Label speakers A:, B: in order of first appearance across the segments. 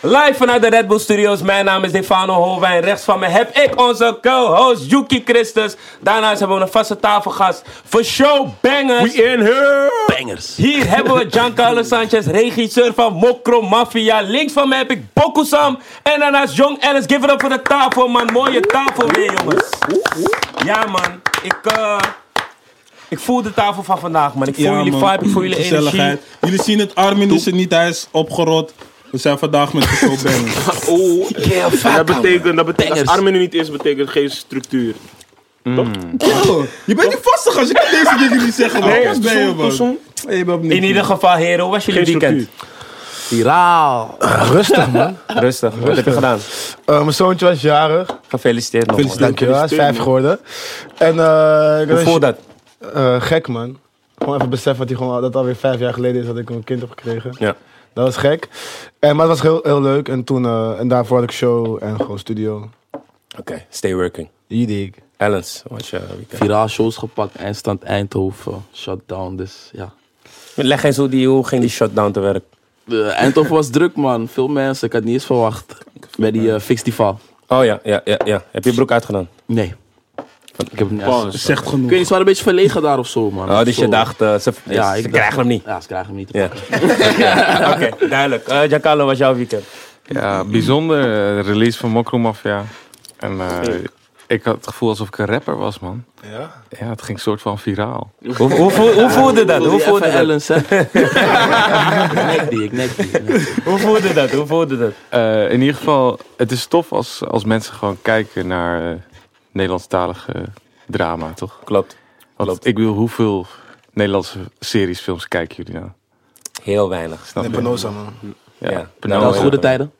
A: Live vanuit de Red Bull Studios. Mijn naam is Defano Holwijn. Rechts van me heb ik onze co-host Yuki Christus. Daarnaast hebben we een vaste tafelgast voor showbangers.
B: We in here!
C: Bangers.
A: Hier hebben we Giancarlo Sanchez, regisseur van Mokro Mafia. Links van mij heb ik Bokusam. En daarnaast Jong Ellis. Give it up voor de tafel, man. Mooie tafel weer, jongens. Ja, man. Ik, eh, ik voel de tafel van vandaag, man. Ik voel jullie
B: man.
A: vibe, ik voel jullie energie.
B: Gezelligheid. Jullie zien het, Armin is er niet, hij is opgerot. We zijn vandaag met de showbangers.
C: Oh, yeah,
D: Dat betekent, dat betekent als
C: Bangers.
D: Armin er niet is, betekent geen structuur.
B: Oh, je bent niet vastig als je kan deze dingen niet zeggen, man. Wat ben je, man? Nee, je bent opnieuw.
A: In ieder geval, heren, hoe was jullie
D: Geen
A: weekend?
C: Viraal.
E: Rustig man.
A: Rustig. Wat heb je gedaan?
E: Eh, mijn zoontje was jarig.
A: Gefeliciteerd, man.
B: Gefeliciteerd.
E: Dankjewel, hij is
D: Gefeliciteerd,
E: vijf geworden. En eh ik
A: Hoe voel dat?
E: Eh, gek man. Gewoon even beseffen dat, hij gewoon, al- dat het alweer vijf jaar geleden is dat ik een kind heb gekregen.
A: Ja.
E: Dat was gek. En, maar het was heel, heel leuk. En, toen, eh, en daarvoor had ik show en gewoon studio.
A: Oké, stay working.
E: Hier die ik.
A: Ellens, wat is je eh, weekend?
C: Viraal shows gepakt, eindstand Eindhoven, shutdown, dus ja.
A: Leg eens hoe, die, hoe ging die shutdown te werk?
C: De Eh, Eindhoven was druk man, veel mensen, ik had niet eens verwacht. Bij die eh festival.
A: Oh ja, ja, ja, ja. Heb je broek uitgedaan?
C: Nee. Ik heb het niet
D: Pause.
C: eens-
B: Zegt
C: Ik
B: genoeg.
C: weet niet, ze waren een beetje verlegen daar of zo man.
A: Oh, dus je
C: Zo.
A: dacht, eh, ze,
C: Ja,
A: ze
C: ik dacht-
A: krijgen hem niet.
C: Ja, ze krijgen hem niet.
A: Ja. Oké, duidelijk. Eh, Giancarlo, wat was jouw weekend?
F: Ja, bijzonder. eh, release van Mokro Mafia. En eh, ik had het gevoel alsof ik een rapper was, man.
E: Ja?
F: Ja, het ging soort van viraal.
A: Hoe, hoe, voel- hoe voelde dat? Hoe voelde dat?
C: Ellens, hè? ik nek die, ik nek die. ik nek die.
A: Hoe voelde dat? Hoe voelde dat?
F: Eh, in ieder geval, het is tof als, als mensen gewoon kijken naar eh, Nederlandstalige drama, toch?
A: Klopt.
F: Want
A: Klopt.
F: ik wil hoeveel Nederlandse series, films kijken jullie nou?
A: Heel weinig.
F: Snap
E: Nee,
F: je?
E: Penosa man.
F: Ja,
A: Ja.
F: Penosa.
C: Dat was goede tijden?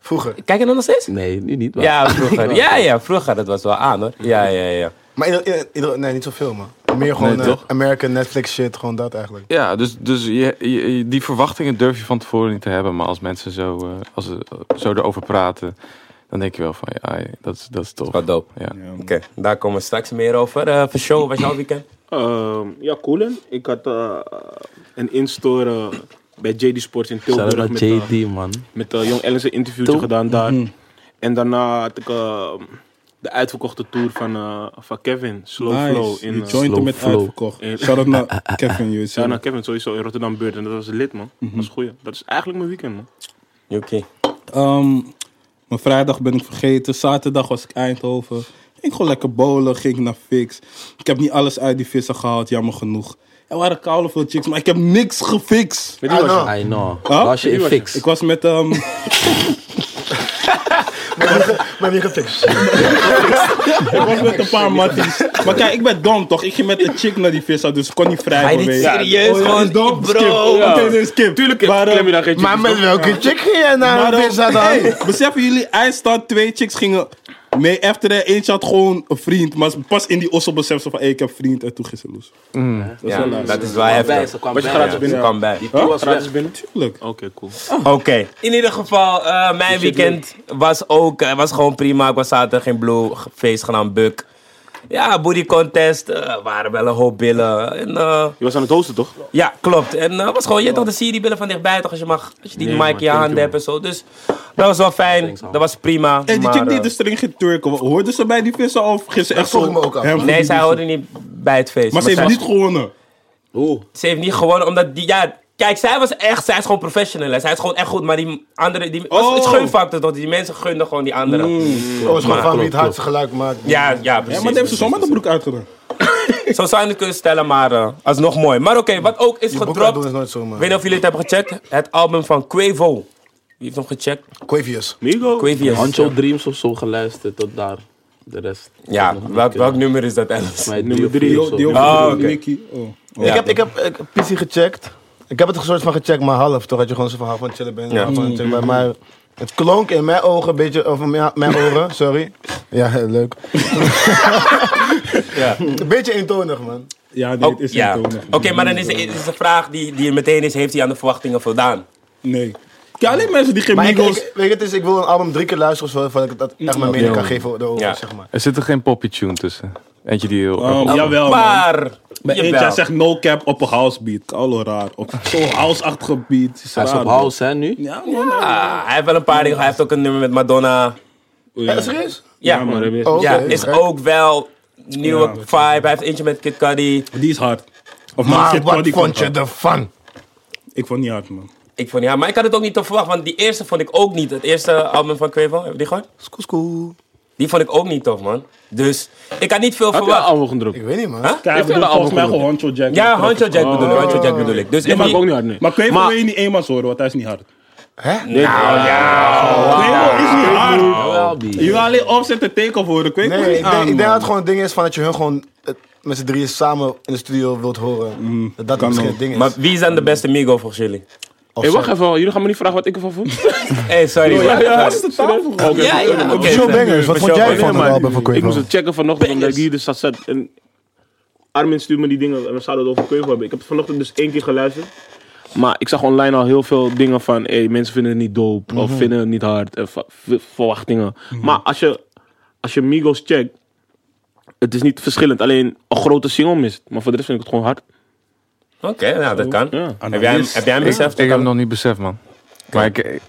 E: Vroeger.
A: Kijk je dan nog steeds?
C: Nee, nu niet. maar-
A: Ja, vroeger. Ja, ja, vroeger. Dat was wel aan, hoor. Ja, ja, ja.
E: Maar in, in- in- nee, niet zoveel man. Meer gewoon
F: Nee,
E: eh,
F: toch?
E: American Netflix shit, gewoon dat eigenlijk.
F: Ja, dus, dus je, je- die verwachtingen durf je van tevoren niet te hebben. Maar als mensen zo, eh, als ze zo erover praten, dan denk je wel van ja, ai, dat, is- dat is tof.
A: Wat dope.
F: Ja.
A: Oké, daar komen we straks meer over. Eh voor show, was jouw weekend?
D: Ehm, ja, Koelen. Ik had eh, een instoren bij JD Sports in
C: Shout-out
D: Tilburg
C: naar
D: met, eh,
C: JD man.
D: met eh, Jong Ellens een interviewtje
C: Til-
D: gedaan daar.
C: Mm-hmm.
D: En daarna had ik ehm, de uitverkochte tour van, eh, van Kevin, Slow Flow.
B: Nice.
D: In,
B: Je
D: eh,
B: joint
C: Slow
B: hem met
C: flow.
B: uitverkocht. Shout-out naar Kevin, je
D: ja, naar
B: ziet.
D: Kevin sowieso in Rotterdam Beurt. En dat was lid, man.
C: Mm-hmm.
D: Dat is goeie. Dat is eigenlijk mijn weekend, man.
A: Yuki.
B: Ehm, Mijn vrijdag ben ik vergeten. Zaterdag was ik Eindhoven. Ging gewoon lekker bowlen, ging naar Fix. Ik heb niet alles uit die vissen gehaald, jammer genoeg. Er waren koude veel chicks, maar ik heb niks gefixt.
D: Met wie was je?
C: I know.
B: Huh?
C: Was je in
D: was je?
C: fix?
B: Ik was met... ehm,
E: Maar wie gefixt?
B: Ik was met een paar matties. Maar kijk, ik ben dom toch? Ik ging met een chick naar die vissa, dus ik kon niet vrij
A: Ga je niet
B: bewegen.
A: serieus?
B: ja, dus-
A: Gewoon,
B: is dom?
A: bro.
B: Skip. Oké,
D: Ja.
B: nee, skip.
D: Tuurlijk
B: Maar, eh,
D: klem je daar geen
E: Maar met
D: chickies,
E: welke chick ging jij naar
B: maar,
E: een
B: eh,
E: visa dan?
B: hey, beseffen jullie, eindstand, twee chicks gingen mee after her. Eentje had gewoon een vriend. Maar pas in die ossel besef ze van, hey, ik heb vriend. En toen ging ze los.
A: Ja, dat is wel
C: Kwam bij,
A: heftig.
C: ze kwam
D: Was je
C: bij,
D: gratis
C: ja.
D: binnen?
A: Ze kwam bij.
C: Die was
D: toch? Gratis
C: weg.
D: binnen?
B: Tuurlijk.
D: Oké, cool.
A: Oké. In ieder geval, eh, mijn weekend was ook eh, was gewoon prima. Ik was zaterdag in Blue, ge- feest genaamd Buk. Ja, booty contest. eh, waren wel een hoop billen. En, eh,
D: Je was aan het hosten, toch?
A: ja, klopt. En eh, was gewoon, je weet toch, dan zie je die billen van dichtbij toch als je mag. Als je die
D: Nee,
A: mic
D: man,
A: in je
D: thank
A: handen
D: you,
A: hebt en zo. Dus dat was wel fijn.
C: Thanks, man.
A: Dat was prima.
B: Hey, die
A: maar,
B: chick die dus-
A: eh,
B: de string ging turken, hoorden ze bij die vissen of ging ze echt
E: vroeg
B: zo...
E: ik me ook af.
B: hem voor
A: Nee, zij
B: die vissen?
A: hoorde niet bij het feest.
B: Maar ze heeft
A: zij-
B: niet gewonnen.
C: Oeh.
A: Ze heeft niet gewonnen omdat die. Ja, kijk, zij was echt. Zij is gewoon professional. hè. Zij is gewoon echt goed. Maar die andere. Die, was
B: Oh.
A: Het gunfactor toch? Die mensen gunden gewoon die andere.
E: Oh, is gewoon van wie het
C: klopt,
E: hardste geluid maakt.
A: Ja, ja, precies.
B: Ja, maar die heeft ze zomaar de broek uitgedaan.
A: Zo zou je het kunnen stellen, maar eh, alsnog mooi. Maar oké, wat ook is
E: Boek uit doen
A: gedropt.
E: is
A: Ik
E: nooit zo man.
A: weet niet of jullie het hebben gecheckt. Het album van Quavo. Wie heeft hem gecheckt?
E: Quavius.
B: Oh.
D: Migo?
A: Quavius.
C: Ancho Dreams of zo geluisterd tot daar. De rest.
A: Ja, welk, welk nummer is dat,
C: Volgens
A: Alice?
C: mij
D: Nummer
C: of
D: drie,
C: vier
D: joh,
C: of zo.
B: Die
A: Ah,
B: over
A: oké.
B: Nicky. Oh.
A: Ja.
E: Ik heb, ik heb ik, heb PC gecheckt. Ik heb het een soort van gecheckt, maar half. Toch had je gewoon zo van half van het chillen bent.
A: Ja.
E: Ja. Van het chillen bent. Maar het klonk in mijn ogen een beetje, of in mijn, mijn oren, sorry. Ja, heel leuk.
A: Ja.
E: Een beetje eentonig, man.
B: Ja, nee,
A: Oh,
B: het is
A: ja.
B: niet
A: Oké,
B: tonen.
A: maar dan is de, is de vraag die, die er meteen is: heeft hij aan de verwachtingen voldaan?
B: Nee. Kijk, alleen mensen die geen
E: Maar ik,
B: Migos...
E: ik- weet je, het is, ik wil een album drie keer luisteren of zo, voordat ik dat echt mijn mening kan geven over,
A: Ja.
E: zeg maar.
F: Er zit er geen poppy tune tussen. Eentje die heel. Oh.
B: Oh, jawel, man.
A: maar
B: Bij
A: Jawel.
B: eentje, hij zegt no cap op een house beat. Kaulo raar. Op zo'n house-achtige beat. Is
C: Hij is
B: raar,
C: op
B: man.
C: house, hè, nu?
B: Ja, man.
A: Ah, hij heeft wel een paar dingen. Hij heeft ook een nummer met Madonna.
B: Ja.
E: Eh, Serieus?
A: Ja,
B: Ja, man.
E: Oh,
A: ja
E: oké.
A: is ook wel nieuwe vibe. Hij heeft eentje met Kid Cudi.
B: Die is hard. Of man,
E: Maar
B: Kid
E: wat
B: Cudi
E: vond
B: komt
E: je
B: hard.
E: ervan?
B: Ik vond niet hard, man.
A: Ik vond, ja, maar ik had het ook niet te verwachten, want die eerste vond ik ook niet. Het eerste album van Quavo, heb je die gehoord?
E: School, school.
A: Die vond ik ook niet tof, man. Dus ik had niet veel
D: Heb je een
A: verwacht.
D: album gedropt?
E: Ik weet niet, man.
B: Kijk, ik
D: wel
B: bedoel
D: een
B: volgens mij
D: album
B: gewoon Honcho Jack.
A: Ja, Hancho Jack bedoel ik, Hancho Jack bedoel ik. Dus
D: Die
A: en
D: maak ik
A: die-
D: ook niet hard, nee.
B: Maar Quavo
D: Maar-
B: wil je niet eenmaals horen, want hij is niet hard.
E: Hè?
D: Nee,
B: Quavo is niet hard.
C: Jawel, die.
B: Je wil alleen opzetten teken voor de Quavo
E: Nee,
B: is
E: ik
B: niet
E: denk,
B: aan,
E: ik denk
B: Ah, man.
E: dat het gewoon het ding is van dat je hun gewoon eh, met z'n drieën samen in de studio wilt horen. dat dat
B: kan
E: misschien
B: ook.
E: het ding is.
A: Maar wie is dan de beste Migo volgens jullie?
E: Of
D: Hey, wacht
E: zij.
D: even, jullie gaan me niet vragen wat ik ervan vond.
A: hey, sorry. man.
B: Ja, dat is de tafel.
D: Oké,
A: Ja, ja, oké.
E: Michel Bengers, wat
A: Michel
E: vond jij
A: Bengers.
E: van het
D: maar
E: album van
D: Ik
E: Quavo?
D: moest het checken vanochtend omdat ik hier dus zat. zat En Armin stuurde me die dingen en we zouden het over Quavo hebben. Ik heb het vanochtend dus één keer geluisterd. Maar ik zag online al heel veel dingen van hey, mensen vinden het niet dope of vinden het niet hard. En va- v- verwachtingen. Maar als je, als je Migos checkt, het is niet verschillend. Alleen een grote single mist. Maar voor de rest vind ik het gewoon hard.
A: Oké, nou dat kan.
D: Ja.
A: Heb jij hem, heb jij hem
F: Ik,
A: beseft?
F: ik heb hem nog niet beseft, man. Maar ik, ik,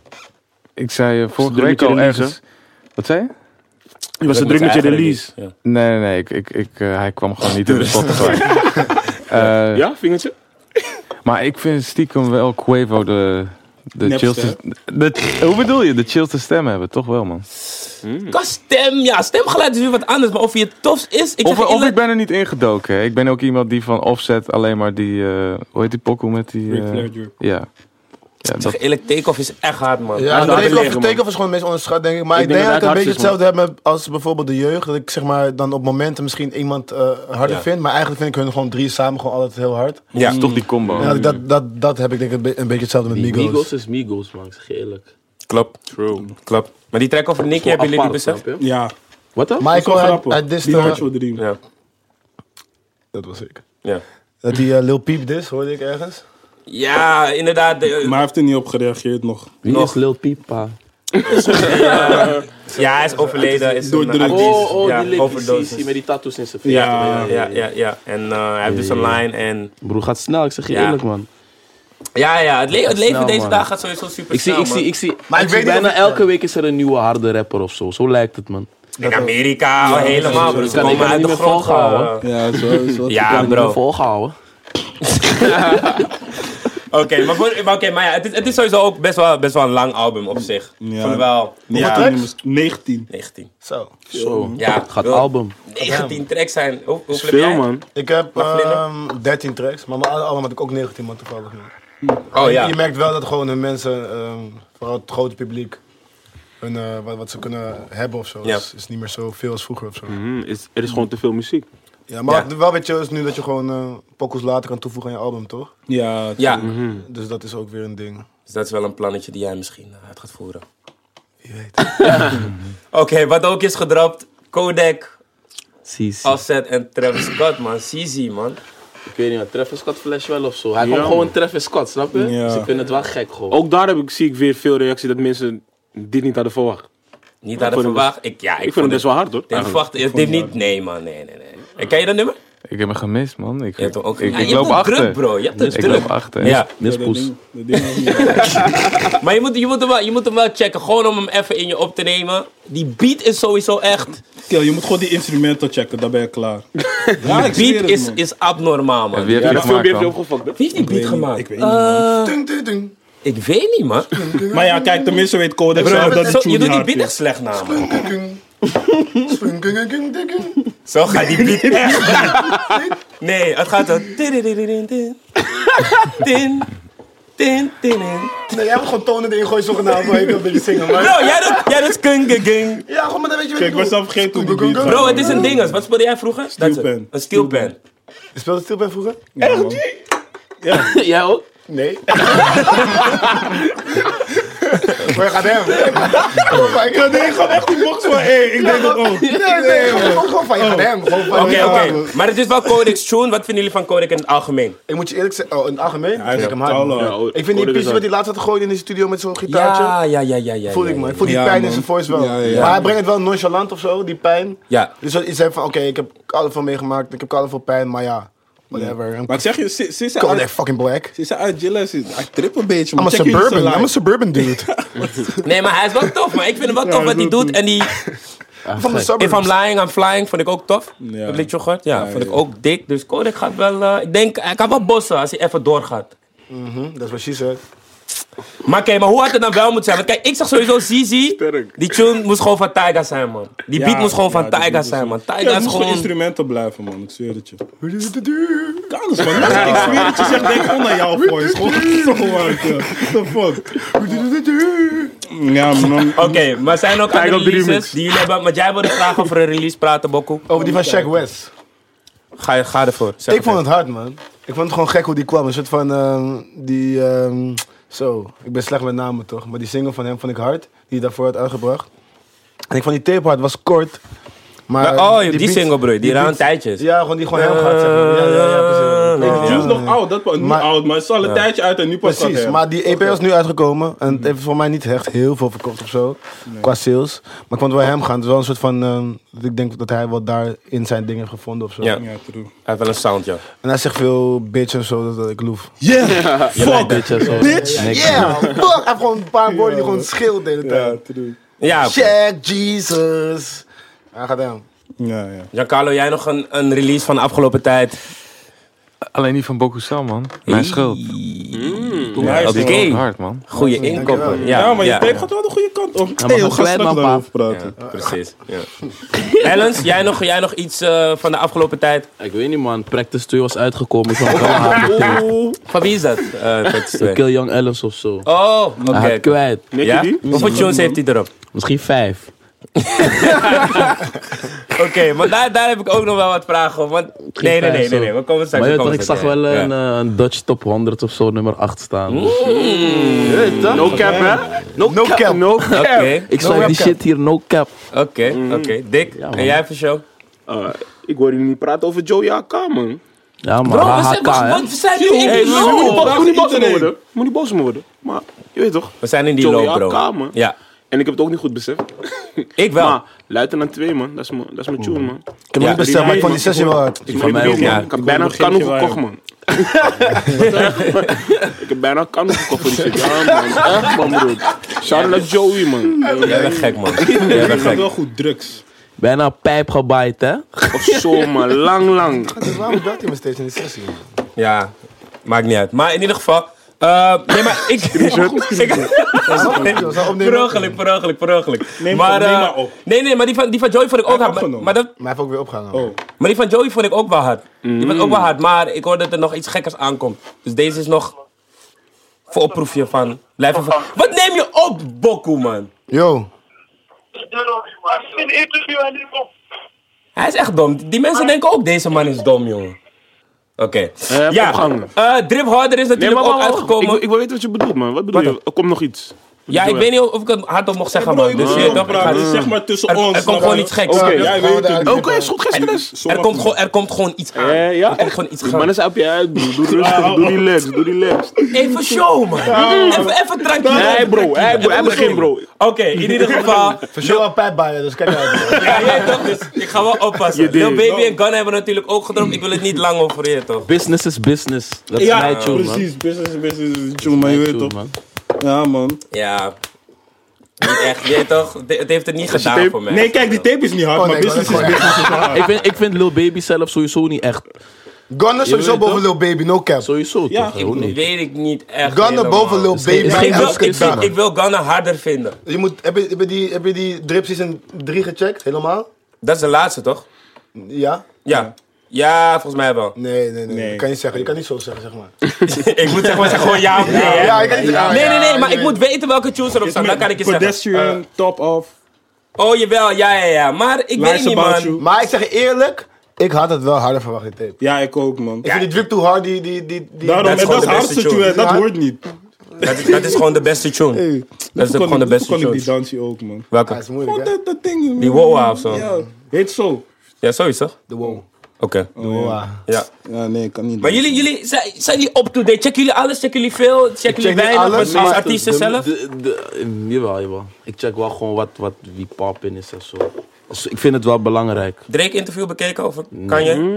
F: ik zei eh, vorige
D: druk
F: week
D: je
F: al
D: release,
F: ergens... Wat zei je?
D: Je was
A: Dat
D: een
A: moet
D: druk met je
A: eigenlijk
D: release.
A: niet. Ja.
F: Nee, nee, nee. Ik, ik, ik, eh, hij kwam gewoon niet in de Spotify. Eh,
D: Ja, vingertje?
F: Maar ik vind stiekem wel Quavo de... De
B: Nepste,
F: chillste, de, hoe bedoel je? De chillste stem hebben, toch wel, man?
A: Qua stem, Hmm. ja, stemgeluid is weer wat anders. Maar of je het tofst is, ik zeg
F: Of,
A: je
F: of ik
A: eerlijk-
F: ben er niet ingedoken. hè. Ik ben ook iemand die van offset alleen maar die... eh, hoe heet die pokoe met die...
B: Ric
F: eh,
B: Flair, Drew.
F: ja.
A: Ik
F: ja
A: zeg
F: dat,
A: je eerlijk, Takeoff is echt hard, man.
E: Ja,
D: Hij is
E: take-off,
D: hard gelegen, man.
E: Take-off is gewoon het meest onderschat, denk ik. Maar ik,
D: Ik
E: denk,
D: denk dat
E: dat ik
D: hij
E: een
D: het
E: beetje
D: hardst
E: hetzelfde heb met- als bijvoorbeeld de jeugd. Dat ik zeg maar dan op momenten misschien iemand eh, harder
A: Ja.
E: vind. Maar eigenlijk vind ik hun gewoon drie samen gewoon altijd heel hard.
A: Ja.
F: is toch die combo.
E: En dat, ik dat, dat, dat heb ik denk ik een be- een beetje hetzelfde met
C: Die
E: Migos.
C: Migos is Migos, man. Ik zeg je eerlijk.
A: Klopt,
D: True.
A: klopt. Maar die track over Nicky, hebben jullie die
C: Apart,
A: beseft?
C: snap je?
B: Ja,
C: Wat dan?
E: Maar ik
B: zo
E: hoor hij,
B: grappig.
E: hij dist,
B: Die
E: eh,
B: Honcho Dream.
A: Ja.
E: Dat was ik.
A: Ja.
E: Dat die eh, Lil Peep dis hoorde ik ergens.
A: ja, inderdaad. de-
B: Maar hij heeft er niet op gereageerd nog.
C: Wie is Lil Pipa?
A: ja, hij is overleden. Is
B: Door
A: een
B: druk.
A: artiest.
B: Oh,
A: ja,
C: Lil
A: overdosis.
C: met die tattoos in zijn
B: vinger. Ja,
A: Ja, ja, ja, ja. En eh, hij heeft dus een line en...
C: Broer, gaat snel. Ik zeg je
A: Ja.
C: eerlijk, man.
A: Ja, ja, het, le- het leven
C: snel,
A: deze
C: man.
A: dag gaat sowieso super
C: Ik zie,
A: snel,
C: ik zie,
A: man.
C: ik zie.
E: Maar ik
C: ik zie
E: weet niet
C: bijna
E: of ik-
C: elke week is er een nieuwe harde rapper of zo. Zo lijkt het, man.
A: In Amerika, al helemaal, bro.
C: dat
A: Ze
C: kan ik
A: komen
C: niet
A: uit de
C: meer
A: grond
C: volhouden.
A: gehouden.
B: Ja, zo. zo
A: Ja,
C: Ik ben
A: bro.
C: volgehouden.
A: Oké, maar, voor- maar, oké, maar ja, het is, het is sowieso ook best wel, best wel een lang album op zich.
B: Ja.
A: Van wel
B: Ja,
E: tracks?
B: nummers 19.
A: 19.
E: Zo.
C: Zo.
A: Ja,
C: Gaat
A: wil-
C: album.
A: 19 tracks zijn. Hoe,
D: Dat is
A: hoeveel heb jij?
D: veel, man.
E: Ik heb
A: Mag Vlinder?
E: ehm 13 tracks, maar mijn alle- allemaal had ik ook 19 man toevallig. man.
A: Oh ja.
E: Je merkt wel dat gewoon hun mensen, ehm, vooral het grote publiek, hun, eh, wat, wat ze kunnen hebben of zo,
A: Ja.
E: is, is niet meer zoveel als vroeger of zo.
D: Mhm, is, er is gewoon te veel muziek.
E: Ja, maar
A: Ja.
E: wat wel weet je is nu dat je gewoon eh pokkels later kan toevoegen aan je album, toch?
B: Ja,
A: Ja,
C: Mhm.
D: Hmm.
E: Dus dat is ook weer een ding.
A: dus dat is wel een plannetje die jij misschien eh, uit gaat voeren.
E: Wie weet.
C: Mhm.
A: Oké, wat ook is gedropt. Kodak,
C: Zie, zie.
A: Offset en Travis Scott, man. CZ, man.
C: Ik weet niet, maar Travis Scott flash wel of zo. Hij
D: Ja,
C: komt gewoon
D: man.
C: Travis Scott, snap je?
B: Ja.
C: Ze kunnen het wel gek gewoon.
D: Ook daar heb ik, zie ik weer veel reactie dat mensen dit niet hadden verwacht.
A: Niet hadden
D: vond hem best-
A: verwacht. Ik, ja,
D: Ik, vind het best wel hard hoor.
A: Ik
D: eigenlijk.
A: verwacht, ik dit niet. Nee, man, nee, nee, nee. En ken je dat nummer?
F: ik heb hem gemist, man. Ik,
A: Je hebt hem ook.
F: ik,
A: Ja,
F: ik
A: je
F: loop
A: hebt het
F: achter.
A: druk, bro. Je hebt het
F: Ik
A: druk.
F: loop achter.
A: Ja.
B: dat ding-
C: Miskoes.
B: dat ding was niet-
A: Maar je moet, je, moet hem wel, je moet hem wel checken, gewoon om hem even in je op te nemen. Die beat is sowieso echt.
B: Kill, je moet gewoon die instrumenten checken, dan ben je klaar. Ja, Ah, ik zweer
A: Beat
B: het,
A: is,
B: man.
A: is abnormaal, man.
F: Wie heeft
D: Ja,
F: die
D: dat
F: gemaakt
D: filmpje heeft je
F: dan?
D: opgefokt, hè?
A: Wie heeft die beat
B: Ik weet niet,
A: gemaakt?
B: ik weet
A: Eh,
B: niet, man.
E: Ding, ding, ding.
A: ik weet niet, man.
B: Maar ja, kijk, tenminste weet Kodak zelf dat
A: Zo-
B: die
A: je
B: tune
A: doet die
B: hard
A: beat echt
B: is.
A: slecht na, man.
E: Ding, ding, ding. Ding, ding, ding, ding, ding.
A: Zo gaat die beat echt. Nee, het gaat zo. Tin, tin, tin, tin.
E: Nee, jij hebt gewoon tonen erin gooien zogenaamd, maar ik wil een beetje zingen, maar...
A: Bro, jij doet, jij doet kungegung.
E: Ja, gewoon maar dan weet je wat
B: Kijk, ik was al vergeten hoe die beat gaat.
A: Bro, het is een dinges. Wat speelde jij vroeger? Dat is het.
B: Steelpan.
A: Een steelpan.
E: Je speelde stilpen vroeger?
B: Ja, man.
C: Jij ook?
E: Nee. Waar gaat hem? Oh my god. Nee, gewoon echt
B: Box van hey, ik denk dat ook. Oh.
E: Nee, nee, gewoon, gewoon van je gaat hem. Gewoon van
A: Oké,
E: je gaat hem.
A: oké. Maar het is wel Codex Tune. Wat vinden jullie van Codex in het algemeen?
E: Ik moet je eerlijk zeggen, oh, in het algemeen
B: Hij
E: vind
B: is
E: ik hem hard. man.
B: koude.
D: Ja,
E: Ik vind die
D: Kodak is
E: piece wat
D: hard.
E: hij laatst had gegooid in de studio met zo'n gitaartje.
A: ja, ja, ja. ja
E: Voel ik me. Ik voel die
B: Ja,
E: pijn in
B: man.
E: zijn voice wel.
B: Ja, ja.
E: Maar hij brengt het wel nonchalant of zo, die pijn.
A: Ja.
E: Dus dat is hij van, oké, ik heb er veel meegemaakt, ik heb er veel pijn, maar ja. Whatever.
B: Maar ik zeg je, ze, ze is
E: Call that
B: uit,
E: fucking black.
B: ze is uit Jilla, ze, hij trip een beetje.
E: I'm
B: man.
E: a
B: Check jullie zijn
E: suburban. I'm a
B: live.
E: suburban dude.
A: Nee, maar hij is wel tof, man. Ik vind hem wel tof wat hij doet. En die
E: Van de
A: If I'm
E: suburbs.
A: Lying, I'm Flying vond ik ook tof.
B: Ja.
A: Dat liedje gehoord. Ja,
B: Ja,
A: vond ik
B: ja.
A: ook dik. Dus Kodak gaat wel... eh, ik denk, hij kan wel bossen als hij even doorgaat.
E: Dat is wat Mhm, she said.
A: Maar oké, maar hoe had het dan wel moeten zijn? Want kijk, ik zag sowieso Zizi. Die tune moest gewoon van Tyga zijn, man. Die
B: Ja,
A: beat moest gewoon
B: ja,
A: van
B: die
A: Tyga
B: beat is
A: zijn,
B: wel-
A: man.
B: Ja,
A: Tyga
B: het
A: is
B: moest gewoon
A: gewoon...
B: instrumenten blijven, man. Ik zweer het je. Kan eens, man. Ik zweer het je, zeg, denk gewoon naar jouw voice. Gewoon zo hard, ja. The fuck. Ja, man.
A: Oké, maar zijn er ook andere
D: op de
A: releases
D: remix.
A: die jullie hebben? Want jij wilde graag over een release praten, Bokko.
E: Over die van Shaq West.
A: Ga, je- ga ervoor. Zeg
E: Ik
A: het
E: vond het hard, man. Ik vond het gewoon gek hoe die kwam. Een soort van ehm, die. ehm, zo, ik ben slecht met namen toch? Maar die single van hem vond ik hard. Die hij daarvoor had uitgebracht. En ik vond die tape hard, was kort. Maar
A: even. Oh, die,
E: eh, beats-
A: single, bro. Die, die
E: beats-
A: een tijdjes.
E: Ja, gewoon die gewoon hem gaat zeg maar. Ja, ja, ja, precies.
A: Ja.
B: Het is nog oud, dat was niet
E: Maar-
B: oud, maar het is al een tijdje uit en nu pas gaat
E: Precies,
B: hij.
E: maar die EP is nu uitgekomen. En het heeft voor mij niet echt heel veel verkocht of zo. Qua sales. Maar ik vond wel hem gaan. Het is wel een soort van. ehm, dat ik denk dat hij wel daar in zijn dingen heeft gevonden of zo.
A: Ja.
B: Ja, true.
A: Hij heeft wel een sound, ja.
E: En hij zegt veel bitch en zo, dat, dat ik loef.
B: Yeah, fuck,
C: Dit is zo.
B: bitch.
C: Niks.
E: Yeah, fuck! Hij heeft gewoon een paar woorden die gewoon scheelt de hele
B: Ja,
E: tijd.
B: true.
A: Ja, oké.
E: Check Jesus. Hij gaat hem.
B: Ja, ja.
A: Giancarlo, jij nog een, een release van de afgelopen tijd?
F: Alleen die van Bokusam, man. Mijn schuld.
B: Nice,
A: Hmm. Oké.
B: man.
F: Hey. Hard, man.
A: Goeie inkopen. Ja,
B: Ja, maar je
A: ja.
B: tape gaat wel de goede kant op.
C: maar
B: Hey, we
C: ga
B: gaan
C: kwijt,
B: straks
C: man,
B: daarover praten.
A: Precies. Ja. Ellens, jij nog, jij nog iets eh, van de afgelopen tijd?
C: Ik weet niet, man. Practice 2 was uitgekomen. Ik vond het wel hard.
A: Van wie is dat? Eh, dat is twee.
C: Kill Young Ellis of zo.
A: oh, oké.
F: Ah,
C: Hij had kwijt.
D: Nicky
A: Ja?
D: die?
A: Hoeveel tunes heeft hij erop?
C: Misschien vijf.
A: Oké, maar daar, daar heb ik ook nog wel wat vragen over. Want... Nee, nee, nee, nee, nee. We komen straks.
C: Maar je
A: we
C: weet toch,
A: komen
C: ik
A: straks,
C: zag
A: ja.
C: wel
A: Ja.
C: een, eh, een Dutch Top 100 of zo, nummer 8 staan.
D: No cap, hè? No,
E: cap.
D: No cap.
A: eh, Oké, Mm.
C: Ik schrijf die
E: webcam.
C: shit hier, no cap.
A: oké, oké. Dik, en jij voor show?
D: Eh, ik hoor jullie niet praten over Joey AK, man.
C: Ja, maar HHK, hè.
A: we zijn nu in
D: Hey,
A: die
D: Louis, moet niet boos-
B: dat
D: moet niet
B: is
D: boos om me
B: iedereen.
D: worden. Moet niet boos om me worden. Maar, je weet toch.
A: We zijn in die
D: Joey
A: loop, bro.
D: AK, man.
A: Ja,
D: En ik heb het ook niet goed beseft.
A: ik wel.
D: Maar, Luitenant 2, man. Dat is mijn- dat is mijn tune, man.
E: Ik heb hem niet besteld, maar ik vond die sessie wel hard.
D: Ik ben
C: mij ook,
A: ja.
D: man. Ik heb bijna een kanon
B: begintje waar-
D: gekocht, man. Ik heb bijna een kanon gekocht voor die shit. Ja, man. Echt, man, broer. Shout-out naar Joey, man. Eh,
A: Jij bent gek, man.
B: Ja,
A: Jij
B: dat
A: bent
B: gaat
A: gek.
B: wel goed drugs.
C: Bijna een pijp gebaaid, hè.
D: Of zo, man. Lang, lang.
E: Dus waarom belt hij me steeds in die sessie?
A: Ja, maakt niet uit. Maar in ieder geval. eh, nee, maar ik. ik per ongeluk, per ongeluk, per ongeluk.
B: Neem op, neem
A: eh,
B: maar op.
A: Nee, nee, maar die van, die van Joey vond ik ook
B: heb
A: hard. Maar,
B: opgenomen.
A: maar, dat,
E: Maar hij heeft ook weer opgehangen.
B: Oh.
A: maar die van Joey vond ik ook wel hard. Die vond ik ook wel hard, maar ik hoorde dat er nog iets gekkers aankomt. Dus deze is nog. Voor opproefje van. Blijf even. Wat neem je op, Bokku, man?
E: Yo,
G: I've been interviewing people.
A: Hij is echt dom. Die mensen denken ook, deze man is dom, jongen. Oké.
D: Eh,
A: Ja,
D: opgehangen.
A: eh, Drip Harder is
D: Nee,
A: natuurlijk
D: maar
A: ook
D: wacht, wacht.
A: uitgekomen.
D: Ik, ik wil weten wat je bedoelt, man. Wat bedoel je? Er komt nog iets.
A: Ja, ik weet niet of ik het hardop mocht zeggen, man. Dus je weet toch, ik ga-
B: praten, zeg maar tussen
A: er,
B: ons.
A: er komt
B: snap
A: gewoon
B: je?
A: iets geks. Oh,
D: Oké.
B: Jij weet het.
D: Oké, is goed, geen stress.
A: Er, komt gewoon, er komt gewoon iets aan.
D: Eh, ja,
A: er komt
D: echt?
A: gewoon iets
D: Die Man
A: aan.
D: is op je uit, broer. Doe rustig, doe relaxed, doe relaxed.
A: Even show, man. Even, even tranquil.
D: Nee, bro, hij hij begint, bro.
A: Oké, in ieder geval.
E: voor show al pijp bij je, dus kijk uit.
A: Ja, jij toch? Dus ik ga wel oppassen.
D: Je
A: Lil
D: deed.
A: Baby en Gun hebben natuurlijk ook gedropt. Ik wil het niet lang over je, toch?
C: Business is business. Dat is
B: Ja,
C: mijn tune, man.
B: precies. Business is business is tune, maar je
C: Mijn
B: weet
C: tune,
B: toch.
C: man.
B: Ja, man.
A: Ja. Niet echt. Je weet toch? Het het heeft het niet gedaan Ah, voor mij.
B: Nee, kijk, die tape is niet hard,
E: Oh,
B: maar
E: nee,
B: business is
E: maar dat is
B: business.
C: Ik vind, ik vind Lil Baby zelf sowieso niet echt.
E: Gunna sowieso
C: weet
E: boven
C: toch?
E: Lil Baby, no cap.
C: Sowieso,
B: Ja,
C: toch? Gewoon niet.
A: Weet ik niet echt.
E: Gunna
A: helemaal.
E: boven Lil Baby.
A: Maar
E: en
A: ik wil, ik,
E: Skip
A: vind-
E: Dana.
A: ik wil Gunna harder vinden.
E: Je moet, heb, je, heb, je die, heb je die drip season 3 gecheckt, helemaal?
A: Dat is de laatste, toch?
E: Ja?
A: Ja. Ja, volgens mij wel.
E: Nee, nee, nee.
B: Nee.
E: Dat kan je niet zeggen. Je kan niet zo zeggen, zeg maar.
A: ik moet zeg maar zeggen gewoon ja of nee. hè?
E: Ja, ik kan niet zeggen. ah,
A: Nee, nee, nee,
E: ja,
A: maar
E: je
A: ik moet weten welke tunes erop staan. Dan kan ik je zeggen.
B: Pedestrian, top off,
A: Oh, jawel, ja, ja, ja. Maar ik weet
B: Lies
A: niet,
B: About
A: man.
B: You.
E: Maar ik zeg je eerlijk, ik had het wel harder verwacht, die tape.
B: Ja, ik ook, man.
E: Ik vind die drip too hard, die... die, die, die
B: Daarom,
A: Dat is
B: en
A: gewoon
B: dat is
A: de beste
B: hardste
A: tune.
B: tune, dat
E: Ja.
B: hoort niet.
A: Dat, is- dat is gewoon de beste tune.
B: Hey,
A: dat is
B: kon
A: gewoon
B: ik-
A: de beste
B: kon ik die
A: tune.
B: dansje ook, man.
E: Ah, is
A: Welke?
B: Fuck
E: moeilijk, hè?
B: dat, dat ding, man.
A: Die Wawa of zo.
B: Ja, heet zo.
A: Ja, zoiets toch?
E: De wow.
A: Oké.
E: Wow.
A: Ja.
B: Ja, nee, kan niet.
A: Maar jullie, jullie zijn, zijn jullie up-to-date? Checken jullie alles? Checken jullie veel? Checken jullie
E: check niet
A: weinig
E: alles,
A: als,
E: maar-
A: als artiesten
C: De-
A: zelf?
C: de- de- Jawel, jawel. Ik check wel gewoon wat, wat wie pop in is en zo. Dus ik vind het wel belangrijk.
A: Drake interview bekeken over Kanye?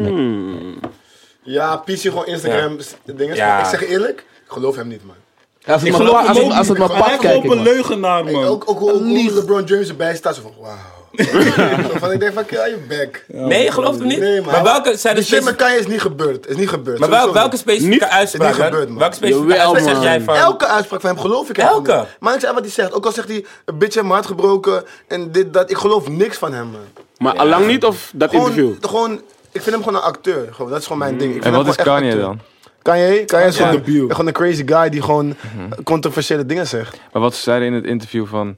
E: Ja, PC gewoon Instagram s- dingen.
A: Ja.
E: Ik zeg je eerlijk, ik geloof hem niet, man.
C: Als het
B: Ik
C: maar,
B: geloof
C: als
B: hem
C: het,
B: ook
C: als het
B: niet.
C: maar pakt,
B: Hij heeft
C: kijk ik,
B: op een
C: man.
B: leugenaar, man.
E: Ook, ook hoe, hoe LeBron James erbij staat, zo van wauw. Zo van, ik denk van, kill je back.
A: Nee, je gelooft hem niet?
E: Nee, man.
A: Maar welke zijn de
E: Die shit
A: specifieke...
E: met Kanye is niet gebeurd. Is niet gebeurd.
A: Maar wel,
E: sowieso
A: welke
E: niet.
A: specifieke
D: Niet-
A: uitspraak?
E: het is niet
A: hè?
E: gebeurd, man.
A: Welke specifieke
C: Jawel,
A: uitspraak zeg
C: man.
A: jij van...
E: Elke uitspraak van hem geloof ik
A: Elke?
E: helemaal niet. Maar ik zeg wat hij zegt. Ook al zegt hij, een bitch heeft mijn hart gebroken en dit, dat. Ik geloof niks van hem, man.
D: Maar allang niet of dat interview?
E: Gewoon, gewoon, ik vind hem gewoon een acteur. Gewoon, dat is gewoon mijn
A: Mm.
E: ding. Ik
F: En
E: vind
F: wat
E: hem
F: is
E: gewoon echt
F: Kanye
E: acteur.
F: dan?
E: Kanye, Kanye is gewoon,
B: debiel.
E: een, gewoon een crazy guy die gewoon
F: Mhm.
E: controversiële dingen zegt.
F: Maar wat ze zeiden in het interview van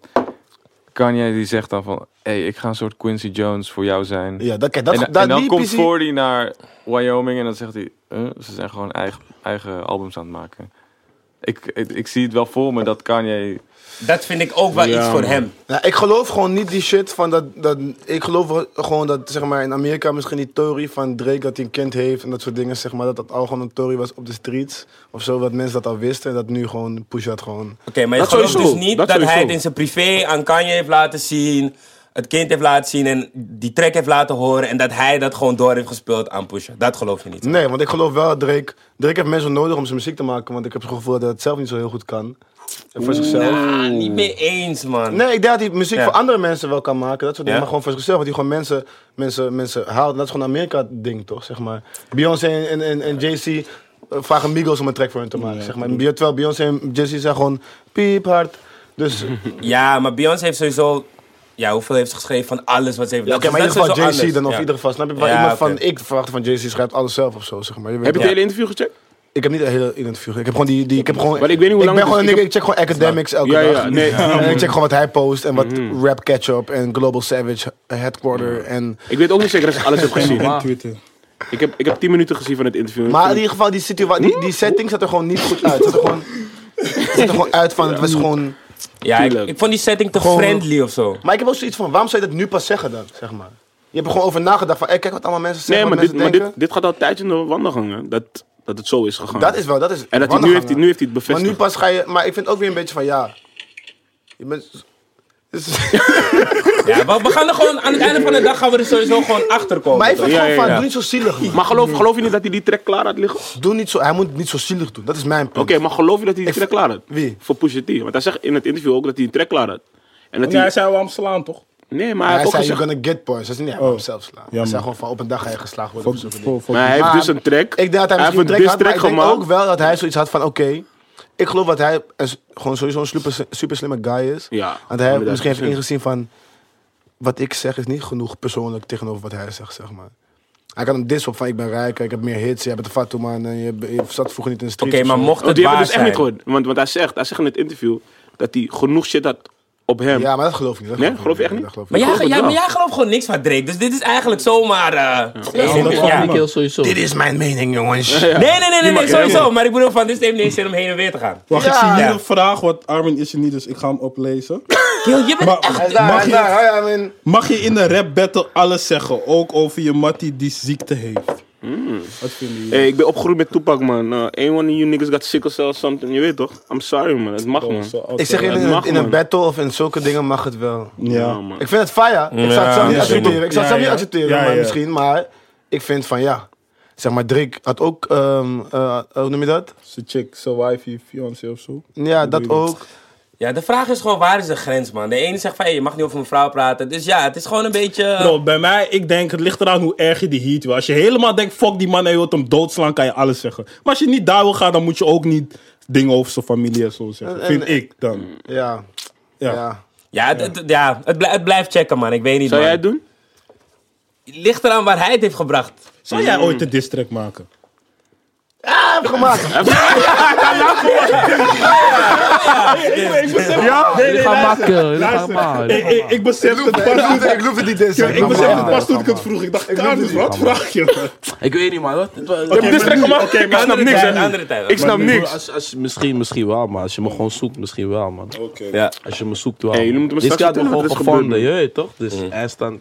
F: Kanye, die zegt dan van... hey, ik ga een soort Quincy Jones voor jou zijn.
E: Ja, dat, kijk, dat,
F: en,
E: dat,
F: en dan
E: die
F: komt
E: PC
F: Fordy naar Wyoming en dan zegt hij... eh, ze zijn gewoon eigen, eigen albums aan het maken. Ik, ik, ik zie het wel voor me dat Kanye...
A: Dat vind ik ook wel iets voor hem.
E: Ja, ik geloof gewoon niet die shit van dat, dat. Ik geloof gewoon dat zeg maar in Amerika misschien die theorie van Drake dat hij een kind heeft en dat soort dingen, zeg maar. Dat dat al gewoon een theorie was op de streets of zo, dat mensen dat al wisten en dat nu gewoon push had gewoon.
A: Oké, maar je
D: Dat
A: gelooft
D: sowieso,
A: dus niet dat,
D: dat
A: hij
D: sowieso.
A: het in zijn privé aan Kanye heeft laten zien... Het kind heeft laten zien en die track heeft laten horen... en dat hij dat gewoon door heeft gespeeld aan Pusha. Dat geloof je niet.
E: Nee, want ik geloof wel dat Drake. Drake heeft mensen nodig om zijn muziek te maken, want ik heb het gevoel dat hij het zelf niet zo heel goed kan. En voor zichzelf.
A: Ah, niet mee eens, man.
E: Nee, ik denk dat hij muziek
A: Ja.
E: voor andere mensen wel kan maken. Dat soort dingen.
A: Ja.
E: Maar gewoon voor zichzelf. Dat hij gewoon mensen, mensen, mensen haalt. Dat is gewoon een Amerika-ding, toch? Zeg maar. Beyoncé en, en, en, en Jay-Z eh, vragen Migos om een track voor hun te maken. zeg maar. En Bey- Terwijl Beyoncé en Jay-Z zijn gewoon piephard. Dus
A: Ja, maar Beyoncé heeft sowieso... Ja, hoeveel heeft ze geschreven van alles wat ze heeft...
E: ja, oké,
A: dat-
E: maar in
A: dat
E: ieder
A: is
E: geval
A: sowieso
E: Jay-Z
A: anders.
E: dan. Of
A: Ja.
E: in ieder geval, snap je? Waar
A: Ja,
E: iemand
A: oké.
E: van, ik verwacht van Jay-Z schrijft alles zelf of zo, zeg maar. Je weet
D: Heb je
E: toch?
D: het hele interview gecheckt?
E: Ik heb niet het hele interview. Ik heb gewoon die, die ik heb gewoon.
D: Maar ik weet niet hoe lang
E: ben
D: het
E: gewoon,
D: is.
E: ik,
D: Ik heb-
E: ik check gewoon academics elke
D: Ja, ja,
E: dag.
D: nee. Mhm.
E: En ik check gewoon wat hij post en wat rap catch-up en Global Savage headquarter en.
D: Ik weet ook niet zeker dat ik alles heb gezien.
B: En Twitter.
D: Ik heb, ik heb 10 minuten gezien van het interview.
E: Maar in ieder geval, die, situatie, die, die setting zat er gewoon niet goed uit. Het zat er gewoon, het zat er gewoon uit van, het was gewoon...
A: Ja, ik,
D: Tuurlijk.
A: ik vond die setting te
E: Gewoon-
A: friendly of zo.
E: Maar ik heb ook zoiets van, waarom zou je dat nu pas zeggen dan, zeg maar? Je hebt er gewoon over nagedacht van, hey, kijk wat allemaal mensen
D: nee,
E: zeggen,
D: maar,
E: wat
D: dit,
E: mensen
D: maar
E: denken.
D: dit, dit gaat al een tijdje in de wandelgang. hè, Dat, dat het zo is gegaan.
E: dat is wel, dat is...
D: en dat hij, nu, heeft, hij- nu heeft hij het
E: Maar
D: bevestigd.
E: nu pas ga je... Maar ik vind ook weer een beetje van, ja... Je bent... Dus- is-
A: Ja, we, we gaan er gewoon... Aan het einde van de dag gaan we er sowieso gewoon achter komen.
E: Maar ik vind
D: Ja,
E: gewoon
D: ja,
E: van,
D: ja.
E: doe niet zo zielig, man.
D: Maar geloof, geloof je niet dat hij die track klaar had liggen? Oké,
E: Doe niet zo... Hij moet niet zo zielig doen. Dat is mijn punt.
D: maar geloof je dat hij die
E: Ik
D: track
E: v-
D: klaar had?
E: Wie?
D: Voor Pusha T. Want hij zegt in het interview ook dat hij een track klaar had. En dat
B: Nee, hij
D: hij,
B: zei wel Amsterdam, toch?
D: nee, maar hij
E: Hij
D: heeft ook
E: zei,
D: gezegd...
E: you're gonna get points. Dat is niet, hij wou hem zelf slaan. Hij
B: Oh. Jammer.
E: zei gewoon van, op een dag ga je geslagen worden.
B: Voor,
E: voor zulke dingen.
B: voor, voor-
D: Maar hij heeft
E: Maar
D: dus een track.
E: Ah, Ik denk dat hij
D: heeft
E: misschien
D: een
E: trek
D: diss-track
E: had, maar ik denk
D: gemaakt.
E: ook wel dat hij zoiets had van, oké, ik geloof dat hij een s- gewoon sowieso een super, super slimme guy is.
D: Ja,
E: want hij heeft
D: 100%.
E: misschien heeft ingezien van, wat ik zeg is niet genoeg persoonlijk tegenover wat hij zegt, zeg maar. Hij kan hem diss op van, ik ben rijk, ik heb meer hits, jij bent een fatu man, en je, je zat vroeger niet in de
A: Oké,
E: street. of
A: maar
E: zo.
A: mocht
D: Oh,
A: het
D: die
A: waar
D: hebben we dus echt
A: zijn...
D: niet gehoord. Want, want hij, zegt, hij zegt in het interview dat hij genoeg shit had op hem.
E: Ja, maar dat geloof ik niet. dat
D: Nee,
E: ik
D: geloof je echt niet?
E: dat geloof ik
A: Maar jij,
D: geloof het
A: jij,
D: wel.
A: maar jij gelooft gewoon niks van Drake. Dus dit is eigenlijk zomaar... eh,
C: Ja,
A: zin-
C: maar
A: ja.
C: dat vind ik heel sowieso.
E: Dit is mijn mening, jongens.
A: Nee, nee, nee, nee, nee sowieso. Maar ik bedoel van, dit heeft niet eens zin om heen en weer te gaan.
B: Wacht, ik zie hier
A: Ja.
B: een vraag, want Armin is er niet, dus ik ga hem oplezen.
A: Kiel, je bent
B: Maar-
A: echt...
E: Hij is daar, hij
B: Mag
E: is
B: je-
E: daar. Hoi, Armin.
B: Mag je in een rap battle alles zeggen? Ook over je mattie die ziekte heeft. Wat vinden jullie?
D: Hey, ik ben opgegroeid met Tupac, man. Eh, Ain't one of you niggas got sickle cell or something. Je weet toch? I'm sorry, man. Het mag, man.
B: Zo, oké.
E: Mm. Ik zeg
D: dat
E: in, een-
D: mag,
E: in een
D: man.
E: battle of in zulke dingen mag het wel.
B: ja.
D: man.
E: Ik vind het fire. Ik zou het zelf niet
B: ja,
E: accepteren. Ik zou het
B: ja,
E: zelf niet
B: ja.
E: accepteren,
B: Ja,
E: maar
B: ja.
E: misschien. Maar ik vind van ja. Zeg maar, Drake had ook, ehm, eh, hoe noem je dat?
B: Zijn chick, zijn wife, fiancé of zo.
E: Ja, dat
B: bedoel je?
E: ook.
A: Ja, de vraag is gewoon, waar is de grens, man? De ene zegt van, hé, je mag niet over mijn vrouw praten. Dus ja, het is gewoon een beetje...
B: Bro, bij mij, ik denk, het ligt eraan hoe erg je die heat wil. Als je helemaal denkt, fuck die man en je wilt hem doodslaan, kan je alles zeggen. Maar als je niet daar wil gaan, dan moet je ook niet dingen over zijn familie en zo zeggen.
E: En- en-
B: Vind ik dan.
E: Ja.
B: Ja.
E: ja.
A: Ja, het, het- ja het, blij- het blijft checken, man. Ik weet niet,
D: Zou
A: man.
D: jij het doen?
A: Ligt eraan waar hij het heeft gebracht.
B: Zou jij ooit een district maken?
E: Ah, heb ik gemaakt.
B: Ja? Nee, nee,
C: Jullie gaan
B: luister.
C: makken, jullie gaan
B: Luister.
C: maken.
B: Ik, ik, ik besef het
E: Ik
B: pas
E: loefde-
B: toen
E: Ik loefde die diss.
B: ik, ik besef het
E: maar.
B: pas toen ik het vroeg. Ik dacht, Carlos, wat vraag je? me?
C: Ik weet niet, man. Wat- wat-
B: Oké, maar nu- Oké, maar
D: snap
A: Andere
D: niks,
A: tijd,
D: hè, nu.
A: andere tijd.
D: Ik snap
C: Ik bedoel,
D: nou niks.
C: Als, als, misschien, misschien wel, maar als je me gewoon zoekt, misschien wel, man.
A: Ja.
C: Als je me zoekt, wel.
D: Hey, jullie moeten me
C: Dit
D: straks
C: had me
D: vertellen
C: gewoon
D: dat dit
C: gevonden,
D: gebeurt,
C: je weet toch? Dus hij staat...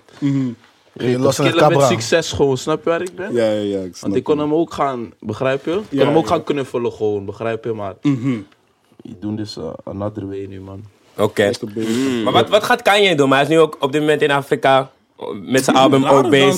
E: Geen last aan het
C: Killen met
E: cabra.
C: succes gewoon, snap je waar ik ben?
B: Ja, ja, ja. Ik snap
C: Want ik kon hem ook gaan, begrijp je? Ik kon
B: Ja,
C: hem ook
B: ja.
C: gaan knuffelen gewoon, begrijp je? Maar je doet dus eh, another way nu, man.
A: Oké. Maar wat, wat gaat Kanye doen? Maar hij is nu ook op dit moment in Afrika. met zijn album
B: Rare
A: ook bezig.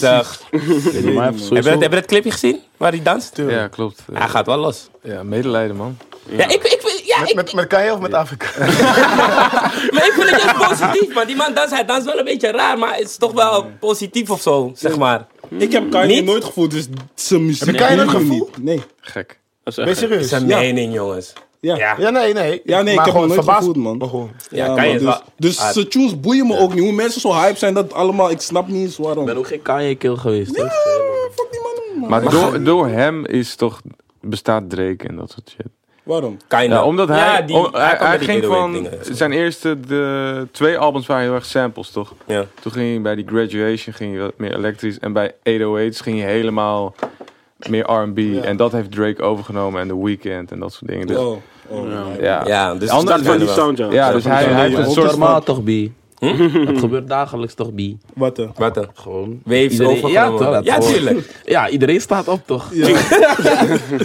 B: dansies.
C: Lady Maya heeft
A: Heb je,
C: sowieso...
A: dat- heb je dat clipje gezien waar hij danst?
F: Ja, klopt. Eh,
A: Hij gaat wel los.
F: Ja, medelijden, man.
A: Ja, ik, ik, ja, ik,
E: Met, met Kanye of met Afrika?
A: maar ik vind het juist positief, man. Die man danst, hij danst wel een beetje raar, maar het is toch wel positief of zo, zeg maar.
B: Ik heb Kanye
A: Niet?
B: nooit gevoeld, dus zijn muziek...
E: je Kanye
B: boeit
E: nooit
B: me
E: gevoeld?
B: niet. Nee.
F: Gek.
D: Dat is
E: Ben je
D: echt gek.
E: serieus?
A: Zijn
B: Ja.
A: mening, jongens.
B: Ja.
A: Ja.
E: Ja, nee, nee.
B: Ja, nee,
E: Maar
B: ik heb
E: gewoon
B: hem nooit
E: verbaasd
B: gevoeld, man.
E: me gewoon.
A: Ja, kan je
B: man,
A: wel-
B: Dus, dus
A: Ah.
B: zijn tunes boeien me ook niet. Hoe mensen zo hype zijn, dat allemaal... Ik snap niet eens waarom.
C: Ik ben ook geen Kanye-kill geweest.
B: Ja,
C: hoor.
B: fuck die man, man.
F: Maar door, door hem is toch, bestaat Drake en dat soort shit.
B: Waarom?
A: Kan je
F: Ja,
A: nou-
F: omdat hij,
A: Ja, die-
F: om- hij,
A: kan
F: hij
A: met die
F: ging
A: middleweight
F: van
A: dingen, zo.
F: zijn eerste de, twee albums waren heel erg samples, toch?
A: Ja.
F: Toen ging hij bij die Graduation ging hij wat meer elektrisch en bij 808's ging hij helemaal meer R&B en dat heeft Drake overgenomen en The Weeknd en dat soort dingen. Dus,
B: Oh, oh.
F: ja.
A: Ja, dus
F: Andere-
D: Dat is van die sound, ja.
F: Ja, dus hij, hij heeft een
C: Het is
F: soort van...
C: normaal toch, B? Het gebeurt dagelijks toch, B?
B: Wat eh? dan?
A: Wat dan?
C: Gewoon.
A: Waves
C: Iedereen-
A: overgenomen.
C: Ja, toch?
A: Ja,
C: Gewoon-
A: tuurlijk.
C: Ja, iedereen staat op toch?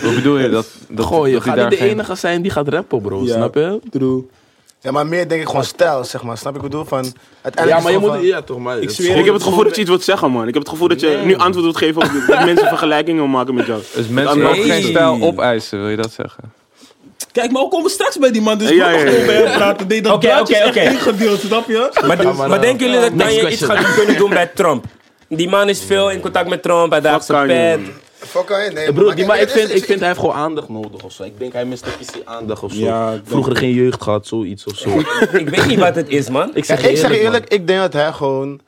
F: Hoe bedoel je dat? dat
C: Goh, je
F: dat hij
C: gaat niet de
F: geen-
C: enige zijn die gaat rappen, bro.
B: Ja.
C: Snap je?
B: True.
E: Ja, maar meer denk ik gewoon stijl, zeg maar. Snap je wat ik bedoel? Van, uiteindelijk
C: Ja,
E: is
C: maar je
E: gewoon
C: moet...
E: van-
C: Ja, toch, maar... Ik
B: zweer-
D: Ik heb het gevoel dat je iets wilt zeggen, man. Ik heb het gevoel dat je nu antwoord wilt geven op dat mensen vergelijkingen maken met jou.
F: Dus mensen
D: Nee.
F: mogen geen stijl opeisen, wil je dat zeggen?
B: Kijk, maar we komen straks bij die man, dus
D: Ja,
B: ik wil
D: ja,
B: nog
D: ja,
B: gewoon
D: ja.
B: bij hem praten. Nee, dat
A: Oké,
B: blaadje
A: oké,
B: is
A: oké.
B: echt ingedeeld, snap je?
A: Maar,
C: maar,
A: maar
C: eh,
A: denken jullie dat
C: next
A: Kanye iets
C: question.
A: gaat kunnen doen bij Trump? Die man is veel in contact met Trump, hij draagt zijn
D: Kanye,
A: pet.
D: man.
E: Fuck Kanye, nee.
C: Broer, die,
E: kijk,
C: maar ik
E: het is-
C: vind,
E: het is-
C: ik vind hij heeft gewoon aandacht nodig of zo. Ik denk hij mist een beetje aandacht of zo.
B: Ja, ik
C: Vroeger geen jeugd gehad, zoiets of zo.
A: Ik weet niet wat het is, man.
C: Ik
E: Ja,
C: zeg, je
E: ik zeg je
C: eerlijk,
E: eerlijk, ik denk dat hij gewoon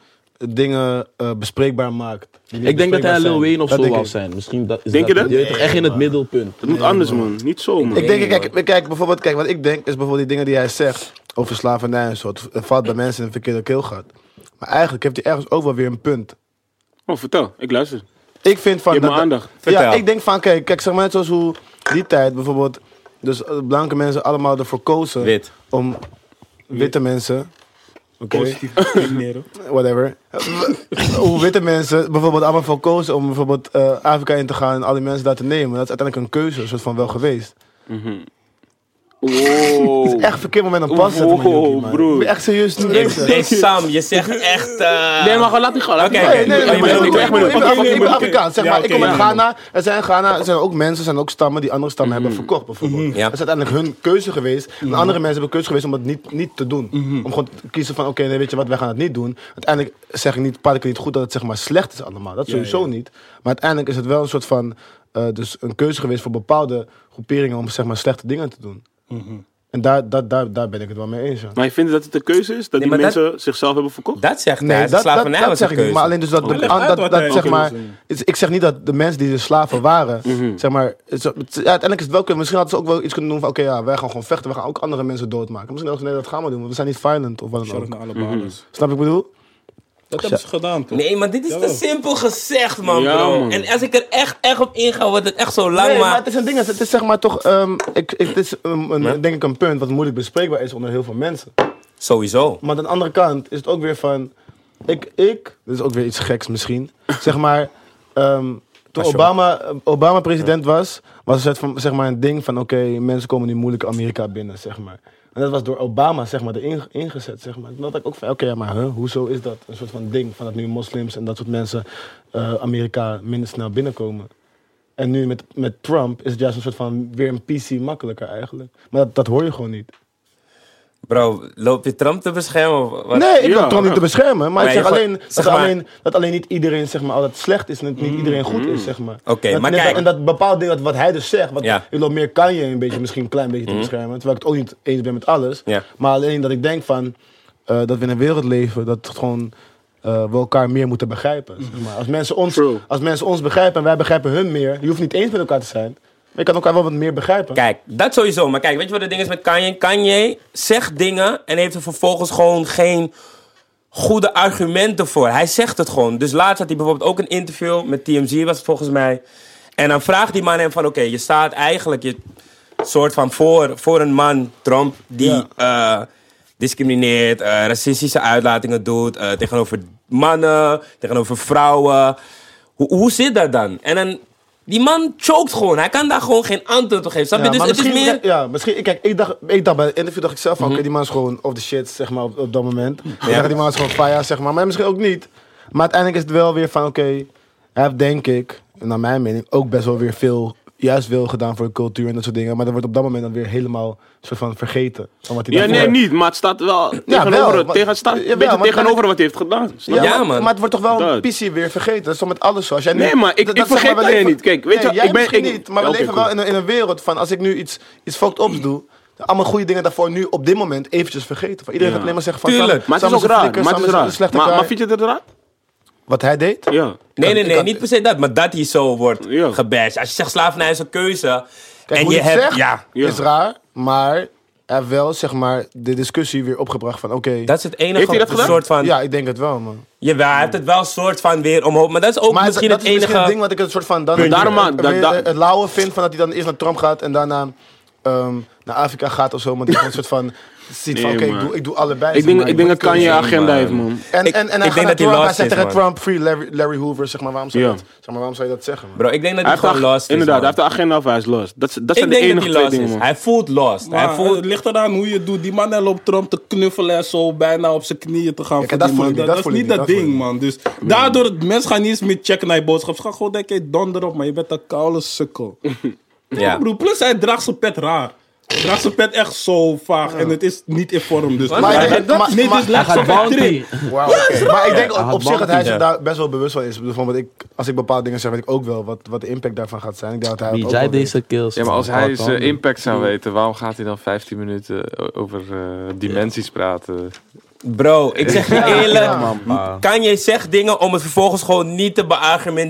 E: dingen eh, bespreekbaar maakt.
C: man. Ik denk dat hij Lil Wayne of
E: Dat
C: zo
E: denk
C: wou
E: ik.
C: zijn. Misschien dat, is
D: Denk je dat?
C: Je weet toch echt in het middelpunt.
D: Het moet anders, man. Niet zo, man.
E: Ik denk, kijk, kijk, bijvoorbeeld, kijk, wat ik denk is bijvoorbeeld die dingen die hij zegt over slavernij en zo. Het het valt bij mensen in een verkeerde keel gaat. Maar eigenlijk heeft hij ergens ook wel weer een punt.
D: Oh, vertel. Ik luister.
E: Ik vind van...
D: Je hebt
E: dat-
D: mijn aandacht.
E: Ja,
A: Vertel.
E: ik denk van, kijk, kijk, zeg maar net zoals hoe die tijd bijvoorbeeld... Dus eh, blanke mensen allemaal ervoor kozen
A: Wit.
E: om witte mensen... Oké,
B: Positief discrimineren.
E: whatever. hoe witte mensen bijvoorbeeld allemaal voor kozen om bijvoorbeeld eh, Afrika in te gaan en al die mensen daar te nemen. Dat is uiteindelijk een keuze, een soort van wel geweest.
D: Wow.
E: Echt verkeerd moment aan pas zetten,
D: Wow,
E: man, Jokie, man.
D: broer.
E: Ik ben echt serieus nu
A: Ik-
E: bezig.
A: Nee, Sam, je zegt echt... eh,
D: Nee, maar gewoon laat die gaan. laat die
A: Oké,
D: gaan.
A: oké.
E: Nee, nee, nee,
A: Oh, je
E: maar
A: bent-
E: ik
D: ik
E: ben-
D: ben-
E: ik
D: ik ben-
E: ben- ik ben- ik ben
B: oké.
E: Afrikaans, zeg
B: Ja,
E: maar.
B: oké,
E: Ik kom uit
B: ja.
E: Ghana. Er zijn in Ghana er zijn ook mensen, er zijn ook stammen die andere
B: Mhm.
E: stammen hebben verkocht, bijvoorbeeld.
A: Ja.
E: Dat is uiteindelijk hun keuze geweest. En andere mensen hebben keuze geweest om dat niet, niet te doen.
B: Mhm.
E: Om gewoon te kiezen van, oké, nee, weet je wat, wij gaan het niet doen. Uiteindelijk zeg ik niet, praat ik niet goed dat het zeg maar slecht is allemaal. Dat sowieso niet. Maar uiteindelijk is het wel een soort van, eh, dus een keuze geweest voor bepaalde groeperingen om zeg maar slechte dingen te doen.
B: Mhm.
E: En daar, daar, daar, daar ben ik het wel mee eens, ja.
D: Maar je vindt dat het de keuze is?
A: Nee,
D: Dat die
A: maar dat-
D: mensen zichzelf hebben verkocht?
A: Dat zegt hij,
E: Nee,
A: dat,
E: dat, dat,
A: slavernij
E: dat
A: was
E: zeg
A: een
E: ik
A: keuze.
E: niet. Maar alleen dus dat, de-
B: Leg
E: aan-
B: uit
E: dat,
B: wat
E: dat,
B: hij
E: zeg
B: wil
E: maar,
B: doen.
E: is- ik zeg niet dat de mensen die de slaven waren, zeg maar, het- het- ja, uiteindelijk is het wel kunnen. Misschien hadden ze ook wel iets kunnen doen van, oké, ja, wij gaan gewoon vechten, we gaan ook andere mensen doodmaken. Misschien hadden ze, nee, dat gaan we doen, want we zijn niet violent of wat dan
B: Zorg
E: ook.
B: naar alle balers.
E: Snap ik wat ik bedoel?
B: Dat hebben ze gedaan, toch?
A: Nee, maar dit is te
B: Jawel.
A: simpel gezegd, man,
D: Ja,
A: bro.
D: man.
A: En als ik er echt, echt op inga, wordt het echt zo lang,
E: Nee, maar
A: maar...
E: het is een ding, het het is zeg maar toch, ehm, ik, ik- het is ehm, een- denk ik een punt wat moeilijk bespreekbaar is onder heel veel mensen.
A: Sowieso.
E: Maar aan de andere kant is het ook weer van. Ik, ik, dit is ook weer iets geks misschien. zeg maar, ehm, toen Obama, eh, Obama president was, was het soort van, zeg maar een ding van: oké, mensen komen nu moeilijk Amerika binnen, zeg maar. En dat was door Obama, zeg maar, erin ge- ingezet, zeg maar. Toen dacht ik ook van: oké, ja, maar huh, hoezo is dat? Een soort van ding van dat nu moslims en dat soort mensen eh, Amerika minder snel binnenkomen. En nu met, met Trump is het juist een soort van weer een PC makkelijker eigenlijk. Maar dat, dat hoor je gewoon niet.
A: Bro, loop je Trump te beschermen? of wat?
E: Nee, ik
D: Ja,
E: wil Trump
D: ja.
E: niet te beschermen. Maar
A: Maar
E: ik zeg
A: je gewoon-
E: alleen, dat,
A: zeg
E: er
A: maar- Mm-hmm.
E: alleen dat alleen niet iedereen zeg maar, altijd slecht is en dat niet iedereen goed is. Zeg maar.
A: Oké,
E: Dat-
A: maar
E: en dat-
A: kijk-
E: En dat bepaalt ding wat, wat hij dus zegt. Wat,
A: Ja. Mm-hmm.
E: Ik loop meer kan je een beetje, misschien een klein beetje te beschermen. Terwijl ik het ook niet eens ben met alles.
A: Ja.
E: Maar alleen dat ik denk van, eh, dat we in een wereld leven dat het gewoon... eh, we elkaar meer moeten begrijpen. Zeg maar. als, mensen ons,
D: True.
E: als mensen ons begrijpen en wij begrijpen hun meer, je hoeft niet eens met elkaar te zijn. Maar je kan elkaar wel wat meer begrijpen.
A: Kijk, dat sowieso. Maar kijk, weet je wat het ding is met Kanye? Kanye zegt dingen en heeft er vervolgens gewoon geen goede argumenten voor. Hij zegt het gewoon. Dus laatst had hij bijvoorbeeld ook een interview met TMZ, was het volgens mij. En dan vraagt die man hem van, oké, je staat eigenlijk je soort van voor, voor een man, Trump, die eh, discrimineert, eh, racistische uitlatingen doet eh, tegenover mannen, tegenover vrouwen. Hoe, hoe zit dat dan? En dan, die man chokt gewoon. Hij kan daar gewoon geen antwoord op geven. Snap je?
E: Ja,
A: dus
E: maar
A: het is
E: misschien,
A: meer... Mhm.
E: ja, misschien, kijk, ik dacht, ik dacht bij het interview dacht ik zelf van, oké, die man is gewoon off the shit, zeg maar, op, op dat moment. Ik dacht, die man is gewoon fire, zeg maar, maar misschien ook niet. Maar uiteindelijk is het wel weer van, oké, hij heeft denk ik, naar mijn mening, ook best wel weer veel juist wil gedaan voor de cultuur en dat soort dingen. Maar dat wordt op dat moment dan weer helemaal soort van vergeten. Van wat hij
D: Ja, nee,
E: daarvoor-
D: niet. Maar het staat wel
E: wel,
D: tegenover, het-
E: maar-
D: tegen, het staat een
E: jawel,
D: beetje
E: maar-
D: tegenover wat hij heeft gedaan. snap
E: Ja,
D: je?
A: Ja,
E: maar-
A: man.
E: Maar het wordt toch wel een
D: Dat.
E: pissie weer vergeten. Dat is toch met alles zo. Als jij nu,
D: Nee, maar ik-
E: dat-
D: ik
E: dat zeg
D: vergeet
E: we
D: dat
E: leven-
D: niet. Kijk, weet je
E: nee,
D: wel,
E: jij
D: ik ben-
E: misschien
D: ik-
E: niet. Maar we
D: Oké,
E: leven
D: cool.
E: wel in een, in een wereld van als ik nu iets, iets fucked ups doe. Allemaal goede dingen daarvoor nu op dit moment eventjes vergeten. Van iedereen
D: Ja.
E: gaat alleen maar zeggen van...
A: Tuurlijk,
E: Sam-
D: Maar het is
E: Sam
D: ook
E: een
D: raar.
E: flikker,
D: Maar
E: Sam
D: het is
E: een
D: raar.
E: slechte
D: Maar,
E: guy.
D: maar vind je het raar?
E: Wat hij deed?
D: Ja.
A: Nee, nee,
E: Ik
A: nee,
E: kan-
A: niet per se dat, maar dat hij zo wordt
D: Ja.
A: gebashed. Als je zegt slavernij is een keuze.
E: Kijk,
A: en
E: hoe
A: je
E: je het
A: hebt.
E: zegt,
A: ja,
D: Ja.
E: is raar. Maar hij heeft wel, zeg maar, de discussie weer opgebracht van... Oké,
A: dat is het enige
D: Heeft hij dat
A: een
D: gedaan?
A: soort van. Ja.
E: ja, ik denk het wel, man.
A: Jawel, hij heeft het wel een soort van weer omhoog. Maar dat is ook
E: Maar
A: misschien
E: dat
A: het
E: is
A: enige.
E: misschien het ding wat ik een soort van... Dan,
D: Puntje. Daarom
E: eh,
D: maar,
E: eh,
D: da-
E: weer,
D: da-
E: eh, het lauwe vind van dat hij dan eerst naar Trump gaat en daarna ehm, naar Afrika gaat of zo. Maar die gewoon een soort van ziet van,
D: Nee,
E: oké, ik,
D: man.
E: doe, ik doe allebei.
D: Ik
E: zeg
D: denk,
E: maar.
D: ik denk dat Kanye
F: keuze,
D: agenda
F: maar-
D: heeft, man.
E: En,
A: Ik-
E: en, en
A: ik
E: hij
A: denk
E: gaat naar
A: dat hij
E: Trump, hij
A: lost
E: zegt
A: is,
E: tegen
A: man.
E: Trump, free Larry, Larry Hoover, zeg maar, waarom zou, je
D: Ja.
E: dat, zeg maar, waarom zou je dat zeggen? Man?
A: Bro, ik denk dat
D: Hij
A: hij
D: heeft
A: gewoon
D: ag-
A: lost is.
D: inderdaad, hij
A: man.
D: heeft de agenda of hij is lost. Dat, is- dat zijn
A: Ik
D: de
A: denk dat
D: enige
A: hij
D: twee
A: lost
D: dingen,
A: is. eh,
D: man.
A: Hij voelt lost.
B: Maar
A: hij voelt...
B: het ligt eraan hoe je het doet. Die man hij loopt Trump te knuffelen en zo bijna op zijn knieën te gaan.
E: Kijk,
B: voor
E: dat
B: die
E: voel
B: man.
E: ik niet,
B: dat,
E: dat
B: is
E: voel ik
B: niet dat
E: niet, dat
B: ding,
E: voel
B: man. Dus daardoor, mensen gaan niet eens meer checken naar je boodschap. Ze gaan gewoon denken, hey, donder op, maar je bent een koude sukkel.
A: Ja.
B: Broer, plus hij draagt zijn pet raar. Hij draagt zijn pet echt zo vaag en het is niet in vorm. Dus
E: Maar ik
B: Hij-
E: denk- maar-
B: nee,
E: maar-
B: dit lijkt zo van trip.
E: Wauw, oké. Maar ik denk op,
H: had
E: op zich dat hij zich
A: ja.
E: daar best wel bewust van is. Ik bedoel, van wat ik, als ik bepaalde dingen zeg, weet ik ook wel wat, wat de impact daarvan gaat zijn. Ik denk dat hij dat
H: Wie
E: ook
H: jij
E: wel weet.
H: deze kills?
F: Ja, maar als
H: man?
F: hij
H: Wat
D: eh,
F: zijn
H: dan?
F: impact zou weten, waarom gaat hij dan 15 minuten o- over eh, dimensies praten?
A: Bro, ik zeg je eerlijk.
H: Ah.
A: Kanye zegt dingen om het vervolgens gewoon niet te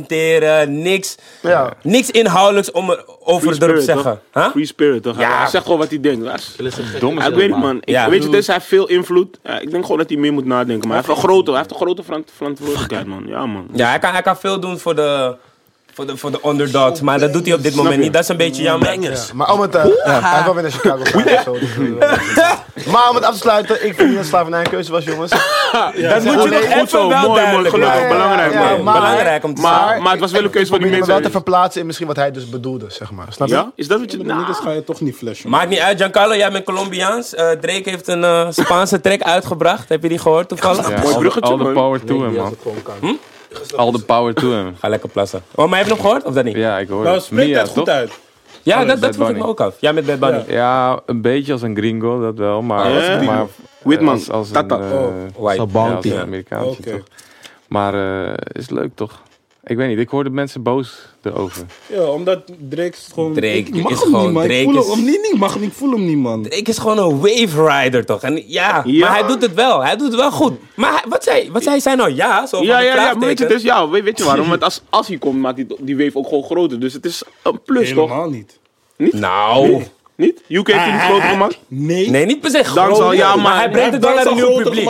A: beargumenteren. Niks,
E: Ja.
A: niks inhoudelijks om er- over het te zeggen.
D: toch?
A: Huh?
D: Free spirit, toch?
A: Ja.
D: Hij zegt gewoon wat hij denkt. Dat is-
F: Domme
D: Ik
F: shit,
D: weet het, man. Ik,
A: Ja.
D: Weet je, dus hij heeft veel invloed. Ja, ik denk gewoon dat hij meer moet nadenken. Maar hij heeft een grote, hij heeft een grote veran- verantwoordelijkheid, man. Ja, man.
A: Ja, hij kan, hij kan veel doen voor de, voor de, voor de underdogs. Maar dat doet hij op dit moment
D: je?
A: niet. Dat is een beetje jammer. Ja.
E: Maar om het, eh, hij heeft wel weer naar Chicago gegaan, zo, dus, eh, Maar om het af te sluiten, ik vind dat slavernij een keuze was, jongens.
D: Dat moet je
A: nog even
D: goed zo.
A: wel
D: Mooi, mooi.
A: duidelijk
D: Gelukkig.
E: maken.
D: Belangrijk,
E: Ja, ja,
D: man.
E: maar-
A: Belangrijk om te
D: Maar,
A: zeggen.
D: maar het was wel een keuze van die
E: Probeer me
D: mensen.
E: wel te verplaatsen in misschien wat hij dus bedoelde, zeg maar. Snap je?
D: Ja? Is dat wat je... Nou,
B: Niggas ga je toch niet flashen.
A: Maakt niet uit, Giancarlo, jij bent Colombiaans. Eh, Drake heeft een eh, Spaanse track uitgebracht. Heb je die gehoord toevallig?
F: Ja,
D: Mooi
F: all, the-
D: bruggetje,
F: all the
D: man.
F: power to him, man. All the power to him.
A: Ga lekker plassen. Oh, maar heb je hem gehoord of dat niet? Ja,
F: Ja, ik hoor
B: Nou,
F: het.
B: spreek
F: Mia,
B: dat goed
F: toch?
B: uit.
D: Oh,
A: dat, dat
F: Bad
A: vroeg ik me
F: Bunny.
A: ook af. Ja, met Bad Bunny.
F: Ja, een beetje als een gringo, dat wel, maar...
D: Ja.
F: maar, eh,
D: Whitman,
F: als, als
D: Tata.
F: Een, eh,
A: White.
H: Zo
F: ja, als
H: bounty.
F: een Amerikaantje,
B: Oké.
F: toch. Maar eh is leuk, toch? Ik weet niet, ik hoorde mensen boos erover.
B: Ja, omdat Drake is gewoon...
A: Drake
B: ik mag
A: is
B: hem
A: gewoon-
B: niet, man.
A: Drake
B: ik voel
A: is-
B: hem niet, niet, mag hem niet, ik voel hem niet, man.
A: Drake is gewoon een wave rider toch? En ja,
D: Ja.
A: maar hij doet het wel. Hij doet het wel goed. Maar hij- wat zei, wat zei zij nou? Ja, zo van
D: Ja,
A: de
D: ja, ja, maar weet je,
A: vraagteken.
D: dus, ja, weet, weet je waarom? Want als, als hij komt, maakt die, die wave ook gewoon groter. Dus het is een plus, toch?
B: Helemaal niet.
A: Nou,
D: Niet? UK heeft hem groter gemaakt.
B: Nee.
A: nee, niet per se
D: Dankzij-
A: groot.
D: ja,
A: maar
D: maar
A: hij brengt het wel naar een nieuw publiek.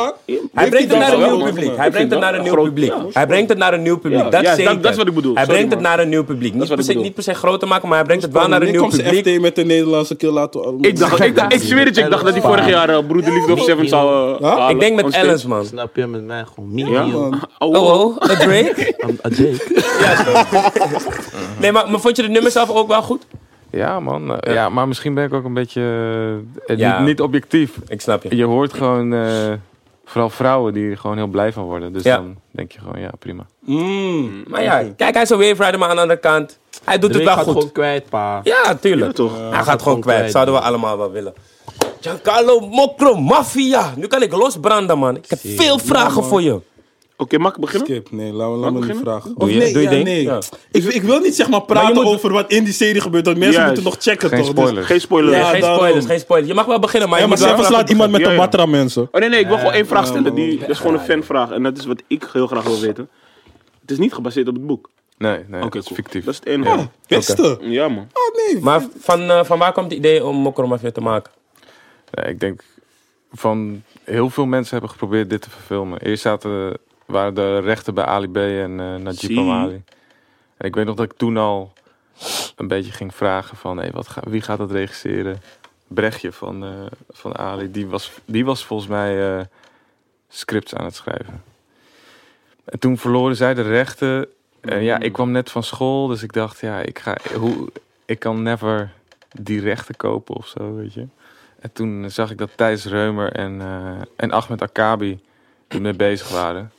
A: Hij brengt het naar een
D: wel
A: nieuw
D: groot
A: publiek. Hij
D: gemaakt. Ik
A: brengt
D: vind
A: het naar
D: dat
A: een nieuw
D: groot,
A: publiek.
D: ja.
A: Hij brengt het naar een nieuw publiek.
D: Ja,
A: Dat
D: ja, dat-
A: zeker.
D: dat is wat ik bedoel.
A: Hij
D: Sorry,
A: brengt het
D: man.
A: naar een nieuw publiek. Niet
D: is wat
A: per
D: ik
A: se-
D: bedoel.
A: Niet per se groter maken, maar hij brengt het wel naar een
B: Nu
A: nieuw
B: komt ze
A: publiek.
B: FT met de Nederlandse kill laten.
D: Ik, dacht, ik, dacht- ik zweer het je, ik dacht dat hij vorig jaar eh, Broederliefde of Seven zou eh,
B: Huh?
D: halen.
A: Ik denk met
D: On stage.
A: Ellens, man.
H: Snap je met mij gewoon? Me,
D: Ja,
H: you,
B: man.
D: Oh,
A: Oh,
D: oh.
A: oh, a Drake?
H: um, a Jake.
A: Nee, maar, maar vond je de nummers zelf ook wel goed?
F: Ja, man. eh, ja, maar misschien ben ik ook een beetje eh, eh,
A: Ja.
F: niet, niet objectief.
A: Ik snap je.
F: Je hoort gewoon, eh, vooral vrouwen die er gewoon heel blij van worden. Dus
A: Ja.
F: dan denk je gewoon, ja, prima.
A: Maar ja, kijk, hij is een wave rider, maar aan de andere kant. Hij doet
H: Drake
A: het
H: gaat
A: wel goed.
H: gewoon kwijt, pa.
A: Ja, tuurlijk.
D: toch?
A: hij gaat, gewoon kwijt.
H: kwijt,
A: Zouden we allemaal wel willen. Giancarlo Mokro, maffia. Nu kan ik losbranden, man. Ik heb veel vragen voor je.
D: Oké, mag ik beginnen?
B: Skip, nee, laat me, laat me niet
D: beginnen?
B: vragen.
A: Doe
B: Of
A: je-
B: nee,
A: doe je
B: ja,
A: ding?
B: nee.
A: Ja.
B: Ik, ik wil niet zeg maar praten
A: moet-
B: over wat in die serie gebeurt, want mensen
D: Juist.
B: moeten nog checken
F: Geen
B: toch? Dus-
F: spoilers.
D: Geen spoiler.
B: Ja,
A: geen
B: daarom.
A: spoilers, geen spoilers. Je mag wel beginnen, maar
B: Ja,
A: je
B: maar
A: moet wel
B: zelfs
A: vragen
B: slaat iemand met
D: Ja,
B: de
D: ja.
B: matra, mensen.
D: Oh nee, nee, ik wil gewoon één vraag stellen. Die, dat is gewoon een fanvraag. En dat is wat ik heel graag wil weten. Het is niet gebaseerd op het boek. Oké,
F: Nee, nee, dat is
D: cool.
F: fictief.
D: Dat is het enige. Ja,
B: Beste.
D: man.
B: Oh nee.
A: Maar van, eh, van waar komt het idee om Mokro Mafia te maken?
F: Nee, ik denk van heel veel mensen hebben geprobeerd dit te verfilmen. Eerst zaten, waren de rechten bij Ali B en eh Najib
D: Zie.
F: Amali. En ik weet nog dat ik toen al een beetje ging vragen van hey, wat ga, wie gaat dat regisseren? Brechtje van, eh, van Ali, die was, die was volgens mij eh, scripts aan het schrijven. En toen verloren zij de rechten. En ja, ik kwam net van school, dus ik dacht, ja, ik, ga, hoe, ik kan never die rechten kopen of zo, weet je. En toen zag ik dat Thijs Reumer en, eh en Ahmed Akabi ermee bezig waren.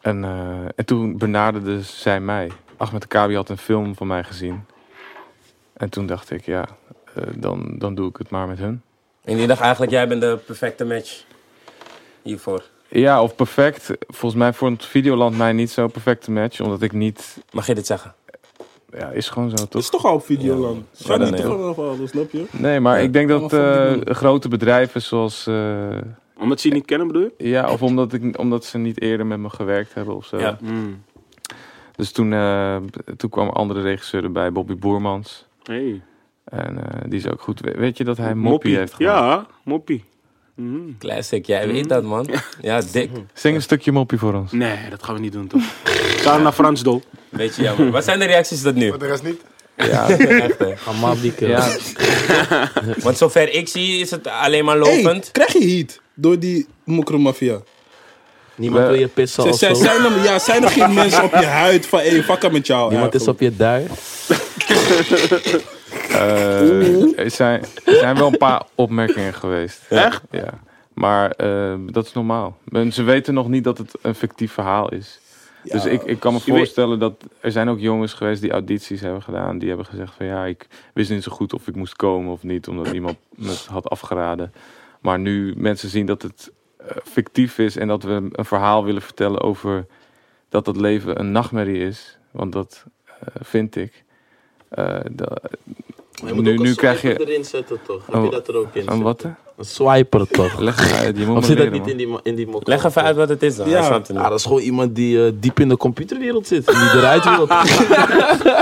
F: En, eh, en toen benaderde zij mij. Ahmed Kabi had een film van mij gezien. En toen dacht ik, ja, eh, dan, dan doe ik het maar met hun.
A: En die dacht eigenlijk, jij bent de perfecte match hiervoor.
F: Ja, of perfect. Volgens mij vond Videoland mij niet zo'n perfecte match. Omdat ik niet...
A: Mag je dit zeggen?
F: Ja, is gewoon zo,
B: Het
F: toch?
B: is toch al op Videoland. Ze gaan
A: Ja,
B: niet
A: nee,
B: toch nog wel, snap je?
F: Nee, maar ik denk dat
B: maar van die
F: eh, grote bedrijven zoals... eh,
D: Omdat ze je niet kennen, bedoel je?
F: ja, of omdat, ik, omdat ze niet eerder met me gewerkt hebben of zo.
A: Ja.
D: Hmm.
F: Dus toen, eh, toen kwam een andere regisseur erbij, Bobby Boermans.
D: Hey.
F: En eh, die is ook goed. We- Weet je dat hij Moppie,
D: Moppie.
F: heeft gemaakt?
D: Ja, Moppie. Mhm.
A: Classic, jij weet dat man. Hmm? Ja, Hmm. dik.
F: Zing een stukje Moppie voor ons.
D: Nee, dat gaan we niet doen, toch? Ga naar Frans, doel.
A: Weet je jammer. Wat zijn de reacties tot nu?
E: Maar de rest niet.
A: Echt, hè?
H: Ga maar op die keer.
F: Ja,
A: Want zover ik zie is het alleen maar
B: Hey,
A: lopend.
B: krijg je heat door die
H: Oh,
B: mokromafia?
H: Niemand wil je pissen
B: Zij-
H: of
B: zij-
H: zo.
B: Zijn er- ja, zijn er geen mensen op je huid van, hey, fuck up met jou?
H: Niemand is op je dui.
F: eh, er, zijn, er zijn wel een paar opmerkingen geweest.
D: Echt?
F: Ja. Maar eh, dat is normaal. Men- Ze weten nog niet dat het een fictief verhaal is. Dus ik, ik kan me
D: weet-
F: voorstellen dat er zijn ook jongens geweest die audities hebben gedaan. Die hebben gezegd van ja, ik wist niet zo goed of ik moest komen of niet. Omdat iemand me het had afgeraden. Maar nu mensen zien dat het eh, fictief is. En dat we een verhaal willen vertellen over dat het leven een nachtmerrie is. Want dat eh, vind ik. Eh, da- nu nu krijg je... Oh,
H: erin zetten toch?
F: Heb je dat
H: er ook in?
F: Een wat? hè?
H: Een swiper toch?
F: Leg het uit, je moet
H: Of
F: me
H: zit dat
F: leren,
H: niet
F: man.
H: in die, in die mok?
A: Leg even uit wat het is dan.
B: Ja.
A: Hij snapt het
H: Ja,
A: niet.
H: dat is gewoon iemand die eh, diep in de computerwereld zit. En die eruit wil.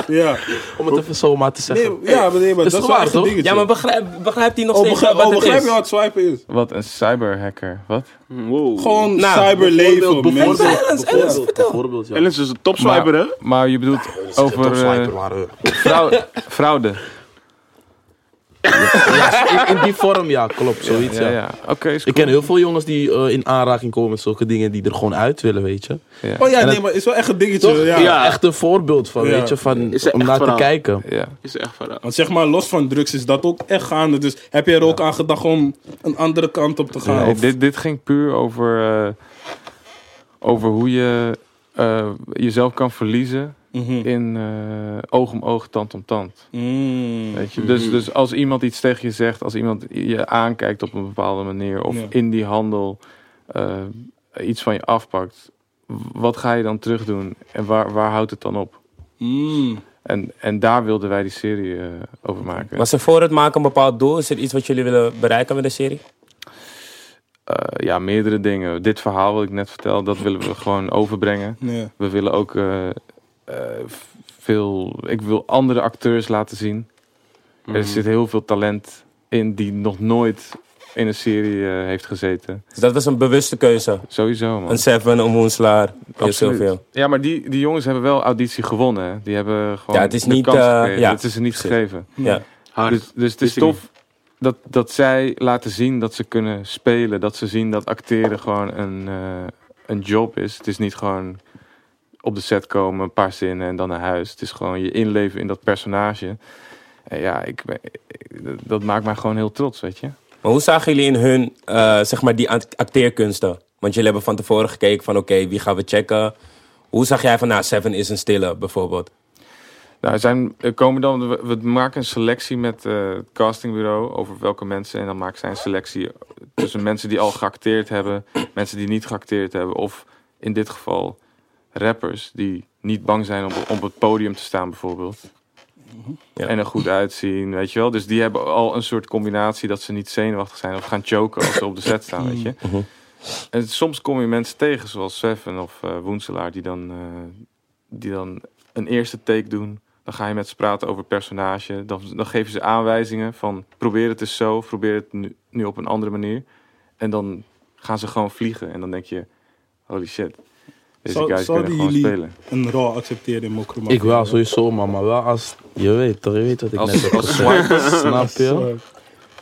B: Ja,
H: Om het even zomaar te zeggen.
B: nee, ja, maar nee, maar dat
H: Is het
B: is
H: waar,
B: wel echt een
H: toch?
B: dingetje.
A: Ja, maar begrijp- begrijpt hij nog
B: Oh,
A: steeds
B: begrijp,
A: wat
B: oh,
A: het
B: begrijp
A: is?
B: je wat swipen is?
F: Wat, een cyberhacker? Wat?
D: Wow.
B: Gewoon
A: Nou,
B: cyberleven,
H: Bijvoorbeeld,
B: mensen.
H: bijvoorbeeld, bijvoorbeeld, bijvoorbeeld, ja.
D: Ellen is een topswiper, hè?
F: Maar je bedoelt over
H: Top swiper,
F: eh
H: maar, eh,
F: fraude. fraude.
H: in, in die vorm, ja, klopt. Zoiets,
F: Ja,
H: ja.
F: ja. Oké, is
H: Ik
F: cool.
H: ken heel veel jongens die eh, in aanraking komen met zulke dingen die er gewoon uit willen, weet je.
B: Oh ja,
H: En
B: nee,
H: dat-
B: maar is wel echt een dingetje. Ja.
D: Ja.
H: Echt een voorbeeld van,
B: Ja.
H: weet je, van,
D: Is er
H: om
D: echt
H: naar te
D: verhaal?
H: kijken.
F: Ja.
D: Is echt verhaal.
B: Want zeg maar, los van drugs is dat ook echt gaande. Dus heb je er ook aan gedacht om een andere kant op te gaan?
F: Nee,
B: Of-
F: dit, dit ging puur over, eh, over hoe je eh, jezelf kan verliezen
B: Mhm.
F: in eh, oog om oog, tand om tand.
B: Mm.
F: Weet je? Dus, dus als iemand iets tegen je zegt, als iemand je aankijkt op een bepaalde manier of
B: Ja.
F: in die handel eh, iets van je afpakt, wat ga je dan terug doen en waar, waar houdt het dan op?
B: Mm.
F: En, en daar wilden wij die serie eh, over maken.
A: Was er voor het maken een bepaald doel? Is er iets wat jullie willen bereiken met de serie?
F: Eh, ja, meerdere dingen. Dit verhaal wat ik net vertelde, dat willen we gewoon overbrengen.
B: Ja.
F: We willen ook eh, eh, v- veel. Ik wil andere acteurs laten zien.
B: Mm-hmm.
F: Er zit heel veel talent in die nog nooit in een serie eh, heeft gezeten.
A: Dus dat was een bewuste keuze.
F: Sowieso, man.
A: Een Seven, een Woenselaar, heel zoveel.
F: Ja, maar die, die jongens hebben wel auditie gewonnen. Hè. Die hebben gewoon.
A: Ja, het is
F: de
A: niet,
F: kans
A: eh,
F: gekregen.
A: ja.
F: Het is er niet
A: Precies.
F: gegeven.
A: Ja.
F: Dus, dus het is
D: Wist ik
F: tof dat, dat zij laten zien dat ze kunnen spelen. Dat ze zien dat acteren gewoon een, eh, een job is. Het is niet gewoon op de set komen, een paar zinnen en dan naar huis. Het is gewoon je inleven in dat personage. En ja, ik, ben- ik- dat- dat maakt mij gewoon heel trots, weet je.
A: Maar hoe zagen jullie in hun, eh, zeg maar, die act- acteerkunsten? Want jullie hebben van tevoren gekeken van, oké, wie gaan we checken? Hoe zag jij van, nou, Seven is een stille, bijvoorbeeld?
F: Nou, er zijn, er komen dan, we, we maken een selectie met eh, het castingbureau over welke mensen. En dan maken zij een selectie tussen mensen die al geacteerd hebben, mensen die niet geacteerd hebben. Of in dit geval rappers die niet bang zijn om op het podium te staan bijvoorbeeld.
A: Ja.
F: En er goed uitzien, weet je wel. Dus die hebben al een soort combinatie dat ze niet zenuwachtig zijn of gaan choken als ze op de set staan, weet je. En soms kom je mensen tegen, zoals Seven of eh, Woenselaar, die dan, eh, die dan een eerste take doen. Dan ga je met ze praten over personage. Dan, dan geef je ze aanwijzingen van probeer het eens zo, probeer het nu, nu op een andere manier. En dan gaan ze gewoon vliegen. En dan denk je, holy shit, deze
B: Zou-
F: guys kunnen
B: zouden
F: gewoon
B: jullie
F: spelen.
B: een rol accepteren in mokromafia?
H: Ik wel, sowieso, man. Maar wel als... Je weet toch, je weet wat ik net
F: Als,
H: heb
F: als
H: gezegd.
F: swipers,
H: Snap je?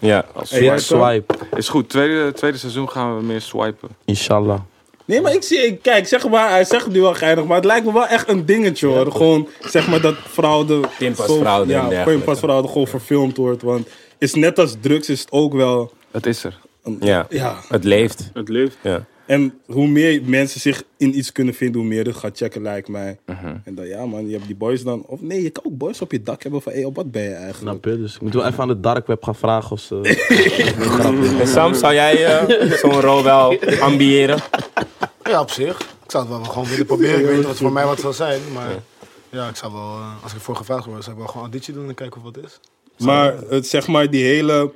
A: Ja.
F: als
B: Hey,
H: Fit
F: swipers.
H: swipe,
F: Is goed, tweede, tweede seizoen gaan we meer swipen.
H: inshallah.
B: Nee, maar ik zie, ik- kijk, zeg maar, hij zegt het nu wel geinig, maar het lijkt me wel echt een dingetje hoor. Gewoon, zeg maar, dat fraude.
A: Pinpas
B: zo-
A: fraude en
B: Ja,
A: dergelijke.
B: pinpas fraude gewoon verfilmd wordt. Want is net als drugs, is het ook wel.
F: Het is er.
A: ja,
B: Ja,
A: het leeft.
D: Het leeft.
A: Ja.
B: En hoe meer mensen zich in iets kunnen vinden, hoe meer het gaat checken, lijkt mij.
A: Mhm.
B: En dan, ja man, je hebt die boys dan... Of nee, je kan ook boys op je dak hebben van, hey, op wat ben je eigenlijk?
H: Snap je? Dus ik moet wel even aan de dark web gaan vragen of ze...
A: En Sam, zou jij eh, zo'n rol wel ambiëren?
E: Ja, op zich. Ik zou het wel gewoon willen proberen. Ik weet niet wat voor mij wat zal zijn, maar... Ja, ik zou wel, eh, als ik voor gevraagd word, zou ik wel gewoon auditie doen en kijken of wat is.
A: Nou,
B: Maar het, zeg maar, die hele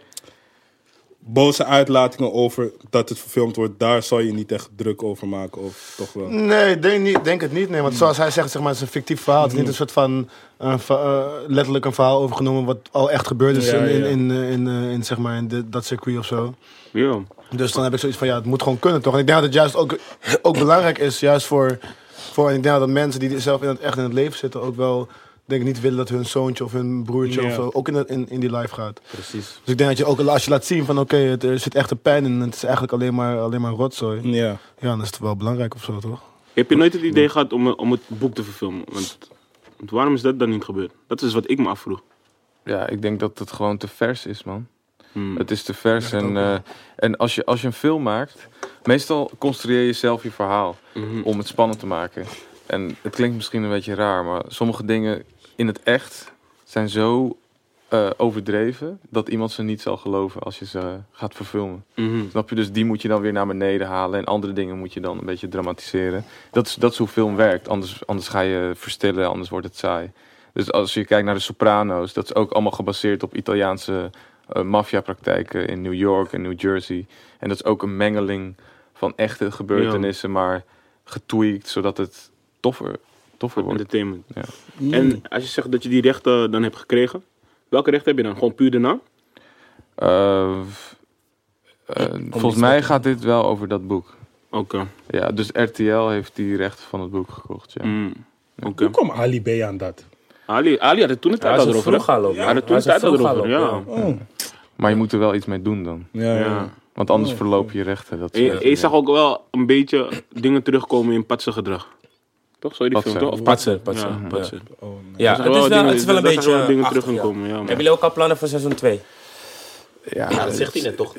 B: boze uitlatingen over dat het verfilmd wordt, daar zal je niet echt druk over maken, of toch wel?
E: Nee, denk, niet, denk het niet. Nee, want zoals hij zegt, zeg maar, het is een fictief verhaal. Het is niet een soort van eh, va- eh, letterlijk een verhaal overgenomen wat al echt gebeurd is
B: Ja,
E: in, in,
B: ja.
E: in, eh, in, eh, in, zeg maar, in dit- dat circuit of zo.
D: Ja.
E: Dus dan heb ik zoiets van, ja, het moet gewoon kunnen, toch? En ik denk dat het juist ook, ook belangrijk is, juist voor, voor... En ik denk dat mensen die zelf in het, echt in het leven zitten ook wel... Denk ik niet willen dat hun zoontje of hun broertje
B: Ja.
E: of zo ook in, dat- in, in die life gaat.
H: Precies.
E: Dus ik denk dat je ook als je laat zien van oké, het er zit echt een pijn in en het is eigenlijk alleen maar, alleen maar rotzooi.
B: Ja.
E: Ja, dan is het wel belangrijk of zo, toch?
D: Heb je nooit het idee gehad om, eh, om het boek te verfilmen? Want, want waarom is dat dan niet gebeurd? Dat is wat ik me afvroeg.
F: Ja, ik denk dat het gewoon te vers is, man.
D: Hmm.
F: Het is te vers.
E: het
F: En,
E: ook, ja.
F: eh, en als, je, als je een film maakt, meestal construeer je zelf je verhaal
D: Mhm.
F: om het spannend te maken. En het klinkt misschien een beetje raar, maar sommige dingen in het echt zijn zo eh, overdreven dat iemand ze niet zal geloven als je ze gaat verfilmen.
D: Mhm.
F: Snap je? Dus die moet je dan weer naar beneden halen en andere dingen moet je dan een beetje dramatiseren. Dat is, dat is hoe film werkt. Anders, anders ga je verstillen, anders wordt het saai. Dus als je kijkt naar de Soprano's, dat is ook allemaal gebaseerd op Italiaanse eh maffiapraktijken in New York en New Jersey. En dat is ook een mengeling van echte gebeurtenissen, maar getweakt zodat het toffer, toffer wordt.
D: Entertainment.
F: Ja.
D: En als je zegt dat je die rechten dan hebt gekregen, welke rechten heb je dan? Gewoon puur de naam?
F: Eh, v- eh, volgens mij gaat dit wel over dat boek.
D: Oké.
F: Ja, dus RTL heeft die rechten van het boek gekocht. Ja.
D: Mm. Oké.
B: Hoe kwam Ali B aan dat?
D: Ali, Ali had het toen de tijd al erover. hè?
A: al op.
D: Hij had het toen de tijd al erover. Ja.
F: Maar je moet er wel iets mee doen dan.
B: Ja, ja.
D: ja.
F: Want anders verloop je rechten. Dat is
D: En je-
F: echt-
D: je zag ook wel een beetje dingen terugkomen in patse gedrag. Toch? Zo je die film,
F: Patser.
D: toch? Of
A: Patser, patser.
D: Ja,
A: Ja, Oh,
D: patser.
A: Ja,
D: Dat
A: het is wel-
D: dingen-
A: het is wel een
D: dat zijn
A: beetje...
D: wel dingen
A: achtig,
D: terug gaan
A: ja.
D: komen, ja, man.
A: Hebben jullie ook al plannen voor seizoen 2?
F: Ja,
H: dat zegt hij net toch?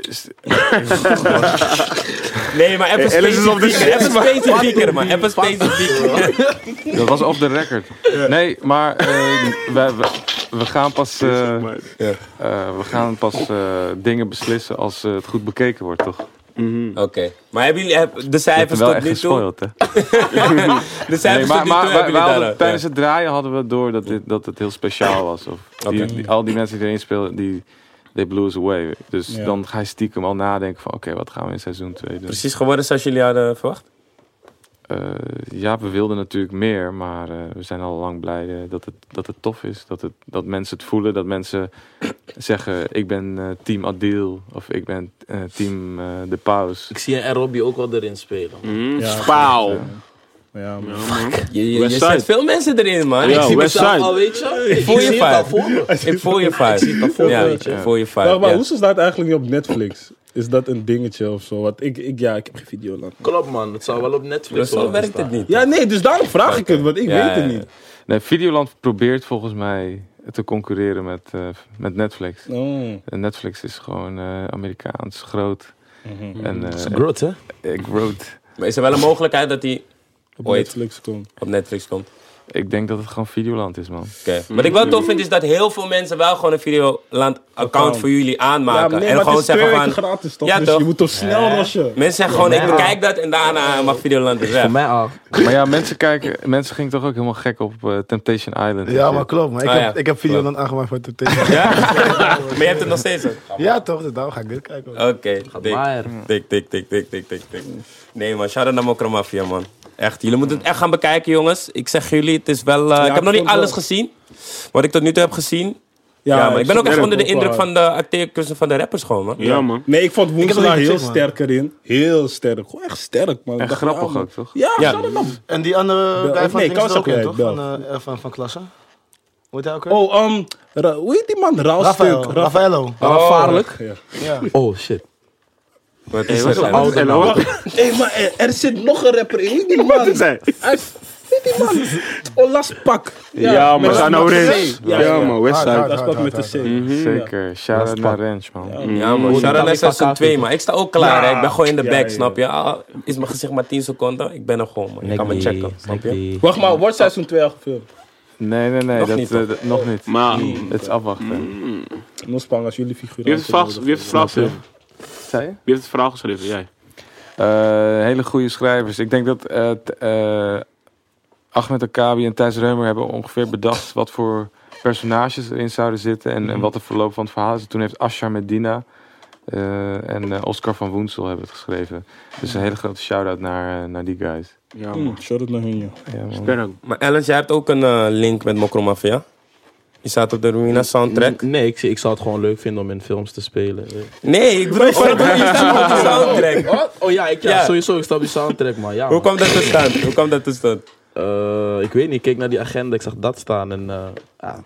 A: Nee, maar even
F: Alice is op de
A: specifieker. Even specifieker, man. Even specifieker.
F: dat was off the record. Nee, maar eh, we, we, we gaan pas, eh, eh, we gaan pas eh, dingen beslissen als eh, het goed bekeken wordt, toch? Ik
A: Oké. Maar hebben jullie heb- de
F: heb
A: cijfers
F: wel
A: tot
F: echt
A: nu toe?
F: gespoild, hè?
A: De
F: Nee,
A: cijfers
F: maar
A: tot nu
F: maar
A: toe
F: wij-
A: hebben
F: wij
A: jullie
F: hadden-
A: daar... eh,
F: tijdens het draaien hadden we door dat, dit, dat het heel speciaal was. Of die, die- al die mensen die erin spelen, die, they blew us away. Dus
B: Ja.
F: dan ga je stiekem al nadenken van... Oké, wat gaan we in seizoen 2 doen?
A: Precies geworden zoals jullie hadden verwacht?
F: Eh, ja, we wilden natuurlijk meer, maar eh, we zijn al lang blij eh, dat, het, dat het tof is. Dat, het, dat mensen het voelen, dat mensen zeggen: Ik ben eh, team Adil of ik ben eh, team eh, De Paus.
H: Ik zie je en Robbie ook wel erin spelen.
D: Mm.
B: Ja.
D: Pauw.
B: Ja, man.
A: Je, je, je
D: Westside.
A: zet veel mensen erin, man.
D: Ja.
A: Ik zie-
H: zie
D: West
H: mezelf
D: Side.
H: al, weet je? Ik
A: voel je
H: zie het
A: vibe.
H: al voor me.
A: Ik voel je vibe. Ja, ik voel je
B: Maar,
A: vibe.
B: maar
A: ja.
B: hoe staat eigenlijk niet op Netflix? Is dat een dingetje of zo? Want ik, ik, ja, ik heb geen video lang.
H: Klopt man, het zou wel op
A: Maar
H: Netflix
A: Zo
H: worden
A: werkt het
H: staan.
A: niet.
B: Ja, nee, dus daarom vraag ik het, want ik
A: Ja,
B: weet het
A: ja,
B: niet.
F: Nee, Videoland probeert volgens mij te concurreren met, eh, met Netflix.
B: Oh.
F: En Netflix is gewoon eh, Amerikaans, groot.
E: Mhm.
F: En eh,
H: Grot, hè?
F: eh, groot.
A: Maar is er wel een mogelijkheid dat hij
B: Op
A: Ooit.
B: Netflix komt.
A: op Netflix komt?
F: Ik denk dat het gewoon Videoland is, man.
A: Oké. Wat ik
B: Mhm.
A: wel tof vind is dat heel veel mensen wel gewoon een Videoland-account voor jullie aanmaken.
B: nee,
A: en
B: maar
A: gewoon
B: het is twee
A: zeggen
B: weken
A: van...
B: gratis toch?
A: Ja,
B: dus
A: toch?
B: je moet toch snel rushen.
A: Mensen zeggen gewoon, ik bekijk dat en daarna mag Videoland weer weg.
H: Voor mij al.
F: Maar ja, mensen, kijken, mensen gingen toch ook helemaal gek op eh, Temptation Island. en
E: Ja,
F: shit.
E: maar klopt. Maar ik,
A: Ah, ja.
E: heb, ik heb video dan aangemaakt voor het tegen.
A: Ja? maar je hebt het nog steeds. ook.
E: Ja, toch? dus Daarom ga ik dit kijken. hoor.
A: Oké, dik.
H: Maar,
A: Tik, tik, tik, tik, tik, tik, tik. Nee man, shout-out naar Mokro Mafia man. Echt, jullie moeten het echt gaan bekijken jongens. Ik zeg jullie, het is wel... eh, ik heb
B: ik
A: nog niet
B: vond het
A: alles
B: wel.
A: gezien. Wat ik tot nu toe heb gezien. Ja, maar ik ben ook echt onder de indruk van de acteerkunsten van de rappers gewoon man.
D: Ja, man.
B: Nee, ik vond
E: heb het
B: Woensela
E: niet
B: heel
E: gezien, man.
B: sterk erin. Heel sterk. Gewoon echt sterk, man. Ik
F: En
B: dacht,
F: grappig
B: ja, man.
F: ook, toch?
B: Ja,
A: Ja.
B: shout-out naar-
E: En die andere
B: Bel-
E: guy van
B: nee,
E: links is er ook in,
B: Kawasaki, Bel.
E: toch? Van, eh, van, van klasse. Hoe heet hij ook weer?
B: Oh, um, Ra- hoe heet die man?
E: Rafael.
B: Raalstuk. Ra-
E: Raffaello.
H: gevaarlijk.
B: Ja.
E: Ja.
H: Oh shit.
A: Wat is
H: Wat
A: er?
H: een oude
D: En
H: naam.
D: wacht,
B: Hé, maar er, er zit nog een rapper in. Hoe heet die man?
D: zei.
B: Hij- die man? Olaspak.
D: Ja, maar zijn nou eens. Ja, man, Westside.
B: Olaspak met de C.
H: Mhm.
F: Zeker. Shout-out naar Rens, man.
A: Ja, man. Sharon is seizoen 2, maar ik sta ook klaar. hè. Ik ben gewoon in de
B: Ja,
A: back,
B: ja,
A: snap je? Ah, is mijn gezicht maar 10 seconden? Ik ben er gewoon, man. Je kan me checken, snap je?
B: Wacht maar, wordt seizoen 2 al gefilmd?
F: Nee, nee, nee.
A: Nog
F: dat,
A: niet,
F: eh, dat- nog niet. Mm.
D: Maar
F: Het is afwachten.
B: Nospang als jullie figuren.
D: wie heeft het verhaal ges- wie heeft het verhaal geschreven?
F: Zei je?
D: Wie heeft het verhaal geschreven? Jij.
F: Eh, hele goede schrijvers. Ik denk dat eh t- eh, Ahmed Akabi en Thijs Reumer hebben ongeveer bedacht wat voor personages erin zouden zitten en, en wat de verloop van het verhaal is. Toen heeft Asha Medina eh, en eh, Oscar van Woensel hebben het geschreven. Dus een hele grote shout-out naar, eh, naar die guys.
D: Ja,
B: Shout out naar hun, ja.
F: Ja, man.
D: Sterk.
A: Maar Ellen, jij hebt ook een eh, link met Mokro Mafia. Je staat op de Ruina soundtrack.
H: Nee, ik, ik zou het gewoon leuk vinden om in films te spelen.
A: Nee, ik bedoel, van, je staat op de soundtrack.
H: Wat? Oh ja, ik, ja,
A: Ja.
H: sowieso. Ik sta op die soundtrack, man. Ja,
A: Hoe
H: man.
A: kwam dat tot stand? Hoe kwam dat tot stand?
H: Eh, ik weet niet, ik keek naar die agenda, ik zag dat staan en eh, ja,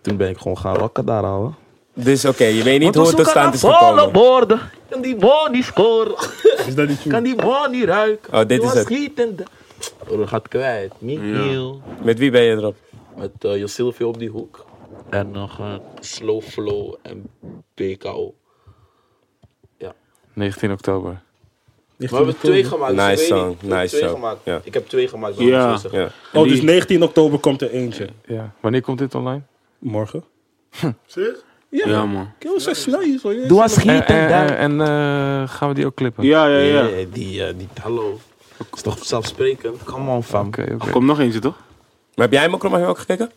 H: toen ben ik gewoon gaan rocken daar, ouwe.
A: Dus oké, je weet niet hoe het tot stand is gekomen.
H: borden, kan die bal niet scoren,
B: Is dat niet
H: kan die bal niet ruiken.
A: Oh, dit Die is was het.
H: Schietende. Oh, gaat kwijt, Michiel.
A: Met wie ben je erop?
H: Met uh, Josilvio op die hoek. En nog eh, Slow Flow en BKO.
F: 19 oktober.
H: We hebben twee gemaakt, dus
A: Nice
H: ik weet
A: song,
H: niet. We hebben
A: nice
H: twee
A: song.
H: gemaakt.
A: Ja.
H: Ik heb twee gemaakt, zou
D: Ja.
H: ik zo zeggen.
A: Ja.
B: Oh, dus 19 oktober komt er eentje.
F: Ja. Wanneer komt dit online?
B: Morgen.
D: Ja, man.
B: Kill, we zijn snel hier zo.
H: Doe als
F: En,
H: schieten
F: en,
H: daar.
F: en, en, eh, gaan we die ook clippen?
D: Ja, ja, ja.
H: Nee, die, eh, die hallo. Is toch zelfsprekend? Come on, fam.
F: Oké, oké.
D: Er komt nog eentje, toch?
A: Maar heb jij Mokro Mafia ook gekeken?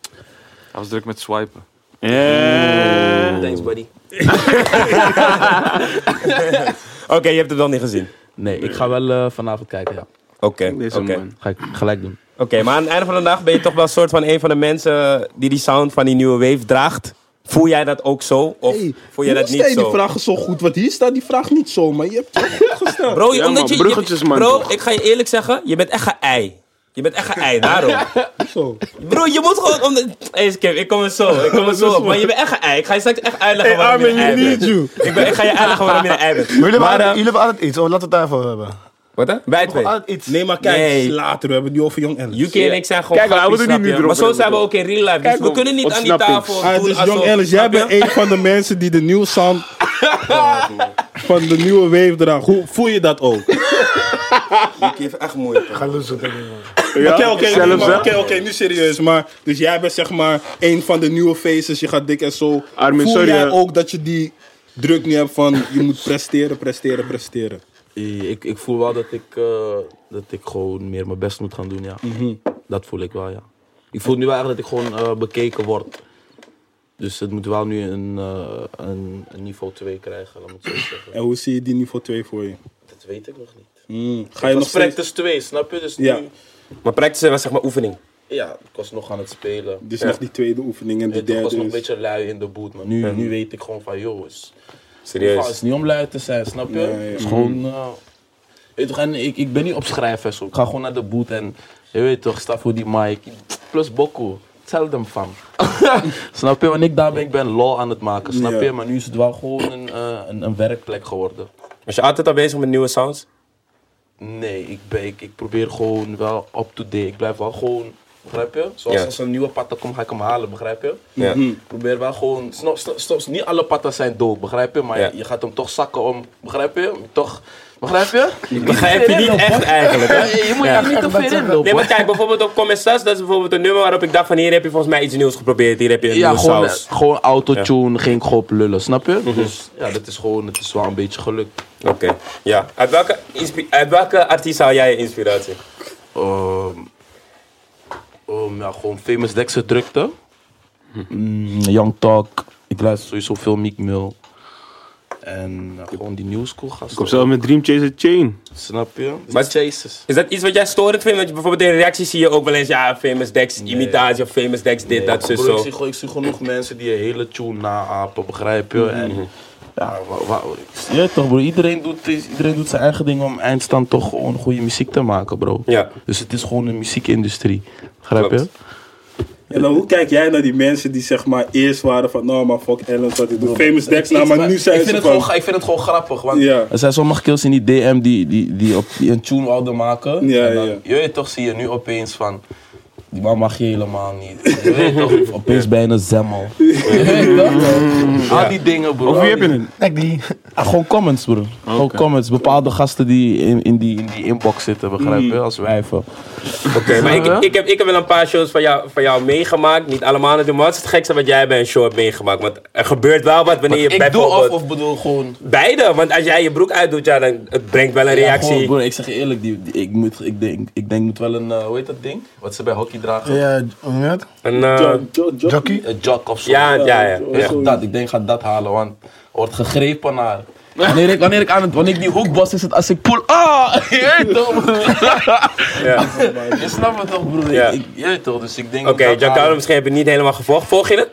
F: Hij was druk met swipen.
D: Ja.
H: Thanks, buddy.
A: Oké, je hebt het wel niet gezien.
H: Nee, ik ga wel eh, vanavond kijken, ja.
A: Oké, oké.
D: Deze man.
H: Ga ik gelijk doen.
A: Oké, maar aan het einde van de dag ben je toch wel een soort van een van de mensen die die sound van die nieuwe wave draagt. Voel jij dat ook zo? Of voel jij dat niet
B: die
A: zo?
B: vragen zo goed, want hier staat die vraag niet zo, maar je hebt het wel goed gesteld.
A: Bro, je-
D: Ja,
A: omdat
D: man,
A: je,
D: bruggetjes,
A: je-
D: man,
A: Bro,
D: toch?
A: ik ga je eerlijk zeggen, je bent echt een ei. Je bent echt een ei, daarom.
B: Zo.
A: Bro, je moet gewoon... Om de... Hey, Skip, ik kom er zo, ik kom er zo op. Maar je bent echt een ei. Ik ga je straks echt uitleggen waarom je een ei bent. Ik, ben, ik ga je uitleggen waarom je een ei bent.
E: Maar jullie,
A: Maar,
E: hebben altijd,
A: eh,
E: jullie hebben altijd iets. Oh, laten we het daarvoor hebben.
A: Wat hè? Wij twee.
D: Ah,
E: Altijd iets.
B: Nee, maar kijk,
A: Nee.
B: later, we hebben het nu over Jong Ellis.
A: UK en ik zijn gewoon
D: Kijk, we houden
A: grappies,
D: er niet
A: snap je?
D: meer
A: Maar
D: op,
A: zo
D: hè,
A: zijn we
D: broer.
A: ook in real life. Dus
D: Kijk,
A: we kunnen niet aan die
D: ontsnapping.
A: tafel
B: Ah,
A: doen
B: dus Jong
A: alsof-
B: Ellis, jij
A: snap je?
B: bent een van de mensen die de nieuwe sound van de nieuwe wave draagt. Hoe voel je dat ook?
A: Ik geef echt moeite.
E: Ga loes doen.
D: Ja,
B: Oké, oké,
D: zelfs,
B: maar
D: hè?
B: oké, oké, nu serieus. Maar, dus jij bent zeg maar een van de nieuwe faces, je gaat dik en zo.
D: Armin,
B: Voel
D: sorry,
B: jij
D: hè.
A: eh.
B: ook dat je die druk niet hebt van je moet presteren, presteren, presteren?
H: Eh, Ik, ik voel wel dat ik, eh, dat ik gewoon meer mijn best moet gaan doen, ja. Dat voel ik wel, ja. Ik voel nu wel eigenlijk dat ik gewoon eh, bekeken word. Dus het moet wel nu een, eh, een, een niveau 2 krijgen, laat me het zo zeggen.
B: En hoe zie je die niveau 2 voor je?
H: Dat weet ik nog niet.
B: Hmm, Ga je
H: Het
B: nog
H: was
B: steeds...
H: practice 2, snap je? Dus
B: Ja.
H: nu,
A: Maar practice was zeg maar oefening.
H: ja, ik was nog aan het spelen.
B: Dus nog die tweede oefening en
H: Weet
B: die
H: je, ik was
B: derde
H: nog een
B: is...
H: beetje lui in de boot, maar nu, nu weet ik gewoon van, joh, is, het
A: Serieus.
H: is niet om lui te zijn, snap je?
B: Nee,
H: Het is gewoon, eh, weet je toch, en ik, ik ben niet op schrijvers, hoor. ik ga gewoon naar de boot en, je weet toch, sta voor die mic. Plus Bokko, tell them fam. snap je? Want ik daar ben, ik ben lol aan het maken, snap
B: Ja.
H: je? Maar nu is het wel gewoon een, eh, een, een werkplek geworden.
A: Was Dus je altijd al bezig met nieuwe sounds?
H: Nee, ik, ben, ik, ik probeer gewoon wel up-to-date. Ik blijf wel gewoon, begrijp je? Zoals
A: Ja.
H: als er een nieuwe patta komt, ga ik hem halen, begrijp je?
A: Ja.
H: Ik probeer wel gewoon, snap, snap- snap- niet alle patta's zijn dood, begrijp je? Maar
A: Ja.
H: je gaat hem toch zakken om, begrijp je? Toch, begrijp je? Ik
A: Begrijp je niet echt eigenlijk, hè?
H: Je moet daar niet te ver in lopen.
A: Nee, maar kijk, bijvoorbeeld op Commissas, dat is bijvoorbeeld een nummer waarop ik dacht van hier heb je volgens mij iets nieuws geprobeerd, hier heb je een
H: Ja,
A: nieuwe
H: gewoon,
A: saus. Mhm.
H: gewoon autotune, ging ik gewoon op lullen, snap je? Dus ja, dat is gewoon, het is wel een beetje gelukt.
A: Oké, ja. Uit welke, inspi- uit welke artiest haal jij je inspiratie?
H: Ehm, ehm, ja, gewoon Famous Dexter drukte. Mm, Young Talk. Ik luister sowieso veel Meek Mill. En ja, gewoon die new school gasten.
D: Ik kom zelf met Dream Chaser Chain.
H: Snap je?
A: Maar-
H: Maar Chases.
A: Is dat iets wat jij storend vindt? Want je- bijvoorbeeld in reacties zie je ook wel eens, ja, Famous Dex, imitatie of Famous Dex, dit, dat,
H: Nee,
A: zus,
H: broer,
A: zo.
H: Ik zie, gewoon- ik zie genoeg mensen die een hele tune naapen, begrijp je?
A: Mhm.
H: En ja, wa- wa- je weet toch bro, iedereen doet, is- iedereen doet zijn eigen ding om eindstand toch gewoon goede muziek te maken bro.
A: Ja.
H: Dus het is gewoon een muziekindustrie, begrijp je?
A: Klopt.
B: En dan hoe kijk jij naar die mensen die zeg maar eerst waren van, nou maar fuck Ellen, wat ik doe. Famous Dex, nou maar nu zijn
H: ik vind,
B: ze
H: het
B: van...
H: gewoon, ik vind het gewoon grappig. Want
B: Ja.
H: Er zijn sommige kills in die DM die, die, die, op, die een tune wilden maken.
B: Ja,
H: en dan,
B: ja.
H: Je weet toch, zie je nu opeens van... Die man mag je helemaal niet. Je weet toch, opeens bijna zemmel. Je weet toch? Al die dingen, bro.
D: Of wie heb je het?
E: Kijk die.
H: Ah, gewoon comments, bro. Gewoon comments. Bepaalde gasten die in, in, die, in die inbox zitten, begrijp je? Als wijven.
A: Maar ik, ik, heb, ik heb wel een paar shows van jou, van jou meegemaakt. Niet allemaal natuurlijk, maar wat is het gekste wat jij bij een show hebt meegemaakt? Want er gebeurt wel wat wanneer je
H: Ik doe
A: bijvoorbeeld...
H: of, of bedoel gewoon...
A: Beide, want als jij je broek uitdoet, ja, dan het brengt wel een
H: Ja,
A: reactie.
H: gewoon, broer, ik zeg je eerlijk, die, die- ik, moet, ik, denk, ik denk moet wel een, eh, hoe heet dat ding? Wat ze bij hockey dragen?
E: Ja, hoe heet het?
A: Een, eh,
E: Jockey?
H: Een jock of zo.
A: ja, ja, ja.
H: Ik
A: ja.
H: Echt dat, ik denk ga dat halen, want er wordt gegrepen naar. Wanneer ik, wanneer ik aan het, wanneer ik die hoek bos, is het als ik pull. Ah, je weet toch?
A: Ja.
H: Je snapt het toch, broer?
A: Ja.
H: Ik, ik- je weet toch, dus ik denk.
A: Oké,
H: dat
A: Jack
H: halen.
A: Harlow, misschien heb je het niet helemaal gevolgd. Volg je het?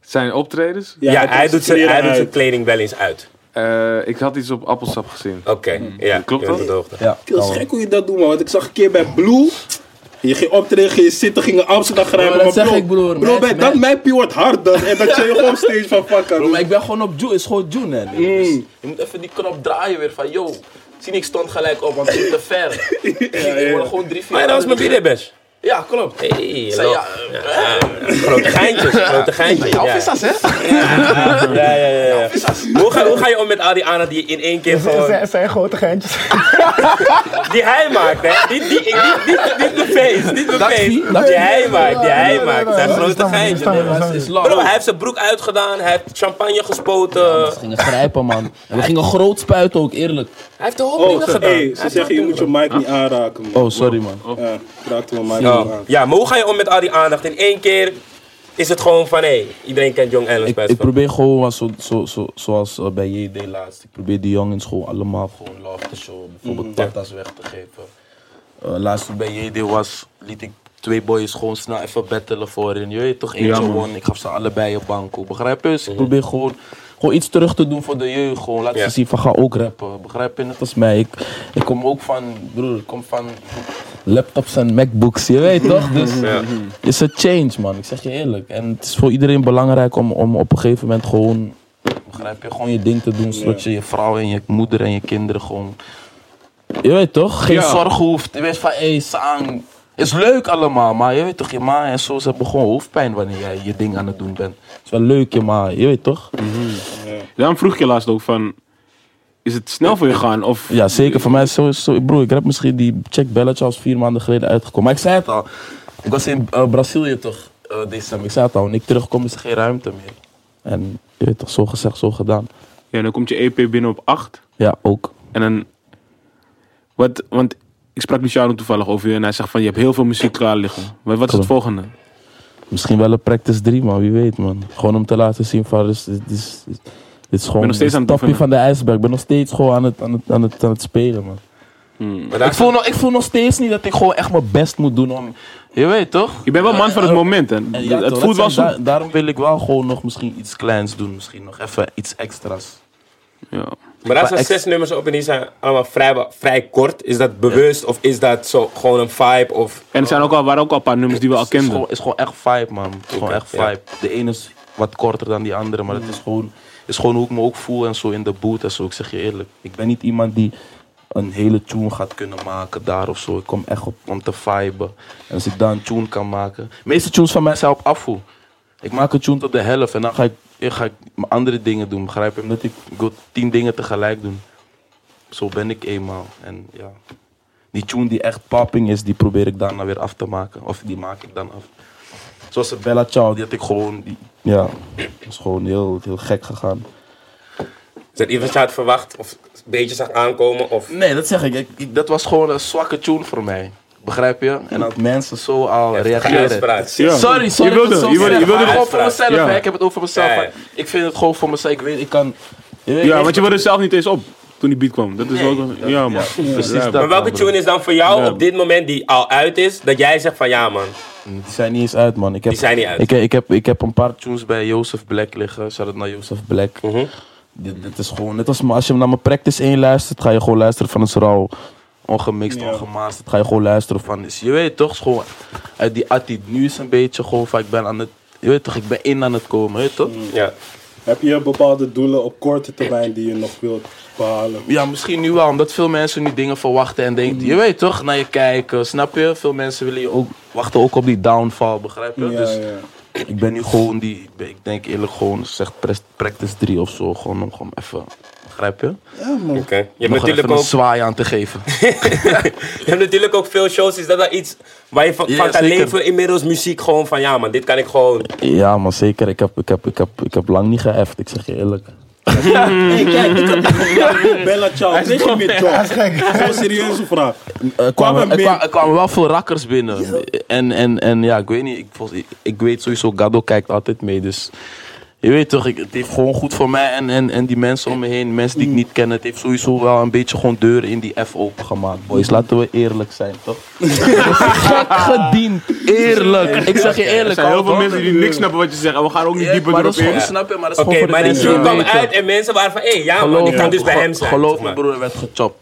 F: Zijn optredens?
A: Ja, hij, doet zijn, hij doet zijn
B: uit.
A: kleding wel eens uit.
F: Eh, ik had iets op appelsap gezien.
A: Oké, ja.
F: Klopt
A: je bent
F: dat?
A: op de hoogte.
H: Ja,
B: Het is gek hoe je dat doet, man. Want ik zag een keer bij Blue. Je ging optreden, ging je zitten, ging naar Amsterdam grijpen.
H: Oh, dat
B: maar
H: zeg
B: bro,
H: ik, broer.
B: Bro,
H: Mijn-
B: bij dat
H: mijn-
B: mijpje wordt hard dan. En dat je je gewoon steeds van fuck aan
H: Bro,
B: doet.
H: maar ik ben gewoon op June, is gewoon June, hè. nee. Dus je moet even die knop draaien weer van, yo. Zie ik stond gelijk op, want ik zit te ver. Ik ik word gewoon drie, vier
A: Maar dat was mijn
H: andere-
A: biederbes.
H: Ja, klopt.
A: Hey,
H: Ik zei,
A: hallo.
H: ja, eh,
A: Grote geintjes, grote geintjes.
H: ja,
A: Ja,
H: vissers, hè?
A: ja, ja. ja, ja. Hoe, ga, hoe ga je om met al die aandacht die je in één keer gewoon...
E: Het zijn grote geintjes.
A: Die hij maakt, hè? Die, die, die, niet niet- niet mijn face, niet mijn
H: wie?
A: face.
H: Dat
A: Die hij maakt, die hij maakt. Dat zijn grote geintjes.
H: Dat is lang.
A: Bro, hij heeft zijn broek uitgedaan, hij heeft champagne gespoten.
H: We gingen grijpen, man. En we gingen groot spuiten ook, eerlijk.
A: Hij heeft de hoop
B: Oh,
A: dingen
B: ze,
A: gedaan.
B: hey, ze zeggen je moet je mic niet aanraken, man.
H: Oh, sorry, man.
B: Ja, ik raakte mijn mic
A: Ja.
B: niet aan.
A: ja, maar hoe ga je om met al die aandacht? In één keer is het gewoon van, hé, iedereen kent Jong Allen's
H: Ik,
A: best
H: ik
A: wel.
H: probeer gewoon wat zo, zo, zo, zoals eh, bij JD laatst. Ik probeer die jongens gewoon allemaal gewoon love te showen. Bijvoorbeeld patas weg te geven. Eh, laatst toen bij JD was, liet ik twee boys gewoon snel even battelen voorin. Je weet toch, eentje won. Ik gaf ze allebei een banko. Begrijp je? Dus ik probeer gewoon, gewoon iets terug te doen voor de jeugd. Gewoon laten
A: Ja.
H: ze zien van ga ook rappen. Begrijp je? Net als mij. Ik, ik kom ook van, broer, ik kom van laptops en MacBooks. Je weet toch? Dus het is een change, man. Ik zeg je eerlijk. En het is voor iedereen belangrijk om, om op een gegeven moment gewoon, begrijp je, gewoon je ding te doen. Zodat je je vrouw en je moeder en je kinderen gewoon je weet toch? Geen zorgen hoeft. Je weet van, hé, Sang. Is leuk allemaal, maar je weet toch, je ma en zo, ze hebben gewoon hoofdpijn wanneer jij je ding aan het doen bent. Het is wel leuk, je ma, je weet toch?
D: Daarom vroeg ik je laatst ook van, is het snel voor je gaan? Of
H: Ja, zeker. Voor mij is sowieso, broer, ik heb misschien die check belletje als vier maanden geleden uitgekomen. Maar ik zei het al, ik was in eh, Brazilië toch, eh, december. Ik zei het al, wanneer ik terugkom is er geen ruimte meer. En je weet toch, zo gezegd, zo gedaan.
D: ja, dan komt je EP binnen op 8.
H: Ja, ook.
D: En dan, wat, want ik sprak Luciano toevallig over je en hij zegt van, je hebt heel veel muziek klaar liggen. Maar wat is het
H: Klopt.
D: volgende?
H: Misschien wel een practice 3, man. Wie weet, man. Gewoon om te laten zien van... Dus, dit, is, dit is gewoon
D: nog steeds aan
H: het
D: het
H: topje van
D: oefenen.
H: de ijsberg. Ik ben nog steeds gewoon aan het, aan het, aan het, aan het spelen, man.
A: Maar daar-
H: Hmm. Ik voel, nog, ik voel nog steeds niet dat ik gewoon echt mijn best moet doen om... Je weet toch?
D: Je bent wel man van het moment, hè?
H: En eh, ja,
D: het
H: toch,
D: voelt wel
H: dat zijn-
D: zo.
H: da- daarom wil ik wel gewoon nog misschien iets kleins doen. Misschien nog even iets extra's.
D: Ja.
A: Maar daar zijn
H: ex-
A: zes nummers op en die zijn allemaal vrij, vrij kort. Is dat bewust of is dat zo gewoon een vibe? Of...
D: En er zijn ook al, waren ook al een paar nummers die we al
H: Het is
D: kenden.
H: gewoon, is gewoon echt vibe, man. Het is gewoon echt
A: ja.
H: vibe. De ene is wat korter dan die andere, maar het is gewoon, is gewoon hoe ik me ook voel en zo in de boot en zo. Ik zeg je eerlijk, ik ben niet iemand die een hele tune gaat kunnen maken daar of zo. Ik kom echt op om te viben. En als ik daar een tune kan maken. De meeste tunes van mij zijn op afvoer. Ik maak een tune tot de helft en dan ga ik, dan ga ik mijn andere dingen doen. Begrijp je? Omdat ik, ik wil tien dingen tegelijk doen. Zo ben ik eenmaal. En ja. Die tune die echt popping is, die probeer ik daarna weer af te maken. Of die maak ik dan af. Zoals de Bella Ciao, die had ik gewoon. Die, ja, dat is gewoon heel, heel gek gegaan.
A: Is dat iets wat je had verwacht of een beetje zag aankomen? Of...
H: Nee, dat zeg ik. Ik- ik- Dat was gewoon een zwakke tune voor mij. Begrijp je? En dat mensen zo al reageren.
A: Uitspraak.
D: Ja.
H: Sorry, sorry.
D: Je wilde,
H: voor
D: je wilde, je
H: zeggen.
D: wilde
H: Maar
A: gewoon-
H: gewoon voor mezelf.
D: Ja.
H: hè. Ik heb het over mezelf.
A: Ja, ja.
H: hè. Ik vind het gewoon voor mezelf. Ik weet, ik kan. je weet-
D: Ja,
H: ik-
D: want je wilde zelf niet eens op toen die beat kwam. Dat is
H: Nee,
D: ook een- Ja, man.
H: precies
D: Ja.
H: dat.
A: Maar welke
H: man, bro.
A: tune is dan voor jou
D: Ja.
A: op dit moment die al uit is, dat jij zegt van ja man,
H: Die zijn niet eens uit, man. Ik heb,
A: Die zijn niet uit.
H: Ik, ik, heb, ik heb een paar tunes bij Joseph Black liggen. Shout out naar Joseph Black.
A: Mhm.
H: Dit, dit is gewoon net als m- als je naar mijn practice 1 luistert, ga je gewoon luisteren van het is rauw. ongemixt, ongemasterd. Ga je gewoon luisteren van. Dus je weet toch, is gewoon uit die attitude. Nu is een beetje gewoon van ik ben aan het. Je weet toch, ik ben in aan het komen, weet je
B: Mm.
H: toch?
F: Ja.
B: Heb je bepaalde doelen op korte termijn die je nog wilt behalen?
H: Ja, misschien nu wel, omdat veel mensen nu dingen verwachten en denken,
B: Mm.
H: je weet toch, naar je kijken, snap je? Veel mensen willen je ook, wachten ook op die downfall, begrijp je?
B: Ja,
H: dus
B: ja.
H: ik ben nu gewoon die, ik ben- ik denk eerlijk gewoon, zeg pres- practice 3 of zo, gewoon om gewoon even, begrijp je?
F: Oké. Je hebt
H: Nog
F: natuurlijk
H: even een
F: ook
H: zwaai aan te geven.
A: Je hebt natuurlijk ook veel shows, is dat wel iets waar je van,
H: Ja,
A: van kan
H: zeker.
A: leven inmiddels muziek gewoon van ja man, dit kan ik gewoon.
H: ja, maar zeker, ik heb, ik heb, ik heb, ik heb lang niet geëft, ik zeg je eerlijk.
B: Hey, kijk, ik had Bella Ciao, kreeg je meer job? Gewoon een serieuze vraag.
H: Er kwamen,
B: Kwamen
H: er
B: meer-
H: kwa- er kwamen wel veel rakkers binnen. En, en, en ja, ik weet niet. Ik, volgens- ik- ik weet sowieso, Gado kijkt altijd mee. Dus je weet toch, ik, het heeft gewoon goed voor mij en, en, en die mensen om me heen. Mensen die ik niet ken. Het heeft sowieso wel een beetje gewoon deuren in die F open gemaakt. Boys, laten we eerlijk zijn, toch? Gek gediend. Eerlijk. Ik zeg je
D: Er
H: eerlijk.
D: zijn heel
H: Aldo.
D: veel mensen die niks snappen wat je zegt. En we gaan ook niet
H: Ja,
D: dieper
H: maar dat
D: erop
H: is gewoon,
D: in.
H: snap je, maar dat is
A: Oké,
H: gewoon voor
A: maar die
H: de mensen
A: show
H: die
A: kwam
H: weten.
A: uit en mensen waren van hé hey, ja man,
H: Geloof
A: ik kan
H: me,
A: dus bij
H: ge-
A: hem zijn.
H: Geloof
A: zeg
H: me
A: maar.
H: broer, er werd gechopt.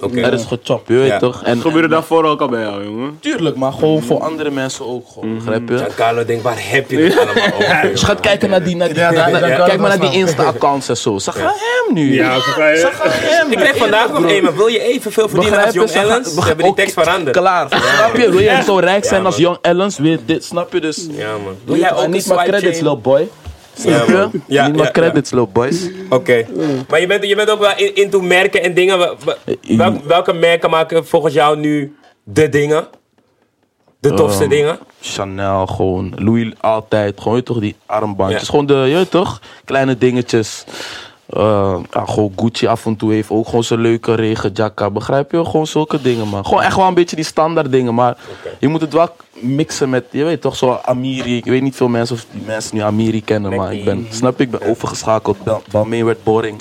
A: Oké.
H: Er is gechopt, je weet
A: Ja.
H: toch?
D: Het gebeurde daarvoor ook al bij jou, jongen.
H: Tuurlijk, maar gewoon voor andere mensen ook gewoon,
A: Mhm.
H: begrijp je?
A: Giancarlo denkt, waar heb je dit allemaal over?
H: Dus gaat kijken naar die, naar die,
E: Ja, daar-
H: naar-
E: daar kan
H: kijk
E: het
H: maar naar
E: wel
H: die Insta-accounts en zo. Ze gaan hem nu.
B: Ja, ze gaan-
H: ze gaan hem.
A: Ik kreeg vandaag nog één, maar wil je evenveel verdienen als
H: Begrijp je?
A: Jong
H: Ze gaan-
A: Ellens? Ze
H: beg-
A: hebben die
H: ook-
A: tekst veranderd.
H: Klaar, snap je? Wil je zo rijk zijn
A: Ja,
H: als
A: man.
H: Young Ellens? Wil je dit, snap je? Dus
A: Ja man. Wil
H: doe jij
A: jij ook
H: ook
A: een
H: niet maar
A: swipe
H: credits,
A: chain?
H: lil boy.
A: man.
H: Snap je?
A: Ja,
H: Niet
A: ja,
H: maar
A: ja.
H: credits, lil boys.
A: Oké.
H: Mm.
A: Maar je bent, je bent ook wel in, into merken en dingen. Wel- wel- welk- welke merken maken volgens jou nu de dingen? De tofste
H: Ehm,
A: dingen?
H: Chanel, gewoon Louis altijd. Gewoon, je weet toch, die armbandjes.
A: Ja.
H: Gewoon de, je weet toch, kleine dingetjes. Eh, ja, gewoon Gucci af en toe heeft ook gewoon zijn leuke regenjacka. Begrijp je? Gewoon zulke dingen, man. Gewoon echt wel een beetje die standaard dingen. Maar je moet het wel mixen met, je weet toch, zo Amiri. Ik weet niet veel mensen of die mensen nu Amiri kennen. Maar ik ben, snap je, ik ben overgeschakeld. Bel- Balmain werd boring.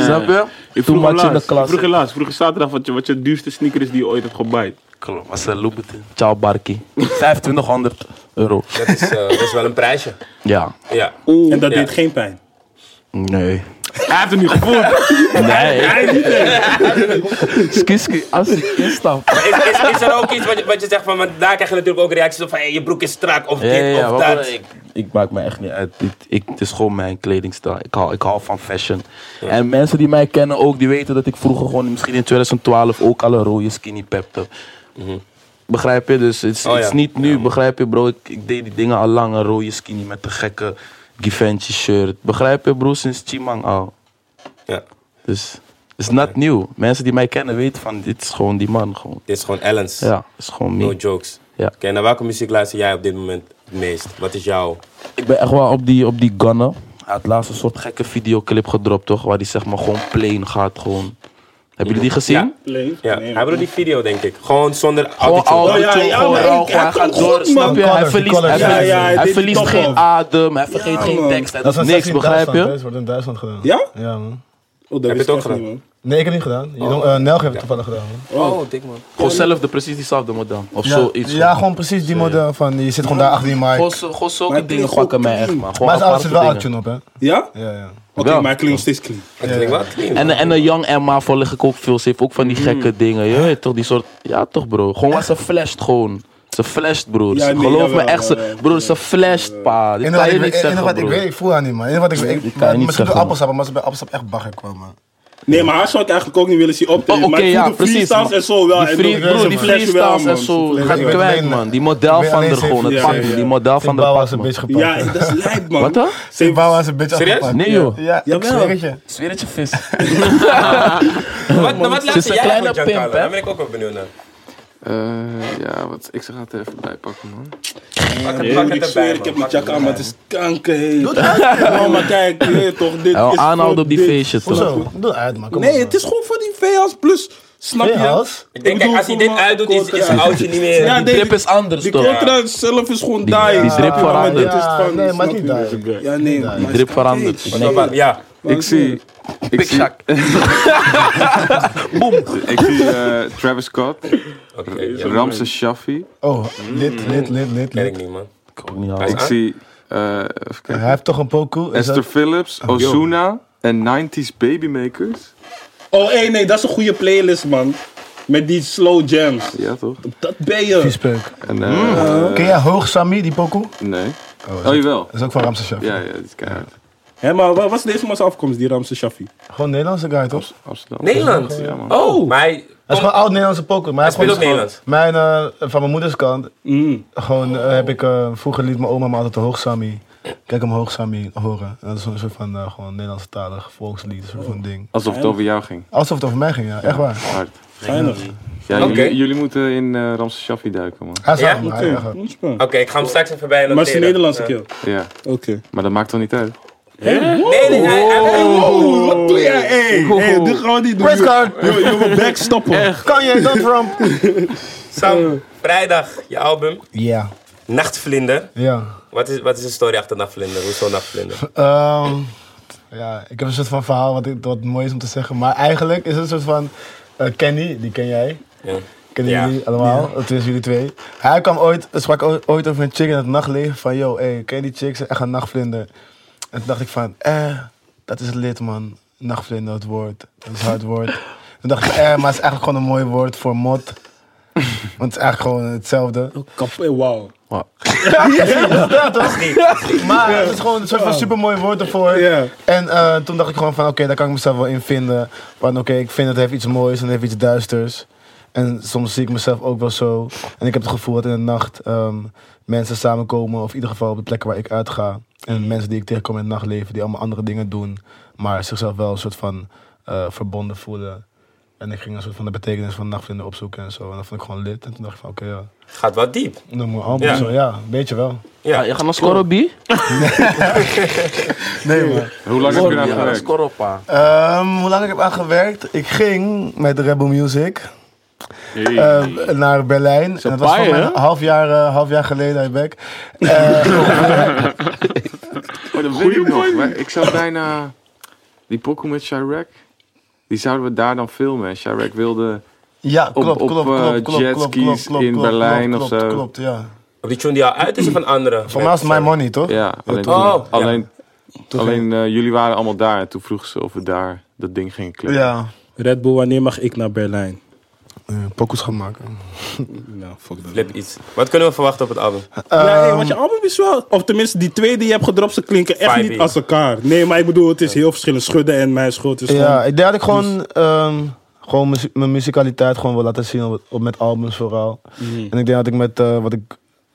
H: snap je?
D: Ik
H: Too
D: vroeg
H: much
D: je
H: in de
D: laatst, ik
H: klas.
D: vroeg je laatst, vroeg je zaterdag wat je, wat je duurste sneaker is die je ooit hebt gebaaid.
H: Klopt, maar ze Louboutin. Ciao, Barkie. 2500 euro.
A: Dat is, eh, dat is wel een prijsje.
H: Ja.
A: Ja.
B: En dat
A: Ja.
B: deed geen pijn.
H: Nee.
D: Hij heeft hem niet gevoeld.
H: Nee. Skiski, als ik instap.
A: Is, is, is er ook iets wat je, wat je zegt van, want daar krijg je natuurlijk ook reacties op van hey, je broek is strak of
H: Ja,
A: dit
H: ja, ja,
A: of
H: maar
A: dat.
H: ik, ik maak me echt niet uit. Ik, ik- het is gewoon mijn kledingstijl. Ik hou, ik hou van fashion. En mensen die mij kennen ook, die weten dat ik vroeger gewoon misschien in 2012 ook al een rode skinny pep heb. Mhm. Begrijp je? Dus het is
A: Oh,
H: het is
A: ja.
H: niet nu, begrijp je bro? Ik, ik deed die dingen al lang, een rode skinny met een gekke Givenchy shirt. Begrijp je bro? Sinds Chimang al.
A: Ja.
H: Dus het is not nieuw. Mensen die mij kennen weten van, dit is gewoon die man gewoon.
A: Dit is gewoon Ellens.
H: Ja, het is gewoon me.
A: No jokes.
H: Ja.
A: Oké, naar welke muziek luister jij op dit moment het meest? Wat is jouw...
H: Ik ben echt wel op die, op die Gunna. Hij had laatst een soort gekke videoclip gedropt, toch? Waar hij zeg maar gewoon plain gaat, gewoon. Hebben jullie die gezien?
A: Ja. Ja, hij bedoel die video denk ik. Gewoon zonder
H: Gewoon
A: autotune.
B: Oh,
H: auto,
B: ja, ja,
H: gewoon
B: maar
H: rauw,
B: ik-
H: gewoon hij
B: hij
H: gaat
B: komt
H: door,
B: goed,
H: snap
B: man.
H: je? Hij
E: Colours,
H: verliest,
E: colours.
H: hij
E: Ja,
H: verliest,
B: ja, hij
H: hij
B: deed die
H: verliest
B: top
H: geen
B: op.
H: adem, hij vergeet geen
B: man.
H: tekst, hij
E: Dat
H: doet
E: is
H: niks, begrijp je?
E: Dat wordt in Duitsland gedaan.
B: Ja?
E: Ja, man.
B: Oh, dat
A: Heb
B: wist
A: je het
B: ik
A: ook
B: echt niet,
E: Nee, ik heb het niet gedaan.
H: Oh.
E: Je jong- eh, Nelg heeft het toevallig gedaan, man.
A: Oh, dik man.
H: Gewoon zelf, de, precies diezelfde model. Of
E: Ja,
H: zoiets.
E: Ja, gewoon precies die model van, je zit gewoon daar achter die
H: Gewoon,
E: mic.
H: zo- gewoon zulke
B: Maar het
H: dingen
B: is gewoon
H: pakken mij echt,
B: clean.
H: man. Gewoon
E: Maar ze
H: aparte
E: zit wel
H: dingen.
E: autotune op, hè?
B: Ja?
E: Ja, ja.
B: Oké,
H: Wel.
B: maar ik klink nog steeds clean.
A: Het klinkt wel clean.
H: En, en een Young Emma voor lig ik ook veel. Ze heeft ook van die gekke dingen. Je weet toch, die soort. Ja, toch, bro. Gewoon wat ze flasht, gewoon. Ze flasht, broer.
B: Ja, nee,
H: Geloof me
B: jawel,
H: echt, ze,
B: jawel.
H: broer, ze flasht, pa. Dit
E: En
H: kan
E: wat
H: je
E: ik,
H: niet
E: weet- en
H: zeggen,
E: wat ik
H: broer.
E: weet, ik vroeg aan die man. En wat ik weet, ik,
H: kan je
E: misschien
H: niet
E: door
H: zeggen,
E: appelsap, maar ze bij appelsap echt bagger kwam, man.
B: Nee, maar haar zou ik eigenlijk ook niet willen zien optreden.
H: Oh, Oké,
B: maar ik voel
H: ja,
B: de
H: precies.
B: freestyles
H: man.
B: en zo wel.
H: Die
B: en
H: free,
B: dat-
H: broer, die
B: flash wel,
H: freestyles en
B: man.
H: zo.
E: Ik
H: Gaat
E: weet
H: kwijt,
E: alleen-
H: man. Die
E: ik
H: model
E: weet
H: van
E: alleen
H: er gewoon. Het
E: zeven-
H: pak,
B: ja, ja.
H: die model van de
E: Zimbabwe was een
H: pak, man.
E: beetje
B: Ja,
E: gepakt.
B: dat is lijp, man.
H: Wat dan?
E: Zimbabwe was een beetje
A: Serieus?
E: afgepakt.
H: Nee, joh.
E: Ja, ik
B: Jawel.
E: zweer het je.
H: Zweertje vis.
A: Wat, nou, wat
H: is
A: luister jij
H: een kleine
A: eigenlijk, Giancarlo?
H: pimp, hè?
A: Daar ben ik ook wel benieuwd naar.
F: Eh, ja, wat, ik ga het er even bij pakken, man.
A: Pak het, pak
B: Ja,
A: het
B: ik
A: erbij,
B: zweer, ik
A: man.
B: heb
A: Pak
B: die jack
A: het
B: aan, maar
A: erbij.
B: het is kankerheet. Ja, maar kijk, je weet toch, dit
H: Ja,
B: is
H: aanhouden
B: voor
H: op die
B: dit.
H: feestjes, toch?
E: Hoezo? Doe uit, man. Kom
B: Nee,
E: op,
B: het is gewoon voor die VS plus. Snap
E: man.
B: je?
E: Hey, Hans.
A: Ik denk, kijk, als hij dit uitdoet, is, is zijn oudje niet meer...
B: Ja,
H: Die
B: nee,
H: trip
B: die,
H: is anders,
B: die
H: toch?
B: contra zelf is gewoon
H: Die-
B: die.
H: die drip
B: snap je? Maar
H: verandert.
B: dit is
E: Ja,
B: van-
E: nee, maar
B: snap
E: niet
B: je?
E: die.
B: Ja, nee, maar het is
H: drip verandert.
B: kankerheet.
H: Nee.
A: Snap je? Ja.
F: Ik zie. Ik zie,
H: Piksjak.
F: ik zie eh, Travis Scott,
A: Oké, ja,
F: Ramse Shaffi.
E: Oh, lid, lid, lid, lid,
A: ken
E: lid.
A: ik niet, man.
F: Ik zie. eh, even kijken.
E: Hij heeft toch een pokoe? Is
F: Esther
E: dat-
F: Phillips, Ozuna en 90s Babymakers.
B: Oh, hé, nee, dat is een goede playlist, man. Met die slow jams.
F: Ja, toch?
B: Dat ben je.
E: Viespeuk.
F: En, eh,
E: Ken jij Hoog Sammy, die pokoe?
F: Nee. Oh, jawel.
E: Dat is ook van Ramses Shaffi.
F: Ja, ja, die is keihard.
B: Hé, maar wat was deze man's afkomst, die Ramse Shaffi?
E: Gewoon Nederlandse guy, toch? Hij
F: Amsterdam.
A: Nederland?
F: Ja, man.
A: Oh, maar hij...
E: is gewoon oud Nederlandse poker. Maar hij
A: speelt
E: heeft
A: ook
E: gewoon- Mijn, eh, van mijn moeders kant,
B: Mm.
E: gewoon eh, heb ik, eh, vroeger liet mijn oma me altijd de Hoog Sammy. Kijk hem Hoog Sammy horen. En dat is zo'n soort van eh, gewoon Nederlandse talig volkslied, soort van ding.
F: Alsof het over jou ging.
E: Alsof het over mij ging, ja. Echt waar.
F: Hard.
B: Geinig.
F: Ja,
A: Oké.
F: jullie, jullie moeten in eh Ramses Shaffi duiken, man.
E: Hij is
A: Ja?
E: aan, maar hij-
B: Oké,
E: echt waar.
B: goed spel.
A: Oké, ik ga hem straks even bij
B: Maar het is een
A: noteren.
B: Nederlandse
A: Ja.
B: keel.
F: Ja,
B: Oké.
F: maar dat maakt toch niet uit?
B: Hé,
A: Nee, nee, hij- hij-
H: Oh.
A: hij-
B: Wow, wat doe jij? Hé, hey, doe gewoon niet. Press card. Je je wil back stoppen.
E: Kan je dat, Trump? Ja.
A: Sam, vrijdag, je album. Nachtvlinder.
E: Ja.
A: Wat is, wat is de story achter Nachtvlinder? Hoezo Nachtvlinder?
E: Ehm, ja, ik heb een soort van verhaal wat, ik- wat mooi is om te zeggen. Maar eigenlijk is het een soort van... eh, Kenny, die ken jij.
A: Ja.
E: Kennen
A: Ja.
E: jullie allemaal? Dat is jullie twee. Hij kwam ooit, hij sprak o- ooit over een chick in het nachtleven. Van, yo, hey, ken je die chicks? Echt een nachtvlinder. En toen dacht ik van, eh, dat is lid, man. Nachtvlinder, het woord. Dat is een hard woord. Toen dacht ik, eh, maar het is eigenlijk gewoon een mooi woord voor mot. Want het is eigenlijk gewoon hetzelfde.
B: Kap- eh, Wauw.
E: Ja, toch? Maar het is gewoon een soort van supermooi woord ervoor.
B: Ja.
E: En eh, toen dacht ik gewoon van, oké, daar kan ik mezelf wel in vinden. Van, oké, ik vind het heeft iets moois en het heeft iets duisters. En soms zie ik mezelf ook wel zo. En ik heb het gevoel dat in de nacht ehm, mensen samenkomen. Of in ieder geval op de plekken waar ik uitga. En mensen die ik tegenkom in het nachtleven, die allemaal andere dingen doen. Maar zichzelf wel een soort van eh, verbonden voelen. En ik ging een soort van de betekenis van nachtvlinder opzoeken en zo. En dat vond ik gewoon lit. En toen dacht ik van, oké, ja.
A: Het gaat wat diep.
E: Noem maar album
A: Ja.
E: zo. Ja, weet je wel.
A: Ja,
C: je gaat naar Scorpio?
E: Nee, man.
F: Hoe lang heb je daar
C: Ja,
F: gewerkt?
C: Scorpio.
E: Ehm, hoe lang ik heb aan gewerkt? Ik ging met Rebel Music ehm, naar Berlijn. en dat was
C: paai,
E: voor mij
C: hè?
E: een half jaar, eh, half jaar geleden, I back.
F: Oh, dat weet ik nog. Maar ik zou bijna... Die pokoe met Chirac, die zouden we daar dan filmen. En Chirac wilde...
E: Ja,
F: Op-
E: klopt,
F: op,
E: klopt,
F: eh,
E: klopt, klopt, klopt, klopt,
F: jetskis
E: klopt, klopt,
F: in
E: klopt,
F: Berlijn
E: klopt,
F: of zo.
E: Klopt, ja.
A: Op die tune die al uit is of een andere?
E: Voor mij was het My Money, toch?
F: Ja, alleen,
E: toen-
A: Oh, ja.
F: alleen,
E: Toen
F: alleen
E: ging-
F: eh, jullie waren allemaal daar. En toen vroegen ze of we daar dat ding gingen klikken.
E: Ja.
B: Red Bull, wanneer mag ik naar Berlijn?
E: Eh, Pokoes gaan maken.
B: Nou, fuck dat.
A: Flip iets. Wat kunnen we verwachten op het album?
B: Ja, hey, want je album is wel, of tenminste die twee die je hebt gedropt, ze klinken echt
A: Vibey.
B: niet als elkaar. Nee, maar ik bedoel, het is heel verschillend. Schudden en mijn schuld is
E: Ja,
B: gewoon...
E: ik denk dat ik gewoon, ehm, gewoon muzie- mijn muzikaliteit gewoon wil laten zien op, op met albums vooral.
B: Mhm.
E: En ik denk dat ik met eh, wat ik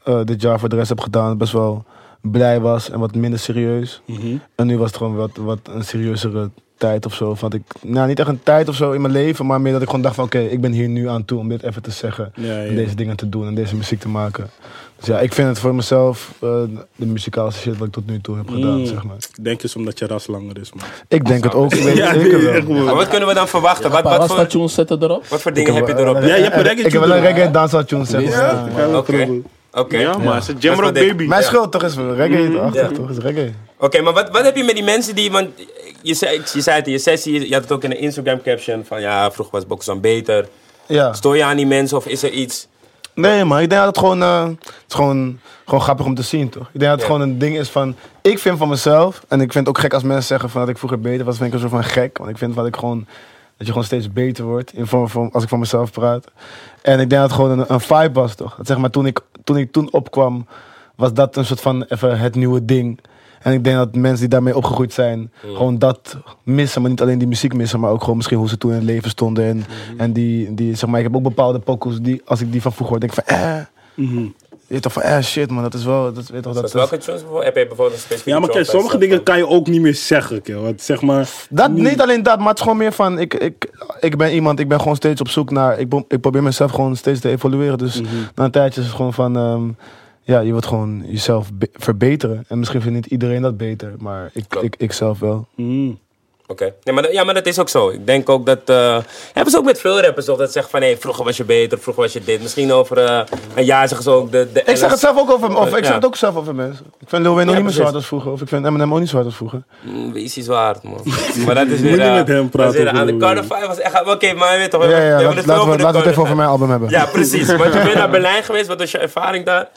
E: eh, dit jaar voor de rest heb gedaan best wel blij was en wat minder serieus.
B: Mhm.
E: En nu was het gewoon wat, wat een serieuzere tijd of zo. Van dat ik, nou, niet echt een tijd of zo in mijn leven, maar meer dat ik gewoon dacht van oké, ik ben hier nu aan toe om dit even te zeggen.
B: Ja, ja.
E: En deze dingen te doen en deze muziek te maken. Dus ja, ik vind het voor mezelf eh, de muzikaalste shit wat ik tot nu toe heb gedaan,
B: Mm.
E: zeg maar.
B: Ik Denk eens omdat je ras langer is, man.
E: Ik denk het ook. Ik weet het
B: Ja,
E: zeker
B: nee,
E: wel.
B: echt
A: Maar
B: wel.
A: wat kunnen we dan verwachten? Wat, wat, voor,
H: tunes zetten erop?
A: wat voor dingen heb je erop?
B: Ja, je hebt een reggae
E: eh, Ik heb wel
B: tune
E: een reggae dansa tune zeg.
B: Ja,
E: maar.
A: Oké, oké.
D: Ja, maar het is een
A: Dat
D: Jamrock
A: is wel dik.
D: Baby.
E: Mijn schuld toch is wel reggae
B: Mm-hmm.
E: achter
A: Ja.
E: toch is reggae.
A: Oké, maar wat, wat heb je met die mensen die... Want je zei, je zei het in je sessie, je had het ook in een Instagram caption van... Ja, vroeger was Boksan beter.
E: Ja.
A: Stoor je aan die mensen of is er iets...
E: Nee maar ik denk dat het gewoon, eh, het is gewoon, gewoon grappig om te zien toch. Ik denk dat het
A: Ja.
E: gewoon een ding is van, ik vind van mezelf, en ik vind het ook gek als mensen zeggen van dat ik vroeger beter was, vind ik een soort van gek. Want ik vind dat ik gewoon, dat je gewoon steeds beter wordt in vorm van, als ik van mezelf praat. En ik denk dat het gewoon een, een vibe was toch. Dat zeg maar toen ik toen, ik toen opkwam, was dat een soort van even het nieuwe ding. En ik denk dat mensen die daarmee opgegroeid zijn, gewoon dat missen. Maar niet alleen die muziek missen, maar ook gewoon misschien hoe ze toen in het leven stonden. En, en die, die, zeg maar, ik heb ook bepaalde pokoes die, als ik die van vroeger hoor, denk ik van, eh. Je weet toch van, eh, shit man, dat is wel, dat weet toch, dat
A: Zoals
E: is...
A: welke tunes bijvoorbeeld? Heb je bijvoorbeeld een specifieke
B: Ja, maar
A: tune
B: kijk, sommige
A: bij-
B: dingen kan je ook niet meer zeggen, kill. Want zeg maar...
E: Dat, niet alleen dat, maar het is gewoon meer van, ik, ik, ik ben iemand, ik ben gewoon steeds op zoek naar, ik, pro- ik probeer mezelf gewoon steeds te evolueren. Dus
A: Mhm.
E: na een tijdje is het gewoon van, ehm, ja, je wilt gewoon jezelf be- verbeteren. En misschien vindt niet iedereen dat beter, maar ik,
A: Klopt.
E: ik, ik zelf wel.
B: Mm.
A: Oké. Nee, maar dat- ja, maar dat is ook zo. Ik denk ook dat... eh, hebben ze ook met veel rappers toch dat zeggen van... Hey, vroeger was je beter, vroeger was je dit. Misschien over eh, een jaar zeggen ze ook... De, de
E: Ik zeg het
A: LS
E: zelf ook over, of ik
A: Eh, Ja.
E: zeg het ook zelf over mensen. Ik vind Lil Wayne nog
A: Ja,
E: niet meer zo
A: precies.
E: hard als vroeger, of ik vind Eminem ook niet zo hard als vroeger.
A: Mm, Wees iets waard, man. maar dat is
B: Moet
A: weer...
B: niet
A: eh,
B: met hem
A: dat is
B: praten,
A: weer aan de
B: broer.
A: Carter 5 was echt... Oké, maar je weet toch...
E: Ja, ja,
A: hebben
E: laat-
A: het
E: laten
A: veel
E: we, laten we het
A: Carter
E: even over
A: Five.
E: mijn album hebben.
A: Ja, precies. Want je bent naar Berlijn geweest. Wat was je ervaring daar?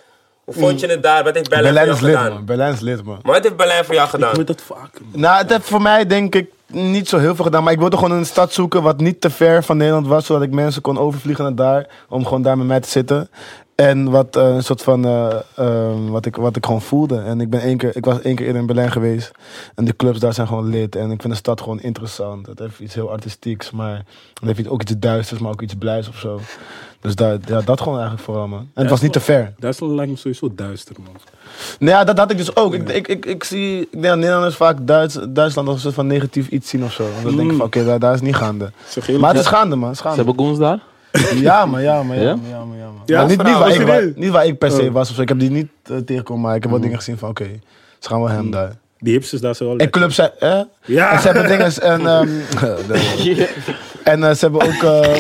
A: Hoe vond je het daar? Wat heeft Berlijn,
E: Mm. Berlijn is
A: voor jou
E: lid,
A: gedaan?
E: man. Berlijn is lid, man.
A: Maar wat heeft Berlijn voor jou gedaan?
B: Ik moet dat vaker. man.
E: Nou, het heeft voor mij denk ik niet zo heel veel gedaan. Maar ik wilde gewoon een stad zoeken wat niet te ver van Nederland was. Zodat ik mensen kon overvliegen naar daar. Om gewoon daar met mij te zitten. En wat eh, een soort van. eh, ehm, wat, ik, wat ik gewoon voelde. En ik, ben één keer, ik was één keer eerder in Berlijn geweest. En de clubs daar zijn gewoon lid. En ik vind de stad gewoon interessant. Het heeft iets heel artistieks. Maar het heeft iets- ook iets duisters, maar ook iets blijs of zo. Dus daar, ja, dat gewoon eigenlijk vooral, man. En het was niet te ver.
B: Duitsland lijkt me sowieso duister, man.
E: Nou ja, dat had ik dus ook. Ik, ik, ik, ik zie, ik denk dat Nederlanders vaak Duits, Duitsland als een soort van negatief iets zien of zo. En dan denk ik van, oké, daar, daar is niet gaande.
B: Zeg je
E: Maar het is gaande, man. Het is
H: Ze
E: gaande.
H: hebben goons daar?
E: Ja, maar ja, maar ja,
H: Ja?
E: maar ja, maar ja, maar.
B: Ja,
E: Maar niet, niet, waar ik,
B: serieus.
E: waar- niet waar ik per
B: Oh.
E: se was of zo. Ik heb die niet eh, tegengekomen, maar ik
H: Mm.
E: heb wel dingen gezien van, oké, ze gaan wel hem daar.
B: Die hipsters daar zijn wel
E: En
B: lekker.
E: clubs zijn, hè?
B: Ja.
E: En ze hebben dingen en... ehm, en eh, ze hebben ook... eh,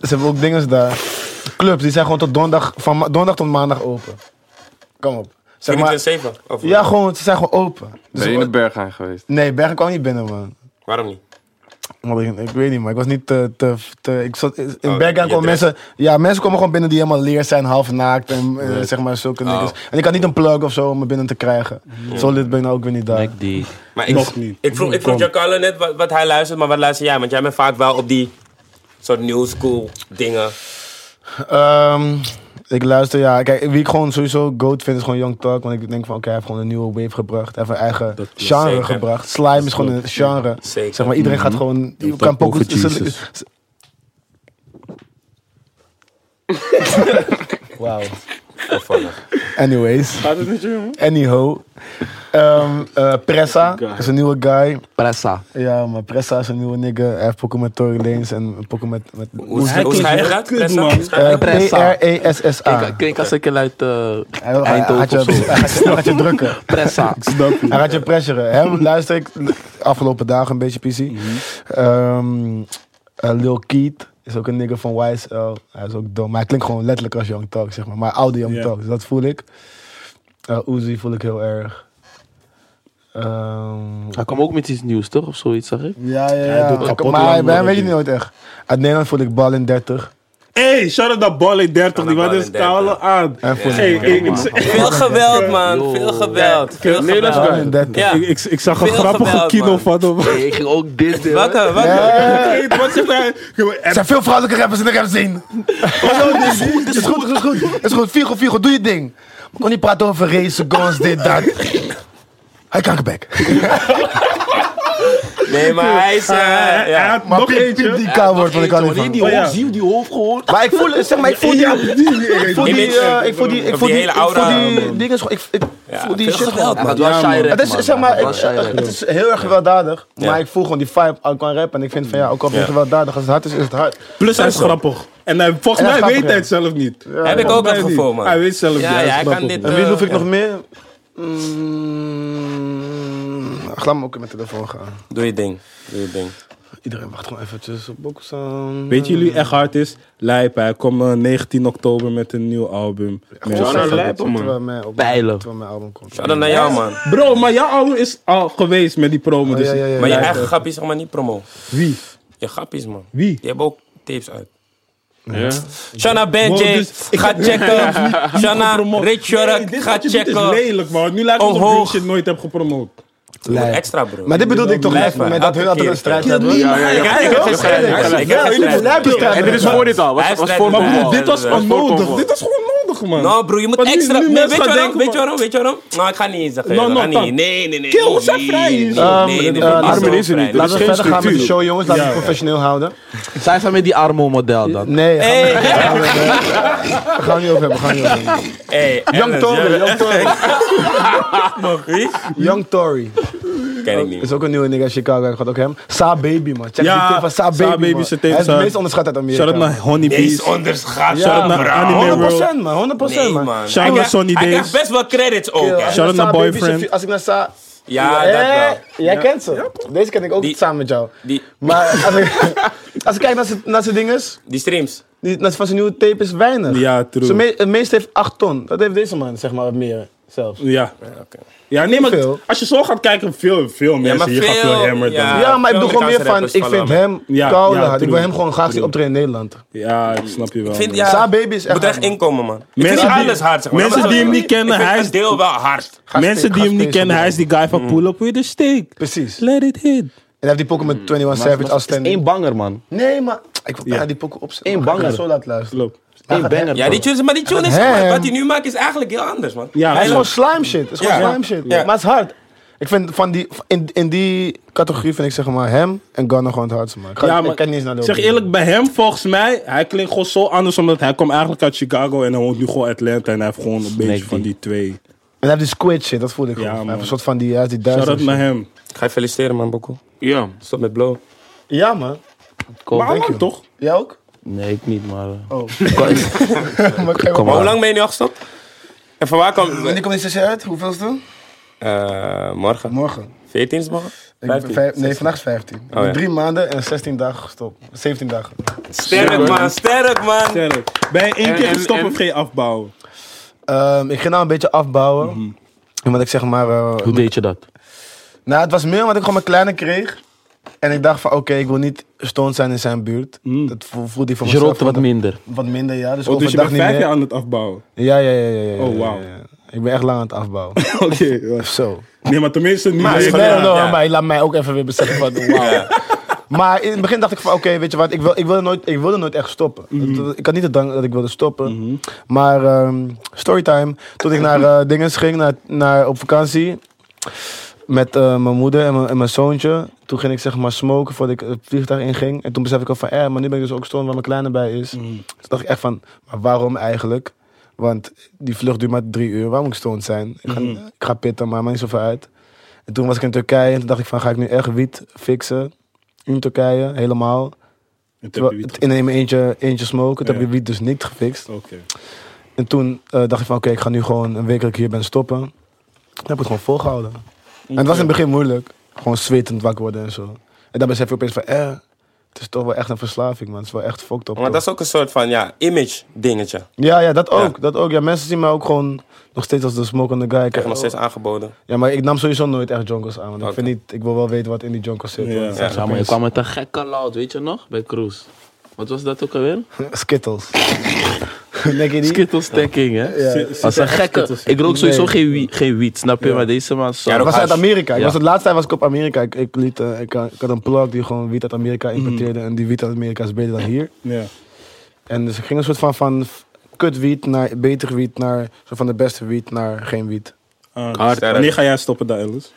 E: ze hebben ook dingen daar. Clubs, die zijn gewoon tot donderdag, van ma- donderdag tot maandag open. Kom op. Zeg maar,
A: 24-7? Of-
E: ja, gewoon, ze zijn gewoon open. Dus
F: Ben je in de berg aan geweest?
E: nee, Bergen kwam niet binnen, man.
A: Waarom niet?
E: Want ik, ik weet niet, maar ik was niet te... te, te- ik zat, in
A: Oh,
E: Bergen
A: je
E: kwamen
A: dress.
E: mensen... Ja, mensen komen gewoon binnen die helemaal leer zijn, half naakt en eh, zeg maar zulke
A: Oh.
E: dingen. En ik had niet een plug of zo om me binnen te krijgen. Zo lid ben ik nou ook weer niet daar.
H: die.
A: Maar ik,
B: Nog niet.
A: Ik vroeg, ik vroeg
B: Kom.
A: Giancarlo net wat, wat hij luistert, maar wat luister jij? Want jij bent vaak wel op die soort new school dingen.
E: Ehm, ik luister, ja. Kijk, wie ik gewoon sowieso goat vind is gewoon Young Talk. Want ik denk van, oké, hij heeft gewoon een nieuwe wave gebracht. Hij heeft een eigen genre
A: Zeker.
E: gebracht. Slime is gewoon een genre.
A: Zeker.
E: Zeg maar, iedereen gaat gewoon... Je kan
C: Talk over
E: pokus-
C: Jesus.
E: Wauw. Anyways. Gaat het niet, jongen? Anyhow. Ehm, eh, Pressa is een nieuwe guy.
H: Pressa.
E: Ja, maar Pressa is een nieuwe nigga. Hij heeft pokken met Tory Lanez en pokken met... met
A: Hoe,
B: Hij
A: hoe
B: klinkt
A: schrijf je
B: echt
A: dat?
B: kut,
A: Pressa?
B: man.
A: Schrijf-
E: eh,
H: Pressa.
E: P-R-E-S-S-A.
H: Ik klink als ik uit eh,
E: Hij wil- hij- hij gaat
H: Eindhoven of
E: je-
H: zo.
E: hij gaat je- hij gaat je drukken.
H: Pressa.
E: Hij gaat je pressuren. Hem luister ik afgelopen dagen een beetje PC.
B: Mhm.
E: Ehm, eh, Lil Keat is ook een nigger van YSL. Hij is ook dom. Maar hij klinkt gewoon letterlijk als Young Talk, zeg maar. Maar oude Young
B: Ja.
E: Talk, dus dat voel ik. Eh Uzi voel ik heel erg. Ehm,
H: Hij kwam ook met iets nieuws, toch? Of zoiets, zag ik.
E: ja, ja, ja.
B: Hij doet kapot
E: maar
B: lang
E: hij- bij
B: worden,
E: hem weet
B: die.
E: je niet nooit echt. Uit Nederland voel ik Bal in 30.
B: Hey, shout out naar Ballet 30, die
A: Shout-out
B: wat is
A: Ballet 30.
B: koude aan.
E: En voel
B: Hey,
E: ik.
B: ik, ik, ik,
A: Veel geweld, man.
H: Yo.
A: Veel geweld. Veel
D: Nederlands
A: geweld.
E: Bal in 30.
A: Ja.
B: ik, ik zag een
A: Veel
B: grappige
A: geweld,
B: kino
A: man.
B: van hem.
H: Hey, ik ging ook dit doen.
A: Wakker, wakker.
B: Hey, Wat zegt hij?
E: Er zijn veel vrouwelijke rappers in de rap zien. Het is goed, het is goed, het is goed. Het is goed, Figo, Figo, doe je ding. We kon niet praten over race, guns, dit, dat. Hij kankerback.
A: Nee, maar hij is... eh,
B: Hij hij
A: ja.
B: had
E: Maar
B: nog
E: piep, piep
B: eentje.
E: die K woord, want ik hou niet
H: Wanneer
E: van.
H: die
B: Oh, ja.
H: hoofd, zie die hoofd gehoord.
E: Maar ik voel, zeg maar, ik voel die... Ik voel
A: Ik
E: die,
A: weet-
E: eh, ik voel die, ik
A: Of
E: voel
A: die
E: die, ik
A: hele
E: voel
A: aura,
E: die
A: man.
E: dingen, gewoon- ik, ik voel die
A: veel
E: shit
A: geweld,
E: gewoon.
H: Hij gaat wel shy rappen,
E: Het is,
H: man.
E: zeg maar,
H: Hij gaat
E: ik-
H: wel shy rappen.
E: het is heel erg gewelddadig,
A: Ja.
E: maar ik voel gewoon die vibe, ik kan rappen en ik vind van ja, ook al ben je
A: Ja.
E: gewelddadig, als het hard is, is het hard.
B: Plus hij is grappig. En hij, volgens
E: En hij
B: mij
E: is
B: weet
E: grappig,
B: hij
E: ja.
B: het zelf niet.
A: Heb ik
B: Volgens
A: ook
B: mij
A: dat
B: niet.
A: gevoel, man.
B: Hij weet zelf niet.
A: Ja,
B: is
A: ja, hij kan
B: grappig.
A: dit...
E: En wie
A: eh,
E: hoef ik
A: ja.
E: nog meer? Mm, ach, laat me ook in mijn telefoon gaan.
A: Doe je ding. Doe je ding.
E: Iedereen wacht gewoon eventjes op Bokusan.
B: Weet jullie echt hard is? Lijp, hij komt eh, 19 oktober met een nieuw album. Mensen
D: Zou
B: zeggen
D: naar
B: dat-
D: Lijpen, man.
E: Terwijl mijn, nou, op,
H: Pijlen.
E: terwijl mijn album komt.
A: Shout-out naar jou, man.
B: Bro, maar jouw album is al geweest met die promo. Dus
E: Oh, ja, ja, ja.
A: Maar je
B: Lijp,
A: eigen
B: eh,
A: grapjes zeg maar niet promo.
B: Wie?
A: Je grapjes, man.
B: Wie?
A: Die hebben ook tapes uit.
D: Ja.
A: Shanna
B: Wow,
A: Benjay,
B: dus ik
A: ga checken. Shanna,
B: Promoot.
A: Rich
B: Nee,
A: Jurk,
B: dit
A: ga
B: wat je doet is
A: checken. Oh,
B: lelijk, man. Nu lijkt het alsof
A: Omhoog.
B: je shit nooit hebt gepromoot.
A: Doe wat extra, bro.
E: Maar dit bedoelde ik toch
B: Lijp,
E: echt
A: man.
E: met dat hun altijd een
A: Elke keer.
E: strijd hebben. Ja, ja,
A: Ik heb- ik heb geen strijd. Ik heb geen strijd.
D: En dit is voor dit al.
A: Hij
D: Was,
A: is
D: was
A: net-
D: voor
A: Maar
B: Maar
A: Ja,
B: broer, dit was
A: inderdaad.
B: onnodig. Dit was gewoon nodig, man.
A: Nou bro, je moet
B: Want nu-
A: extra...
B: nu
A: Nee,
B: mensen
A: weet je
B: gaan
A: waarom? Weet je
B: denken, man.
A: waarom? Weet je waarom? Nou, ik ga niet eens zeggen.
B: Nou,
A: ik ga
B: nou,
A: niet.
B: dan.
A: Nee, nee, nee.
B: Kill,
A: nee,
B: we zijn
A: nee,
B: vrij Ah,
A: nee,
B: hier.
A: nee,
E: Ehm,
A: nee, nee,
E: eh,
A: nee,
E: Armin
A: zo
D: is er niet.
A: vrij.
D: Laat-
E: Laten we
D: geen
E: verder gaan met de
D: structuur.
E: show, jongens. Laten we
B: Ja,
E: het
B: ja.
E: professioneel houden.
H: Zij zijn met die armo-model dan.
E: Nee, gaan we,
A: Hey,
E: we gaan we niet over hebben. we Gaan we niet over hebben.
A: hey,
E: Young
A: Ernest,
E: Tory, Young Tory.
A: Nog wie?
E: Young Tory.
A: Ken ik niet.
E: Is ook een nieuwe nigga uit Chicago. Ik had ook hem. Sa Baby, man. Check
B: Ja,
E: die tip van Sa
B: Sa
E: Baby,
B: Baby
E: man.
B: is een tip,
E: Hij is de
B: Sa-
E: meest onderschat uit Amerika.
B: Shout-out naar Honey
A: Deze
B: Bees.
A: onderschat.
B: Shout-out naar Anime World.
E: 100% man, 100%
A: Nee,
E: man.
A: man.
B: Shout-out
A: Hij
B: naar
A: krijgt-
B: Sonny
A: Hij
B: Days.
A: krijgt best wel credits ook,
E: Als ik
A: hè.
B: Shout-out
E: Sa
B: naar
E: Baby
B: Boyfriend.
E: zijn- Als ik naar Sa...
A: Ja,
B: Eh?
E: Hé,
A: dat wel.
E: Jij kent ze. Deze ken ik ook
A: Die-
E: samen met jou.
A: Die,
E: Maar als ik, als ik kijk naar zijn- naar zijn dinges,
A: die streams.
E: die, naar- van zijn nieuwe tape is weinig.
B: Ja, true.
E: Zijn me- het meeste heeft 8 ton. Dat heeft deze man, zeg maar, wat meer. zelfs.
B: Ja. Ja, nee, maar
E: Veel.
B: als je zo gaat kijken, veel, veel mensen
A: maar
B: hier
A: veel-
B: gaan veel hammer
A: ja.
B: dan.
E: Ja, maar ik bedoel gewoon meer
A: Amerikaanse
E: van,
A: rappers
E: ik vind
A: vallen.
E: hem
B: Ja,
E: koude
B: ja,
E: hard. Ik wil
B: true.
E: hem gewoon graag zien optreden in Nederland.
B: Ja, ik snap je wel.
A: vind,
B: man.
A: ja,
E: Sa Baby is echt
A: moet echt
E: hard, man.
A: inkomen, man. Ik
B: Mensen
A: vind niet
B: die-
A: alles hard, zeg maar.
B: mensen
A: Dat
B: die hem niet
A: ik
B: kennen,
A: vind
B: hij
A: een
B: is-
A: deel wel hard.
B: Mensen die hem niet
E: Gaspeer,
B: kennen, hij is die guy van Pull Up With The Stick.
E: Precies. En
B: Let it hit.
E: hij heeft die pokken met 21 Savage als
H: Hmm. Het is één
E: standing.
H: banger, man.
E: Nee, maar ik wil bijna die pokken opzetten.
H: Eén
E: maar ik ga
H: banger.
E: zo laat luisteren.
B: Klopt.
H: Eén banger.
A: Ja, die
H: bro.
A: tune, maar die tune is,
E: Hem.
A: wat hij nu maakt is eigenlijk heel anders, man.
B: Ja,
E: Hij is
B: klopt.
E: gewoon slime shit. Het is gewoon
A: Ja.
E: slime shit.
A: Ja.
E: Maar het is hard. Ik vind van die, in, in die categorie vind ik zeg maar hem en Gunna gewoon het hardste man. Ik, ga- ik ken niet eens naar de
B: zeg eerlijk, bij hem volgens mij, hij klinkt gewoon zo anders. Omdat hij komt eigenlijk uit Chicago en hij woont nu gewoon Atlanta. En hij heeft gewoon een beetje van die twee.
E: En hij heeft die squid shit, dat voel ik gewoon. Hij
B: man.
E: heeft een soort van die, hij heeft die
B: Zou
E: duizend
B: dat naar hem?
A: Ik ga je feliciteren, man, Bokko.
D: Ja.
A: Stop met blow.
E: Ja man.
B: Maar
E: you.
B: man, toch?
E: Jij ook?
H: Nee, ik niet, maar... eh,
E: Oh. maar
H: Kom,
E: kom
A: Maar hoe
H: maar.
A: lang ben je nu al gestopt? En van waar kwam...
E: Wanneer komt die sessie uit? Hoeveelste?
A: Eh, morgen.
E: Morgen.
A: 14 is morgen?
E: Ik ben
A: 15.
E: vijf- nee, vandaag is 15. Ik ben
A: ja.
E: Drie maanden en 16 dagen gestopt. 17 dagen.
A: Sterk, man. Sterk, man.
B: Sterk. Ben je één keer gestopt of geen
E: Oh,
B: afbouwen?
E: Ehm, ik ging nou een beetje afbouwen.
B: Mhm.
E: Omdat ik zeg maar... eh,
H: Hoe deed je dat?
E: Nou, het was meer omdat ik gewoon mijn kleine kreeg. En ik dacht van, oké, ik wil niet stoned zijn in zijn buurt.
B: Mhm.
E: Dat vo- voelde hij voor
H: Je
E: mezelf
H: rookte wat
E: wat-
H: minder.
E: Wat minder, ja. Dus
B: Oh, dus je bent
E: overdag niet
B: vijf
E: meer.
B: jaar aan het afbouwen.
E: Ja, ja, ja, ja, ja.
B: Oh,
E: ja,
B: wauw.
E: ja, ja. Ik ben echt lang aan het afbouwen.
B: Oké. ja.
E: Zo.
B: Nee, maar tenminste niet
E: Maar,
B: meer.
E: ik ben-
B: Ja.
E: no, maar laat mij ook even weer beseffen van, wauw. Maar in het begin dacht ik van, oké, weet je wat, ik, wil, ik, wilde nooit, ik wilde nooit echt stoppen. Dat- Ik had niet de dank dat ik wilde stoppen. Maar ehm, storytime, toen ik naar eh dinges ging, naar, naar, op vakantie... Met eh, mijn moeder en mijn, en mijn zoontje. Toen ging ik zeg maar smoken voordat ik het vliegtuig inging. En toen besef ik al van, eh, maar nu ben ik dus ook stom waar mijn kleine bij is. Toen dacht ik echt van, maar waarom eigenlijk? Want die vlucht duurt maar drie uur. Waarom moet ik stoned zijn? Ik ga, ik ga pitten, maar maakt niet zoveel uit. En toen was ik in Turkije en toen dacht ik van, ga ik nu echt wiet fixen? In Turkije, helemaal.
B: Het heb je
E: Terwijl,
B: niet
E: in mijn eentje, eentje smoken. Toen
B: Ja.
E: heb ik wiet dus niet gefixt.
B: gezien. Oké.
E: En toen eh, dacht ik van, oké, ik ga nu gewoon een week dat ik hier ben stoppen. Dan heb ik het gewoon volgehouden. En het was in het begin moeilijk. Gewoon zwetend wakker worden en zo. En dan besef je opeens van, eh, het is toch wel echt een verslaving, man. Het is wel echt fucked up.
A: Maar dat is ook een soort van, ja, image dingetje.
E: toch? Ja, ja, dat ook. Dat ook. Ja, mensen zien mij ook gewoon nog steeds als de smokende guy.
A: Ik krijg nog steeds aangeboden.
E: Ja, maar ik nam sowieso nooit echt jonkels aan. Want ik,
A: Oké.
E: vind niet, ik wil wel weten wat in die jonkels zit.
B: Ja.
E: want het
B: Ja,
E: zijn
H: Ja, maar je
E: opeens-
H: kwam met een gekke loud, weet je nog? Bij Cruise. Wat was dat ook alweer?
E: Skittles. Denk je niet?
H: Skittles stacking, hè?
E: Ja.
H: Als een gekke. Ik rook sowieso geen, wie- geen wiet, snap je? Maar deze man. Zo.
E: Ik was uit Amerika. Ik
H: Ja.
E: was het laatste tijd was ik op Amerika. Ik, ik, liet, eh, ik, had- ik had een plug die gewoon wiet uit Amerika importeerde.
H: Mm.
E: En die wiet uit Amerika is beter dan hier.
B: Ja.
E: En dus ik ging een soort van, van f- kut wiet naar beter wiet naar zo van de beste wiet naar geen wiet.
B: Ah,
A: Hard.
B: Wanneer ga jij stoppen daar, Ellis?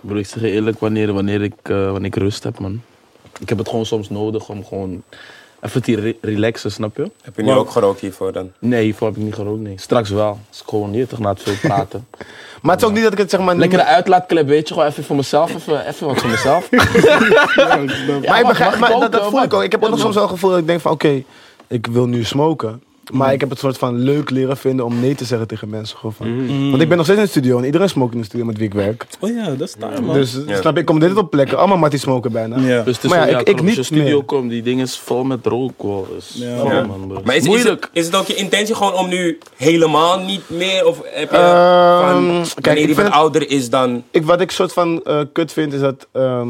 H: Bro, ik zeg je eerlijk, wanneer, wanneer, ik, eh, wanneer ik rust heb, man. Ik heb het gewoon soms nodig om gewoon even te re- relaxen, snap je?
A: Heb je nu ook gerookt hiervoor dan?
H: Nee, hiervoor heb ik niet gerookt, nee. Straks wel. Als ik gewoon hier toch na het veel praten.
E: Maar het is ook niet dat ik het zeg maar... niet
H: Lekkere
E: meer-
H: uitlaatklep, weet je? Gewoon even voor mezelf, even, even wat voor mezelf. Ja,
E: maar ik
H: mag-
E: begrijp,
H: mag
E: maar
H: ook,
E: dat, dat
H: eh,
E: voel
H: mag-
E: ik ook. Ik heb ook nog soms wel het gevoel dat ik denk van oké, ik wil nu smoken. Maar
H: Mm.
E: ik heb het soort van leuk leren vinden om nee te zeggen tegen mensen. Gewoon van.
H: Mm.
E: Want ik ben nog steeds in de studio en iedereen smookt in de studio met wie ik werk.
B: Oh ja, dat is daar, man.
E: Dus snap je, ik kom dit op plekken. Allemaal matties smoken bijna.
B: ja.
H: Dus het is
E: Maar ja,
H: wel-
E: ik- ik
H: klopt, als je
E: niet
H: studio
E: meer.
H: komt, die ding is vol met rook, hoor. Dus,
B: Ja.
H: ja, man, bro.
A: Maar is, is,
H: Moeilijk.
A: het, is het ook je intentie gewoon om nu helemaal niet meer? Of heb je
E: Ehm,
A: van,
E: kijk, ik
A: wanneer
E: vind
A: die wat
E: het-
A: ouder is dan...
E: ik, wat ik soort van eh, kut vind is dat ehm,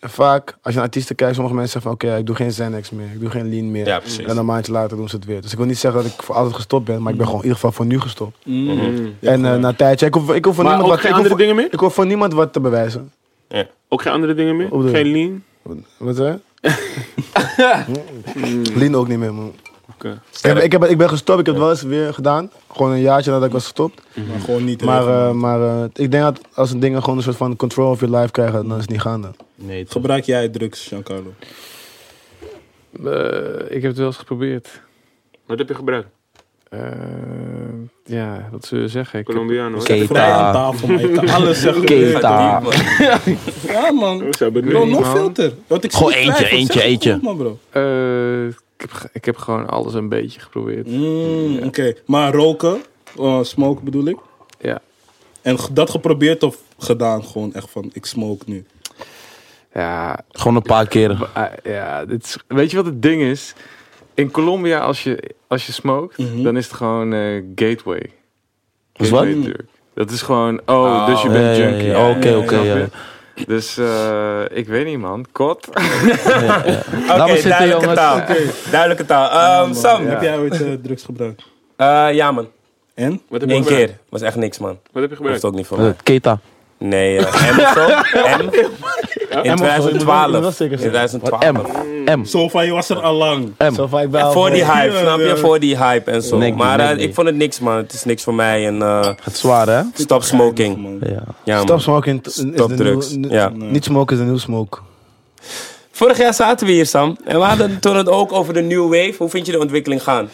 E: vaak als je naar artiesten kijkt, sommige mensen zeggen van oké, ik doe geen Xanax meer, ik doe geen Lean meer.
A: Ja, precies.
E: En dan een maandje later doen ze het weer. Dus ik wil niet zeggen dat ik voor altijd gestopt ben, maar ik ben gewoon in ieder geval voor nu gestopt. En eh, na een tijdje, ik hoef, ik hoef voor
D: Mm. Maar
E: niemand
D: ook
E: wat
D: geen
E: ik hoef,
D: andere dingen meer?
E: Ik hoef voor niemand wat te bewijzen.
D: Ook geen andere dingen meer?
E: Wat bedoel je?
D: Geen lean?
E: Wat zei je? Lean ook niet meer, man.
D: Mm. Oké.
E: Ik, heb, ik, heb, ik ben gestopt, ik heb het wel eens weer gedaan. Gewoon een jaartje nadat ik was gestopt.
B: Maar gewoon niet.
E: Maar,
B: regelen.
E: eh, maar eh, ik denk dat als een dingen gewoon een soort van control of your life krijgen, dan is het niet gaande.
H: Nee, toch.
B: Gebruik jij drugs, Giancarlo?
F: Eh, ik heb het wel eens geprobeerd.
D: Wat heb je gebruikt?
F: Eh, ja, wat zullen we zeggen? Ik heb-
D: Colombiano. hoor.
B: Vrij aan
H: Keita.
B: tafel, man. Je kan alles zeggen.
H: Keita.
B: Ja, man.
D: Ze hebben het
B: Bro,
D: niet.
B: nog
F: man.
B: filter. Want ik
H: Gewoon
B: zie
H: eentje,
B: twijfel.
H: eentje,
B: Zeg het
H: eentje.
B: goed, man, bro.
F: eh, ik, heb, ge- ik heb gewoon alles een beetje geprobeerd.
B: Mm, Oké, maar roken, eh, smoken bedoel ik.
F: Ja.
B: En g- dat geprobeerd of gedaan gewoon echt van, ik smoke nu.
F: Ja,
H: Gewoon een paar keren.
F: Ah, ja, dit is, weet je wat het ding is? In Colombia, als je, als je smokt, dan is het gewoon eh, gateway.
H: Mhm. Is wat?
F: Gateway drug. Dat is gewoon, oh, dus je
H: ja,
F: bent
H: ja, ja,
F: junkie.
H: ja,
F: Ja,
H: oké,
F: ja,
H: oké,
F: snap je?
H: ja.
F: Dus eh, ik weet niet, man. Kot.
A: Oké,
H: Laat me zitten,
A: duidelijke
H: jongens.
A: taal. Duidelijke taal. Ehm, Sam,
B: Heb jij ooit eh, drugs gebruikt?
A: eh, ja man,
B: En?
F: Wat heb je
A: één
F: gebruikt?
A: keer. Was echt niks man.
F: Wat heb je
A: Hoeft
F: gebruikt?
A: ook niet voor
H: Eh,
A: mij.
H: Keta.
A: Nee, eh, M of zo. M. In
E: je moet wel
A: 2012. In
E: zeker zijn.
A: 2012.
H: M. M.
B: Zo van je was er al lang.
H: M.
E: Zo van, ik ben
A: En
E: al
A: voor die
E: voor-
A: hype,
B: Ja,
A: snap je?
B: ja.
A: Voor die hype en zo.
H: Nee, ik
A: maar
H: doe-
A: eh,
H: nee, nee.
A: ik vond het niks, man. Het is niks voor mij. En eh,
H: Het zwaar, hè?
A: stop smoking.
B: Man.
H: Ja.
A: Ja, man.
E: Stop smoking t- is de
A: Stop drugs,
E: nieuwe-
A: ja.
E: Niet smoken is de nieuwe smoke.
A: Vorig jaar zaten we hier, Sam. En we hadden het toen het ook over de new wave. Hoe vind je de ontwikkeling gaan?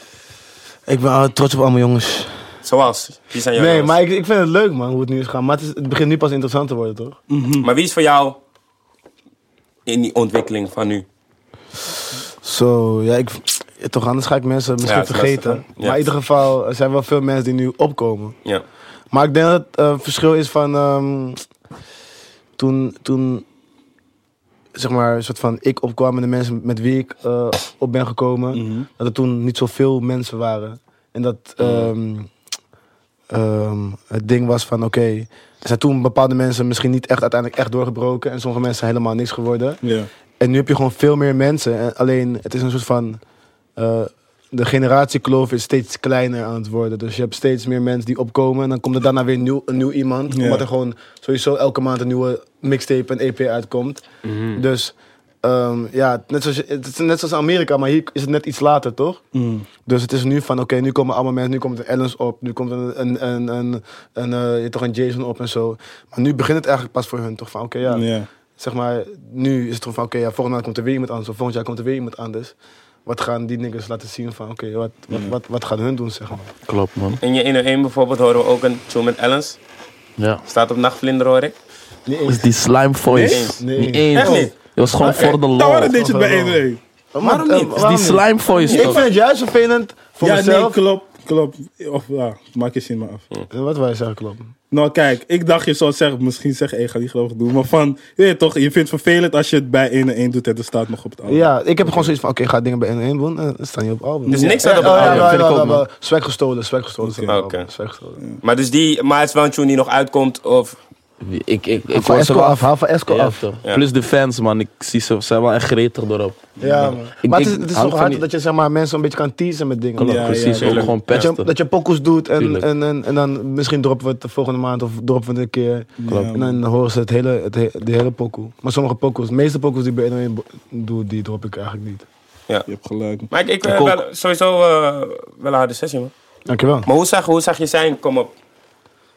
E: Ik ben altijd trots op allemaal jongens.
A: Zoals, wie zijn jouw
E: Nee,
A: jongens?
E: maar ik, ik vind het leuk man, hoe het nu is gaan. Maar het, is- het begint nu pas interessant te worden, toch?
A: Maar wie is voor jou in die ontwikkeling van nu?
E: Zo, ja, ik, ja, toch anders ga ik mensen misschien
A: het is
E: vergeten.
A: lastig, hè? Ja.
E: Maar in ieder geval, er zijn wel veel mensen die nu opkomen.
A: Ja.
E: Maar ik denk dat het eh, verschil is van ehm, toen, toen, zeg maar, een soort van ik opkwam en de mensen met wie ik eh, op ben gekomen, dat er toen niet zoveel mensen waren. En dat ehm, ehm, het ding was van, oké, er zijn toen bepaalde mensen misschien niet echt uiteindelijk echt doorgebroken en sommige mensen zijn helemaal niks geworden.
B: Ja.
E: En nu heb je gewoon veel meer mensen. En alleen het is een soort van. eh, de generatiekloof is steeds kleiner aan het worden. Dus je hebt steeds meer mensen die opkomen. En dan komt er daarna weer nieuw, een nieuw iemand.
B: Ja.
E: Omdat er gewoon sowieso elke maand een nieuwe mixtape en EP uitkomt. Dus ehm, ja, net zoals, je- het is net zoals Amerika, maar hier is het net iets later, toch?
B: Mm.
E: Dus het is nu van, oké, nu komen allemaal mensen, nu komt een Ellens op, nu komt een, een, een, een, een, eh, je hebt toch een Jason op en zo. Maar nu begint het eigenlijk pas voor hun, toch? Van, oké, ja,
B: Ja.
E: zeg maar, nu is het gewoon van, oké, ja, volgende maand komt er weer iemand anders. Of volgend jaar komt er weer iemand anders. Wat gaan die niggas laten zien van, oké, wat, wat,
H: Hmm.
E: wat, wat gaan hun doen, zeg maar.
H: Klopt, man.
A: In je 101 bijvoorbeeld horen we ook een tune met Ellens.
H: Ja.
A: Staat op nachtvlinder hoor ik.
E: Niet
H: Is
E: eens.
H: die slime voice.
E: Nee.
H: Niet eens.
A: Echt niet?
H: Het was gewoon
E: eh,
H: voor de
B: Daar waren
H: lol.
B: dit je bij
E: Waarom?
B: 1
E: Waarom
A: niet?
E: eh,
A: Is
H: Is die
E: waarom niet?
H: slime voice,
E: Ik
H: toch?
E: vind het juist vervelend voor
B: Ja, nee,
E: mezelf.
B: klopt. Klopt. Of ja, maak je zin maar af.
E: Wat wij zeggen, klopt.
B: Nou, kijk, ik dacht je zou zeggen, misschien zeg ik ga niet geloven doen. Maar van, je weet toch, je vindt het vervelend als je het bij 1 en 1 doet en er staat nog op het andere.
E: Ja, ik heb gewoon zoiets van, oké, ga dingen bij N1 doen en dan staan je op album.
A: Dus
E: Ja.
A: niks staat op
E: Ja,
A: het
E: oh,
A: album,
E: Ja,
H: vind
E: ja,
H: ik
E: ja,
H: ook,
E: ja,
H: man. Ah,
E: ja. Swag gestolen, swag gestolen. staat op het
A: Oké.
E: album, swag gestolen.
A: Maar, dus die, maar het is wel een tune die nog uitkomt. Of,
H: Ik, ik, ik, ik
E: Van
H: was er
E: Esco
H: wel
E: af, haal van Esco
H: Ja,
E: af.
H: toch.
A: Ja.
H: Plus de fans, man. Ik zie ze zijn wel echt gretig erop.
E: Ja, man.
H: Ik-
E: Maar het
H: ik
E: is, het is
H: hou
E: toch
H: van
E: hard
H: die-
E: dat je zeg maar, mensen een beetje kan teasen met dingen.
H: Klopt,
B: Ja,
H: precies.
B: ja,
H: ook
B: tuurlijk.
H: gewoon
E: Dat je,
H: pesten.
E: dat je pokoes doet en,
H: Tuurlijk.
E: en, en, en dan misschien droppen we het de volgende maand of droppen we het een keer.
B: Klopt.
E: En dan horen ze het hele, het, he- de hele pokoe. Maar sommige pokoes, de meeste pokoes die ik bij NOE bo- doe, die drop ik eigenlijk niet.
B: Je hebt gelijk.
A: maar ik, ik, eh,
H: Ik ook.
A: wel, sowieso eh, wel een harde sessie man.
E: Dankjewel.
A: Maar hoe zag, hoe zag je zijn kom op?
E: Zij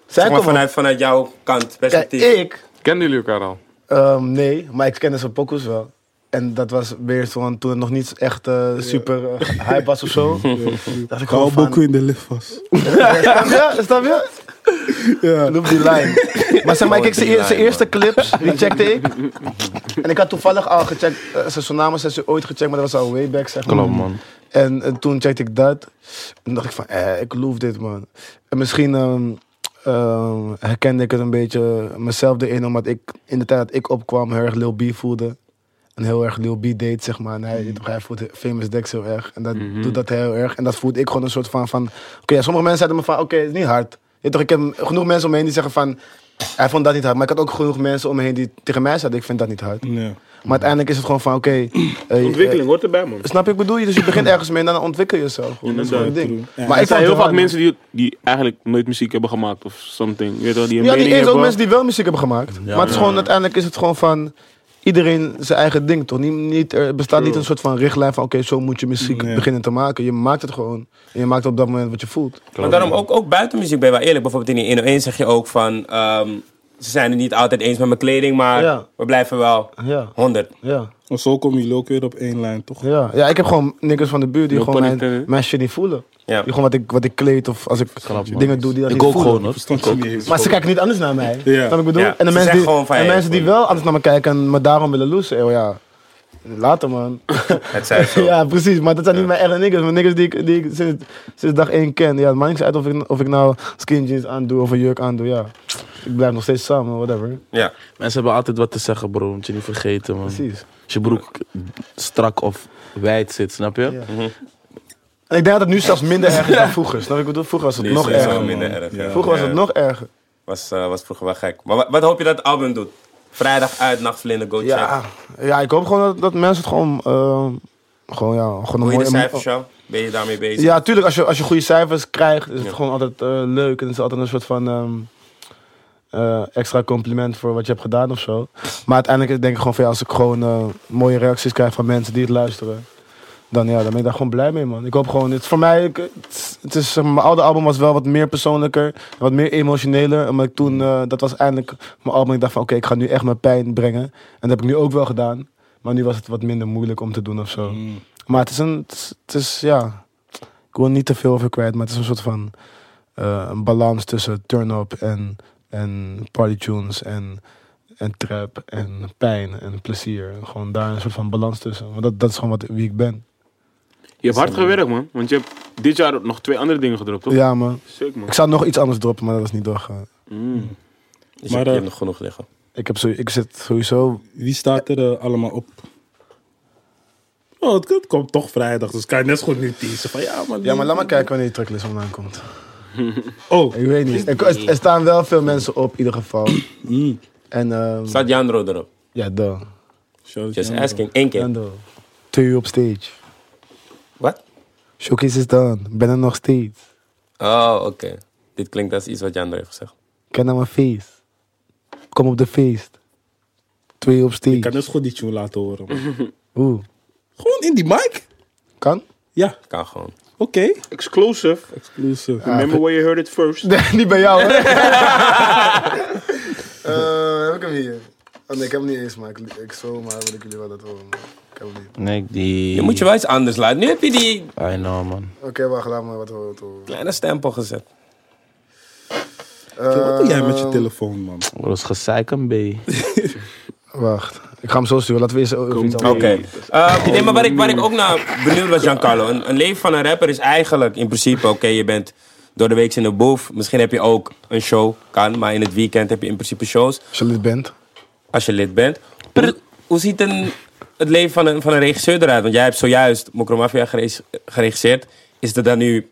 A: Zeg maar
E: komen
A: vanuit, vanuit jouw kant,
E: Kijk,
A: perspectief.
E: ik,
F: Kennen jullie elkaar al?
E: ehm, nee, maar ik kende zijn pokoes wel. En dat was weer zo'n, toen het nog niet echt eh, super eh, hype was of zo. dacht ik gewoon van...
B: Kouboku in de lift was.
E: Snap je? Snap je?
B: Ja.
E: Noem die lijn. Maar zeg maar,
H: Oh,
E: ik zijn eer- zijn eerste clips, die checkte ik. En ik had toevallig al gecheckt, eh, zijn tsunami sessie ooit gecheckt, maar dat was al way back, zeg maar.
H: Klopt, man.
E: En eh, toen checkte ik dat. En dacht ik van, eh, ik loof dit, man. En misschien ehm, ehm, herkende ik het een beetje mezelf erin, omdat ik in de tijd dat ik opkwam heel erg Lil B voelde. En heel erg Lil B deed, zeg maar. En hij,
D: Mhm.
E: hij voelt Famous Dex heel erg. En dat doet dat heel erg. En dat voelde ik gewoon een soort van... van Oké, ja, sommige mensen zeiden me van, oké, het is niet hard. Je weet toch, ik heb genoeg mensen om me heen die zeggen van... Hij vond dat niet hard. Maar ik had ook genoeg mensen om me heen die tegen mij zeiden, ik vind dat niet hard.
B: Ja.
E: Maar uiteindelijk is het gewoon van, oké... eh,
D: Mhm. Ontwikkeling hoort erbij, man.
E: Snap je, ik bedoel je? Dus je begint ergens mee en dan ontwikkel je jezelf. Gewoon. Dat is gewoon een
B: Inderdaad,
E: ding.
B: true. Ja.
E: Maar
D: Er
E: ik
D: zijn
E: vond
D: heel
E: het
D: vaak
E: hard.
D: mensen die, die eigenlijk nooit muziek hebben gemaakt of something. Je weet wel, die een
E: Ja, die
D: mening
E: is ook
D: hebben.
E: mensen die wel muziek hebben gemaakt. maar het is gewoon, uiteindelijk is het gewoon van... Iedereen zijn eigen ding, toch? Niet, niet, er bestaat niet een soort van richtlijn van... Oké, zo moet je muziek
B: Nee.
E: beginnen te maken. Je maakt het gewoon. En je maakt op dat moment wat je voelt.
A: Maar daarom ook, ook buiten muziek ben je wel eerlijk. Bijvoorbeeld in die 101 zeg je ook van... ehm, ze zijn het niet altijd eens met mijn kleding, maar
E: Ja.
A: we blijven wel
E: Ja,
A: 100.
E: ja,
B: En zo komen jullie ook weer op één lijn, toch?
E: ja. Ja, ik heb gewoon niggers van de buurt die
D: No
E: gewoon
D: pun
E: mijn,
D: intended.
E: mijn shit niet voelen.
A: Ja.
E: Die gewoon wat ik, wat ik kleed of als ik
H: man.
E: dingen doe die dat
H: Ik
E: niet
H: ook
E: voelen.
H: gewoon, hoor.
B: Verstand Dus je niet eens.
E: Maar ze kijken niet anders naar mij.
B: Ja.
E: Snap wat ik bedoel?
A: Ja,
E: En de
A: ze
E: mensen,
A: zeggen
E: die,
A: gewoon van,
E: en
A: hey,
E: mensen die wel anders naar me kijken en me daarom willen loesen. Oh ja, later man.
A: Het zij zo.
E: ja, precies. Maar dat zijn niet mijn echte niggers. Mijn niggers die ik, die ik sinds, sinds dag één ken. Ja, het maakt niks uit of ik, of ik nou skin jeans aandoe of een jurk aandoe. Ja, ik blijf nog steeds samen, whatever.
A: Ja.
H: Mensen hebben altijd wat te zeggen, bro. Moet je niet vergeten, man.
E: Precies.
H: Als je broek strak of wijd zit, snap je?
E: En ik denk dat het nu zelfs minder erg is dan vroeger. Snap je wat ik bedoel? Vroeger was het nog
A: Die is
E: erger.
A: sowieso minder erg.
B: Ja.
E: Vroeger was het nog erger.
A: Was, eh, was vroeger wel gek. Maar wat, wat hoop je dat het album doet? Vrijdag uit, nachtvlinder, go check.
E: Ja, ja, ik hoop gewoon dat, dat mensen het gewoon, eh, gewoon, ja, gewoon een
A: Goede
E: mooie...
A: cijfers, jou? Ben je daarmee bezig?
E: Ja, tuurlijk. Als je, als je goede cijfers krijgt, is het gewoon altijd eh, leuk. En het is altijd een soort van ehm, eh, extra compliment voor wat je hebt gedaan of zo. Maar uiteindelijk denk ik gewoon van ja, als ik gewoon eh, mooie reacties krijg van mensen die het luisteren. Dan, ja, dan ben ik daar gewoon blij mee, man. Ik hoop gewoon, het, voor mij, ik- het, het is, eh, mijn oude album was wel wat meer persoonlijker, wat meer emotioneler. Maar ik toen, eh, dat was eindelijk mijn album. Ik dacht van, oké, ik ga nu echt mijn pijn brengen. En dat heb ik nu ook wel gedaan. Maar nu was het wat minder moeilijk om te doen of zo. Maar het is een, het is- het is, ja, ik wil er niet te veel over kwijt, maar het is een soort van eh, een balans tussen turn-up en, en party tunes en, en trap en pijn en plezier. Gewoon daar een soort van balans tussen. Want dat, dat is gewoon wat, wie ik ben.
D: Je hebt hard gewerkt, man. Want je hebt dit jaar nog twee andere dingen gedropt, toch?
E: Ja, man.
D: Sick, man.
E: Ik zou nog iets anders droppen, maar dat is niet doorgegaan.
D: Mm.
A: Dus
B: Maar,
A: je, je
B: eh,
A: hebt nog genoeg liggen.
E: Ik, heb zo, ik zit sowieso...
B: Wie staat er eh, allemaal op? Oh, het, het komt toch vrijdag, dus kan je net zo goed nu teasen. Van, ja, maar,
E: Ja, maar laat maar kijken wanneer die tracklist online komt.
B: Oh,
E: Ik weet niet. Er, er- er staan wel veel mensen op, in ieder geval.
B: mm.
E: En ehm,
A: Staat Jandro erop?
E: ja, duh.
B: Shout out
A: Just
B: Jan.
A: asking. Eén keer.
E: En duh. Twee uur op stage.
A: Wat?
E: Showcase is done. Ben er nog steeds.
A: Oh, oké. Dit klinkt als iets wat Jandro heeft gezegd.
E: Ken naar mijn feest. Kom op de feest. Twee op
B: Ik kan
E: stage.
B: net zo goed die tune laten horen. man.
E: Oeh.
B: Gewoon in die mic?
E: Kan?
B: Ja,
A: Kan gewoon.
B: oké.
D: Exclusive.
B: Exclusive.
D: Remember where you heard it first.
E: Niet bij jou, hè? Eh, heb ik hem hier? Oh nee, ik heb hem niet eens, maar ik, ik zo, maar wil ik jullie wel dat horen. maar Ik heb hem niet.
H: Nee, die...
A: Je moet je wel iets anders laten. Nu heb je die
H: I know, man.
E: Oké, wacht, laat maar wat horen. Wat horen.
A: kleine stempel gezet.
B: Wat doe jij met je
E: Ehm,
B: telefoon, man?
H: Dat is gezeik een B.
E: Wacht, ik ga hem zo sturen. Laten we eerst over iets
A: Oké.
E: anders.
A: Eh, nee, maar waar ik, waar ik ook naar benieuwd was, Giancarlo. Een, een leven van een rapper is eigenlijk in principe... Oké, je bent door de week in de boef. Misschien heb je ook een show. Kan, maar in het weekend heb je in principe shows.
E: Als je lid bent.
A: Als je lid bent. Hoe, hoe ziet een, het leven van een, van een regisseur eruit? Want jij hebt zojuist Mokromafia geregisseerd. Is dat dan nu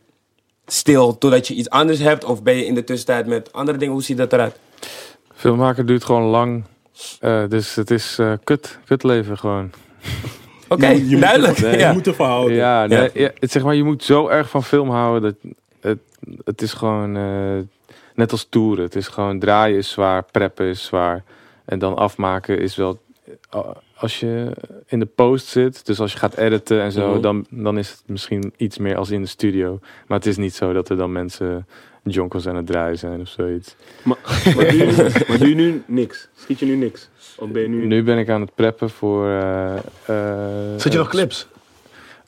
A: stil totdat je iets anders hebt? Of ben je in de tussentijd met andere dingen? Hoe ziet dat eruit?
F: Filmmaker duurt gewoon lang. Eh, dus het is eh, kut. Kut leven gewoon.
A: Oké, duidelijk.
B: Nee,
A: ja.
B: Je moet ervan
E: Oh,
B: houden.
F: Ja, nee, ja, het- zeg maar, je moet zo erg van film houden dat het, het is gewoon eh, net als toeren. Het is gewoon draaien is zwaar, preppen is zwaar. En dan afmaken is wel. eh, a- Als je in de post zit, dus als je gaat editen en zo,
A: Mhm.
F: dan, dan is het misschien iets meer als in de studio. Maar het is niet zo dat er dan mensen jonkels aan het draaien zijn of zoiets.
D: Maar doe, je, maar doe je nu niks? Schiet je nu niks? Of ben je nu...
F: Nu ben ik aan het preppen voor. eh, eh,
E: Zet je nog clips?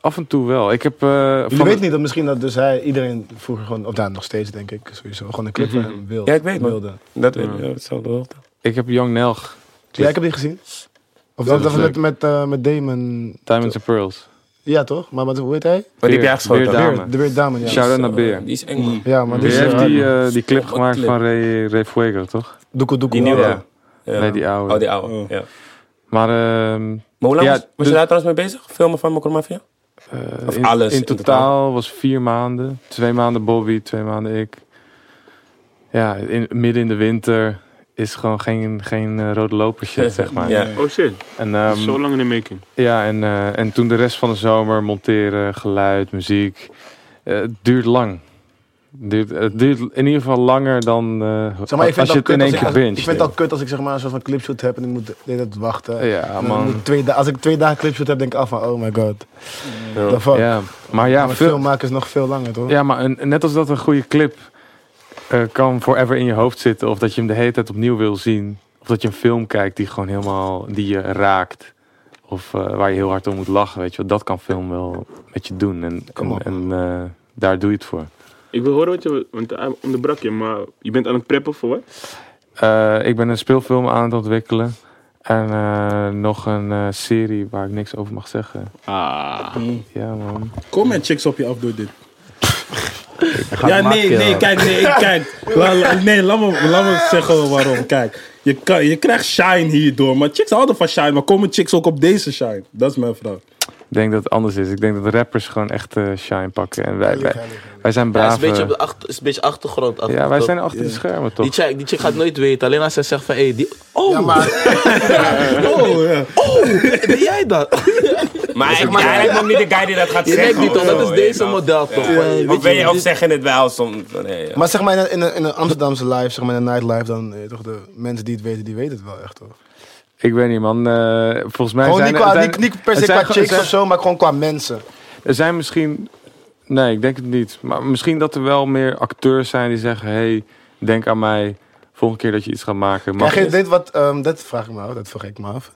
F: Af en toe wel. Ik heb. eh,
E: Je
F: van-
E: weet niet dat misschien dat dus hij iedereen vroeger gewoon, of daar nog steeds denk ik, sowieso, gewoon een clip van hem wil.
A: Ja, ik weet het.
E: wilde.
A: Dat weet ik. Ja, hetzelfde hoogte.
F: Ik heb Young Nelg,
E: Ja, ik heb die gezien. Of
F: Dat
E: dat,
F: is
E: dat
F: leuk.
E: met, met, eh, met Damon.
F: Diamonds and Pearls.
E: Ja, toch? Maar wat, hoe heet hij?
A: Wat heb
F: Beer-
A: jij geschoten?
F: Beer Dame.
E: Beer, de Beer Damon, ja.
F: Shout-out naar Beer.
A: dus, eh, Die is eng, man.
E: Ja, maar die
F: Die
E: is...
F: heeft
E: eh,
F: die, eh, die clip
A: Wat
F: gemaakt
A: clip?
F: van Ray, Ray Fuego, toch?
E: Doekoe Doekoe.
A: Die nieuwe.
E: ja.
A: Ja. Ja.
F: Nee, die oude.
A: Oh, die oude.
B: Oh.
A: Ja.
F: Maar ehm,
A: Maar hoe lang
F: Ja,
A: was, was
F: dus-
A: je daar trouwens mee bezig? Filmen van Mokromafia?
F: eh,
A: Of
F: in,
A: alles
F: in
A: in
F: totaal,
A: totaal?
F: was vier maanden. Twee maanden Bobby, twee maanden ik. Ja, in, midden in de winter is gewoon geen, geen eh, rode loper shit, zeg maar.
A: Ja.
D: Oh shit,
F: En, ehm,
D: zo lang in de making.
F: ja, en, eh, en toen de rest van de zomer monteren, geluid, muziek. Eh, het duurt lang. Duurt, het duurt in ieder geval langer dan eh,
E: Zeg maar, ik vind
F: als je
E: het
F: het in één keer
E: binge. Ik
F: binge.
E: vind het al kut als ik zeg maar een soort van clipshoot heb en ik moet de hele tijd wachten.
F: Ja,
E: En dan
F: man.
E: moet ik twee da- als ik twee dagen clipshoot heb, denk ik af van, oh my god. The fuck.
F: Ja, maar ja,
E: maar
F: veel,
E: film maken is nog veel langer, toch?
F: Ja, maar een, net als dat een goede clip eh, kan forever in je hoofd zitten. Of dat je hem de hele tijd opnieuw wil zien. Of dat je een film kijkt die gewoon helemaal die je raakt. Of eh, waar je heel hard om moet lachen, weet je wel. Dat kan film wel met je doen. En,
E: Kom
F: en,
E: op.
F: en, eh, daar doe je het voor.
D: Ik wil horen wat je... Want hij onderbrak je, maar je bent aan het preppen voor wat?
F: Eh, ik ben een speelfilm aan het ontwikkelen. En eh, nog een eh, serie waar ik niks over mag zeggen.
D: Ah.
F: Ja, man.
B: Kom met chicks op je af door dit.
H: Ga
B: Ja,
H: het
B: nee,
H: maken,
B: nee,
H: ja.
B: kijk, nee, ik- kijk. La- la- nee, laat me, laat me zeggen waarom. Kijk, je, kan, je krijgt shine hierdoor. Maar chicks houden van shine, maar komen chicks ook op deze shine? Dat is mijn vraag.
F: denk dat het anders is. Ik denk dat rappers gewoon echt eh, shine pakken. En wij,
E: Heilig,
F: wij,
E: heilig, heilig.
F: wij zijn
H: Ja, het is
F: brave.
H: een beetje, op de achter, is een beetje achtergrond.
F: Ja, wij zijn achter de
B: Ja.
F: schermen
H: Die
F: toch?
H: chick, die chick gaat nooit weten. Alleen als zij zegt van, hé, hey, die... Oh,
E: Ja, maar
B: Oh, ja.
H: ben jij dat?
A: Maar ik- jij lijkt me ook niet de guy die dat gaat
H: Je
A: zeggen.
H: denkt niet
A: of
H: toch, dat
A: zo,
H: is
A: weet je
H: deze
A: wel.
H: model toch?
A: Ja.
H: Van, hey,
A: Of
H: weet
A: ben je ook
H: dit-
A: zeggen het wel soms? Nee, ja.
E: Maar zeg maar in een, in een, in een Amsterdamse live, zeg maar in een nightlife, dan eh, toch de mensen die het weten, die weten het wel echt toch?
F: Ik weet niet, man. eh, volgens mij
E: Gewoon
F: zijn,
E: niet, qua,
F: zijn-
E: niet, niet per
F: er
E: se
F: zijn
E: qua
F: ge- er
E: chicks
F: zijn-
E: of zo, maar gewoon qua mensen.
F: Er zijn misschien... Nee, ik denk het niet. Maar misschien dat er wel meer acteurs zijn die zeggen... hey, denk aan mij volgende keer dat je iets gaat maken.
E: Krijg
F: Mag
E: je dit wat, ehm, dat vraag ik me af, dat vroeg ik me af.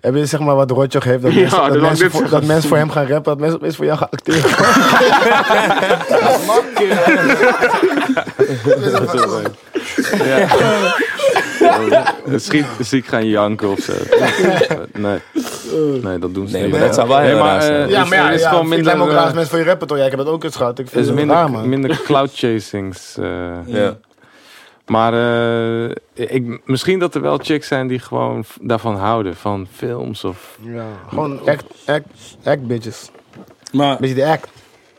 E: Heb je zeg maar wat Rotjoch heeft, dat,
F: Ja,
E: mensen, dat,
F: dat wou ik
E: mensen
F: net
E: voor,
F: zeggen.
E: dat mensen voor hem gaan rappen, dat mensen opeens voor jou gaan acteren?
F: Het Schiet ziek gaan janken of zo. nee. nee, dat doen ze
A: Nee,
F: niet.
A: maar dat zou wel heel raar zijn.
F: eh,
E: Ja,
F: dus
E: maar ja,
F: er is
E: ja,
F: gewoon
E: ik lijkt me ook
F: minder...
E: raar als
F: eh,
E: mensen voor je rappen toch? Ja, ik heb het ook eens gehad. Ik
F: Er
E: vind
F: is
E: het raar,
F: minder,
E: man.
F: minder cloud chasings. eh.
A: Ja.
F: Maar eh, ik, misschien dat er wel chicks zijn die gewoon f- daarvan houden. Van films of...
E: Ja, gewoon act, act, act bitches.
B: Maar,
E: Beetje de act.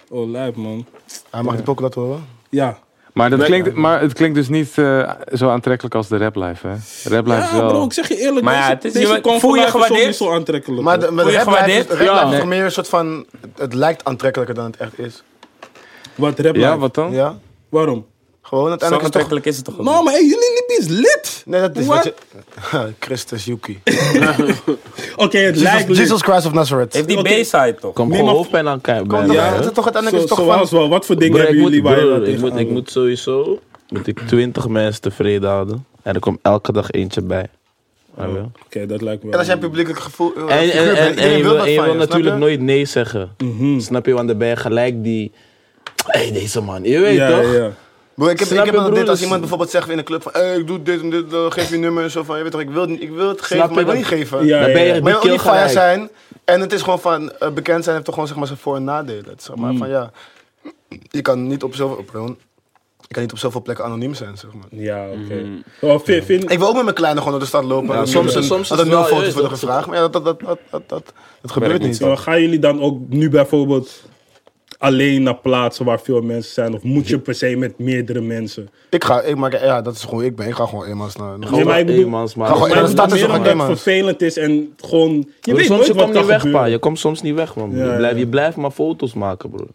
B: oh, lijp, man.
E: Hij mag die pokken dat horen.
B: Ja.
F: Maar, dat klinkt, maar het klinkt dus niet eh, zo aantrekkelijk als de rap life, hè? Rap life is
B: Ja,
F: wel...
B: bro, ik zeg je eerlijk.
A: Maar ja,
B: deze-
A: het is-
B: deze
A: je-
B: combo
A: voel je
B: life is
A: gewaardeerd?
B: soms niet zo aantrekkelijk.
E: Maar
B: hoor.
E: de, maar
A: Voel
E: de
A: je
E: rap life is,
A: gewaardeerd?
E: rap life is
F: nee.
E: toch meer een soort van... Het lijkt aantrekkelijker dan het echt is.
B: Wat rap
F: Ja,
B: life?
F: wat dan?
E: Ja?
B: Waarom?
E: Gewoon
A: Zo
E: uiteindelijk is het toch...
A: aantrekkelijk is het toch ook
B: Nou,
A: niet?
B: maar hey, jullie lippen is lit.
E: Nee, dat is
B: What?
E: wat je... Christus Yuki.
B: Oké, het lijkt
E: Jesus,
B: lit.
E: Jesus Christ of Nazareth.
A: Heeft die
B: Oké.
A: B-side toch?
H: Kom
B: Nee,
H: gewoon
B: maar-
H: hoofdpijn aan kijken.
E: Kom
H: bijna,
E: dan,
H: hè.
E: het is toch uiteindelijk
B: Zo,
E: is het toch
B: zoals
E: van...
B: wel, wat voor dingen
H: Broer, ik
B: hebben
H: moet,
B: jullie waar je
H: broer,
B: wat
H: ik, moet,
B: tegenaan
H: ik
B: wil?
H: moet sowieso moet ik 20 mensen tevreden houden. En er komt elke dag eentje bij. Ja, wel.
B: Oké, dat lijkt me
E: En
B: wel.
E: als jij een publiekelijk gevoel... eh,
H: En,
E: figuur
H: en,
E: bent,
H: en, en
E: iedereen
H: je
E: wil
H: wil,
E: dat
H: en je
E: van
H: wil
E: snap
H: natuurlijk
E: je?
H: nooit nee zeggen.
B: Mhm.
H: Snap je? Want er ben je gelijk die... Hé, hey, deze man. Je weet
B: Ja,
H: toch?
B: ja, ja.
E: Broer, ik heb, ik
H: Snap
E: heb
H: je,
E: altijd
H: broer?
E: dit als
H: Dus-
E: iemand bijvoorbeeld zegt in een club van... eh, ik doe dit en dit, eh, geef je nummer en zo van... Je weet toch, ik wil, niet- ik wil het geven,
H: Snap
E: maar ik wil
H: je
E: niet geven.
B: Ja,
H: Dan ben je
B: ja.
H: echt
E: Maar
H: die
E: je wil
H: kill
E: ook niet fire
H: gelijk.
E: zijn. En het is gewoon van, eh, bekend zijn heeft toch gewoon zeg maar zijn voor- en nadelen. Zeg
B: Mm.
E: maar van ja, je kan niet op zoveel, op, pardon. je kan niet op zoveel plekken anoniem zijn, zeg maar.
B: Ja, oké.
H: Mm.
B: Oh, vind, vind,
E: Ik wil ook met mijn kleine gewoon door de stad lopen. en
H: soms-
E: en-
H: soms is
E: dat
H: het
E: er nul
H: wel-
E: foto's
H: ja,
E: worden
H: dat-
E: gevraagd, maar ja, dat, dat, dat, dat, dat, dat, gebeurt niet.
B: Ja, oh, gaan jullie dan ook nu bijvoorbeeld alleen naar plaatsen waar veel mensen zijn? Of moet je per se met meerdere mensen?
E: Ik ga, ik maak, ja, dat is gewoon ik ben. Ik ga gewoon eenmaals naar. naar-
B: Nee, maar ik bedoel-
H: Eenmans, Oh, maar-
E: Ga gewoon-
B: Maar
E: dan
B: ik
E: staat er
B: bedoel
E: zo'n
B: meer omdat
E: man.
B: het vervelend is en gewoon... Je
H: Broer,
B: weet
H: soms
B: nooit
H: je
B: wat
H: komt
B: kan
H: niet weg, pa.
B: gebeuren.
H: Je komt soms niet weg, man.
B: Ja,
H: je, blijft,
B: ja.
H: je blijft maar foto's maken, broer.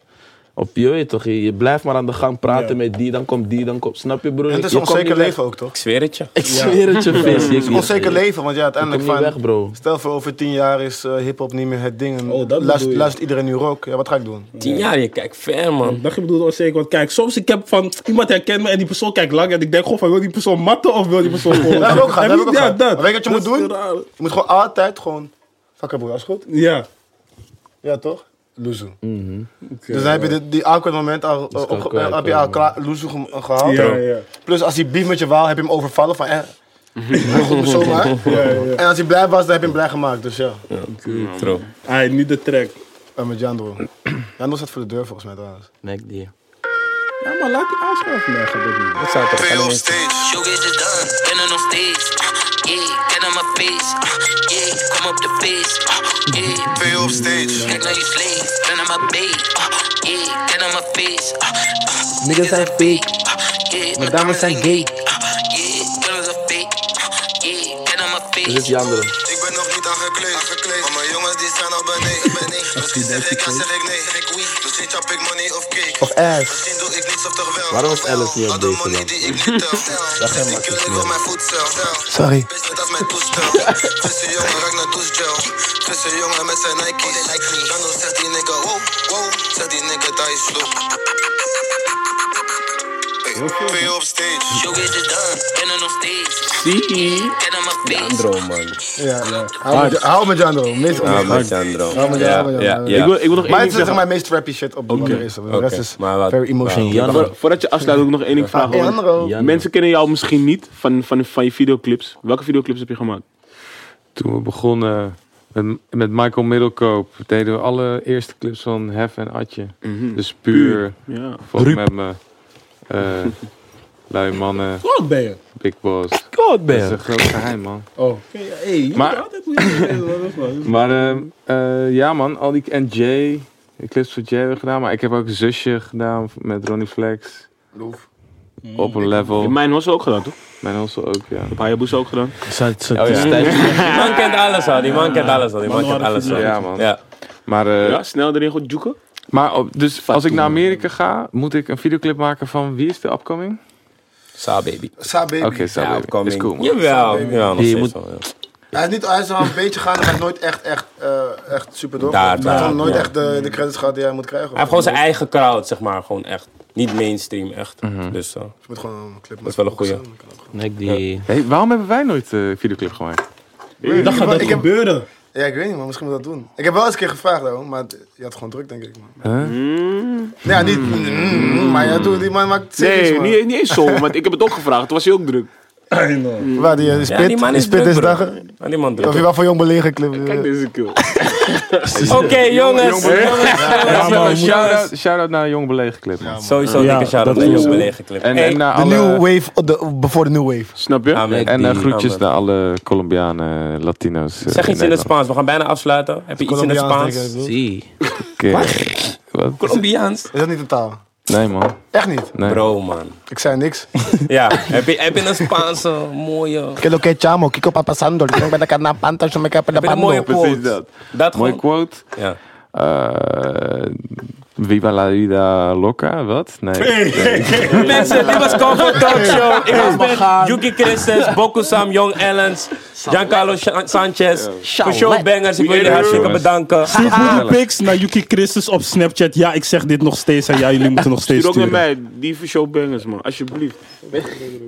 H: Of je weet toch, je, je blijft maar aan de gang praten
B: Ja.
H: met die, dan komt die, dan komt... Snap je, broer?
E: En het is
H: Je
E: een
H: komt
E: onzeker
H: niet weg.
E: leven ook, toch?
A: Ik zweer het je.
H: Ik zweer het je, vis.
E: Het is een onzeker leven, want ja, uiteindelijk
H: kom niet
E: van...
H: weg, bro.
E: Stel voor over tien jaar is eh, hip-hop niet meer het ding. En
B: Oh, dat
E: luist-
B: bedoel je.
E: luistert iedereen nu rock. Ja, wat ga ik doen?
A: Tien jaar, je kijkt ver man.
B: Dat je bedoelde onzeker, want kijk, soms ik heb van iemand herkent me en die persoon kijkt lang en ik denk gewoon van wil die persoon matten of wil die persoon gewoon...
E: Dat heb ik ook gehad,
B: En
E: dat heb ik
B: ja,
E: ook gehad.
B: dat.
E: Maar weet je wat je
B: Dat
E: moet
B: is
E: doen?
B: raar.
E: Je moet gewoon altijd gewoon. Fuck broer, als goed.
B: Ja.
E: Ja, toch? Loezoe. Dus dan heb je dit- die awkward moment al, eh, opge-
H: kwijt,
E: eh, heb je
H: ja,
E: al klaar, loezoe ge- eh, gehaald.
B: Ja, ja.
E: Plus als hij beef met je wou, heb je hem overvallen van eh. Goed, zomaar.
B: ja.
E: En als hij blij was, dan heb je hem blij gemaakt. Dus ja,
A: Trouw.
B: Ai, nu de track.
E: en met Jandro. Jandro staat voor de deur volgens mij trouwens.
H: Mac die.
B: Ja, maar laat die aanschuiven. Nee, gaat dat niet.
A: Dat zou toch gaan ineens-
I: Showcase is done, spinning on stage. Uh, yeah, get on my face. Uh, yeah, come up the face. Uh, yeah, pay off stage. Act like you slave, spin on my bait. Uh, yeah, get on my face. Uh, uh, niggas zijn fake. Uh, yeah, mijn dames zijn gay. Uh, yeah, girls are fake. Uh, yeah, get on my
H: Dit is
I: face.
H: die andere.
I: Ik ben nog niet aangekleed. aangekleed. Maar mijn jongens die staan al beneden. beneden. Misschien zeg ik ja, zeg ik nee. Ik wie? Misschien chop ik money of cake.
E: Of ass.
I: Misschien doe ik niets of toch wel.
H: Waarom is Alice niet op
I: Al de
H: deze
I: money
H: dan?
I: die ik niet tel. Zeg hem maar. Ik wil mijn voedsel.
E: Sorry.
I: Bitch, dat is mijn toestel. Frisse jongen, raak naar toestel. Frisse jongen met zijn Nike's. Dan nog zegt die nigga, wow, wow. Zegt die nigga, dat is slow. Pay op stage. Showcase is done. Binnen op stage.
A: Zie.
I: Get on my face.
A: Andro man.
E: Ja, ja. Hou met- Hou met Jandro. Meest
A: Ah,
E: ongeveer.
A: met Andro.
E: Ja, maar ja, maar ja, maar ja.
D: Ik wil, ik wil nog één
E: Maar het
D: ding
E: is zeg
D: zeggen.
E: maar meest trappy shit op de okay. is. De rest is
A: Maar wat-
E: very emotional.
H: Jan-
D: Voor- Voordat je afsluit wil ik nog één ding vragen.
E: Hey,
D: want
E: Jandro.
H: Ja.
D: Mensen kennen jou misschien niet van, van, van je videoclips. Welke videoclips heb je gemaakt?
F: Toen we begonnen met, met Michael Middelkoop... deden we alle eerste clips van Hef en Atje. Dus puur,
D: Ja.
F: volgens met me. Eh, Lui mannen,
B: Hoe oud ben je?
F: big boss.
C: God,
F: Dat is een groot geheim, man.
B: Oh. Oké, ja, hey, je
F: Maar-
B: moet altijd moeilijk spelen, man, dat is wel-
F: Maar ehm, eh, ja, man, al die en Jay, de clips voor Jay hebben we gedaan, maar ik heb ook zusje gedaan met Ronnie Flex. Op een level.
D: Mijn was ook gedaan, toch?
F: Mijn hostel ook, ja.
D: Heb Hayabusa ook gedaan?
F: Oh, ja.
A: Die man kent alles al, die man kent alles al, die man kent alles al.
F: ja, man.
A: Ja.
F: Maar, eh,
D: Ja, snel erin goed joeken.
F: maar op- dus als ik naar Amerika ga, moet ik een videoclip maken van wie is de upcoming?
A: Sa baby.
E: Sa baby.
F: Oké, sorry.
A: Ja,
F: is
A: opkoming.
F: cool, man.
A: Jawel, ja, nog
C: Je
A: steeds
C: moet-
A: wel, ja.
E: Hij is, niet, hij is wel een beetje gaan, maar hij heeft nooit echt, echt, eh, echt super door.
A: Daar,
E: Hij heeft
A: daar,
E: gewoon nooit
A: ja.
E: echt de, de credits gehad die hij moet krijgen.
A: Hij heeft gewoon zijn eigen crowd, zeg maar. Gewoon echt. Niet mainstream, echt. Dus eh,
E: Je moet gewoon een clip maken.
A: is wel een goeie.
C: Nek die.
F: Hey, waarom hebben wij nooit eh videoclip gemaakt?
B: Dat gaat dat
E: Ik heb-
B: gebeuren.
E: Ja, ik weet niet, maar misschien moet ik dat doen. Ik heb wel eens een keer gevraagd, hoor, maar het- je had gewoon druk, denk ik. Man. Ja, niet... mm, maar ja, doe, die man maakt series,
D: Nee,
E: man.
D: niet, niet eens zo, want ik heb het ook gevraagd. Toen was hij ook druk.
E: Waar die, eh, die spit,
A: Ja, die man is
E: spit
A: druk,
E: deze
A: bro.
E: dag.
A: Ja, die man
E: Of je
A: druk.
E: wel voor jong belegen clip.
D: Kijk deze kill.
A: Oké, jongens.
B: Ja, man, we moeten-
F: Shout-out shout-out naar een jong belegen clip, man.
A: Sowieso
B: Ja,
A: dikke shout-out
B: dat
A: naar
B: is
A: Jong
B: zo.
A: Belegen Clip.
F: En,
A: Hey,
F: en naar
E: De
F: alle...
E: new wave, of de- before de new wave.
D: Snap je?
A: Ahmed,
F: En eh,
A: die-
F: groetjes
A: Ahmed.
F: naar alle Colombianen, Latino's. eh,
A: Zeg iets in het
F: Nederland.
A: Spaans, we gaan bijna afsluiten. Heb je iets in het
E: Colombiaans,
A: Spaans?
E: denk ik,
C: Zie.
F: Oké. Wat?
A: Colombiaans?
E: Is dat niet een taal?
F: Nee, man.
E: Echt niet.
F: Nee.
A: Bro, man.
E: Ik zei niks.
A: Ja, heb je, heb je een Spaanse mooie.
E: Que lo que chamo, Kiko Papasando. Ik ben de carnapanta, je me heb de
A: Heb je een mooie
E: pando.
A: quote?
F: Precies dat.
A: Dat
F: Mooie
A: gewoon.
F: quote.
A: Ja.
F: Eh Viva la vida loca, wat? Nee.
A: Mensen, dit was Comfort Talk Show. Ik was met Yuki Christus, Bokusam, Young Ellens, Giancarlo Sa- Sanchez. Voor showbangers, ik wil jullie hartstikke bedanken.
B: Stuur booty pics naar Yuki Christus op Snapchat. Ja, ik zeg dit nog steeds en ja, jullie moeten nog steeds
D: Stuur ook naar
B: sturen.
D: mij, die voor showbangers, man. Alsjeblieft.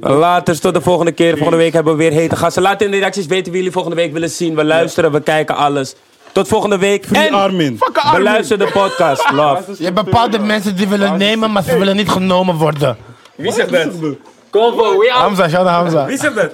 A: Later, tot de volgende keer. Volgende week hebben we weer hete gasten. Laat in de reacties weten wie jullie volgende week willen zien. We luisteren, we kijken alles. Tot volgende week.
B: Free
A: En
B: Armin.
A: beluister de podcast. Love.
E: Je hebt bepaalde mensen die willen nemen, maar ze willen niet genomen worden.
A: Wie zegt dat? Convo, we
E: Hamza, shout out Hamza.
A: Wie zegt dat?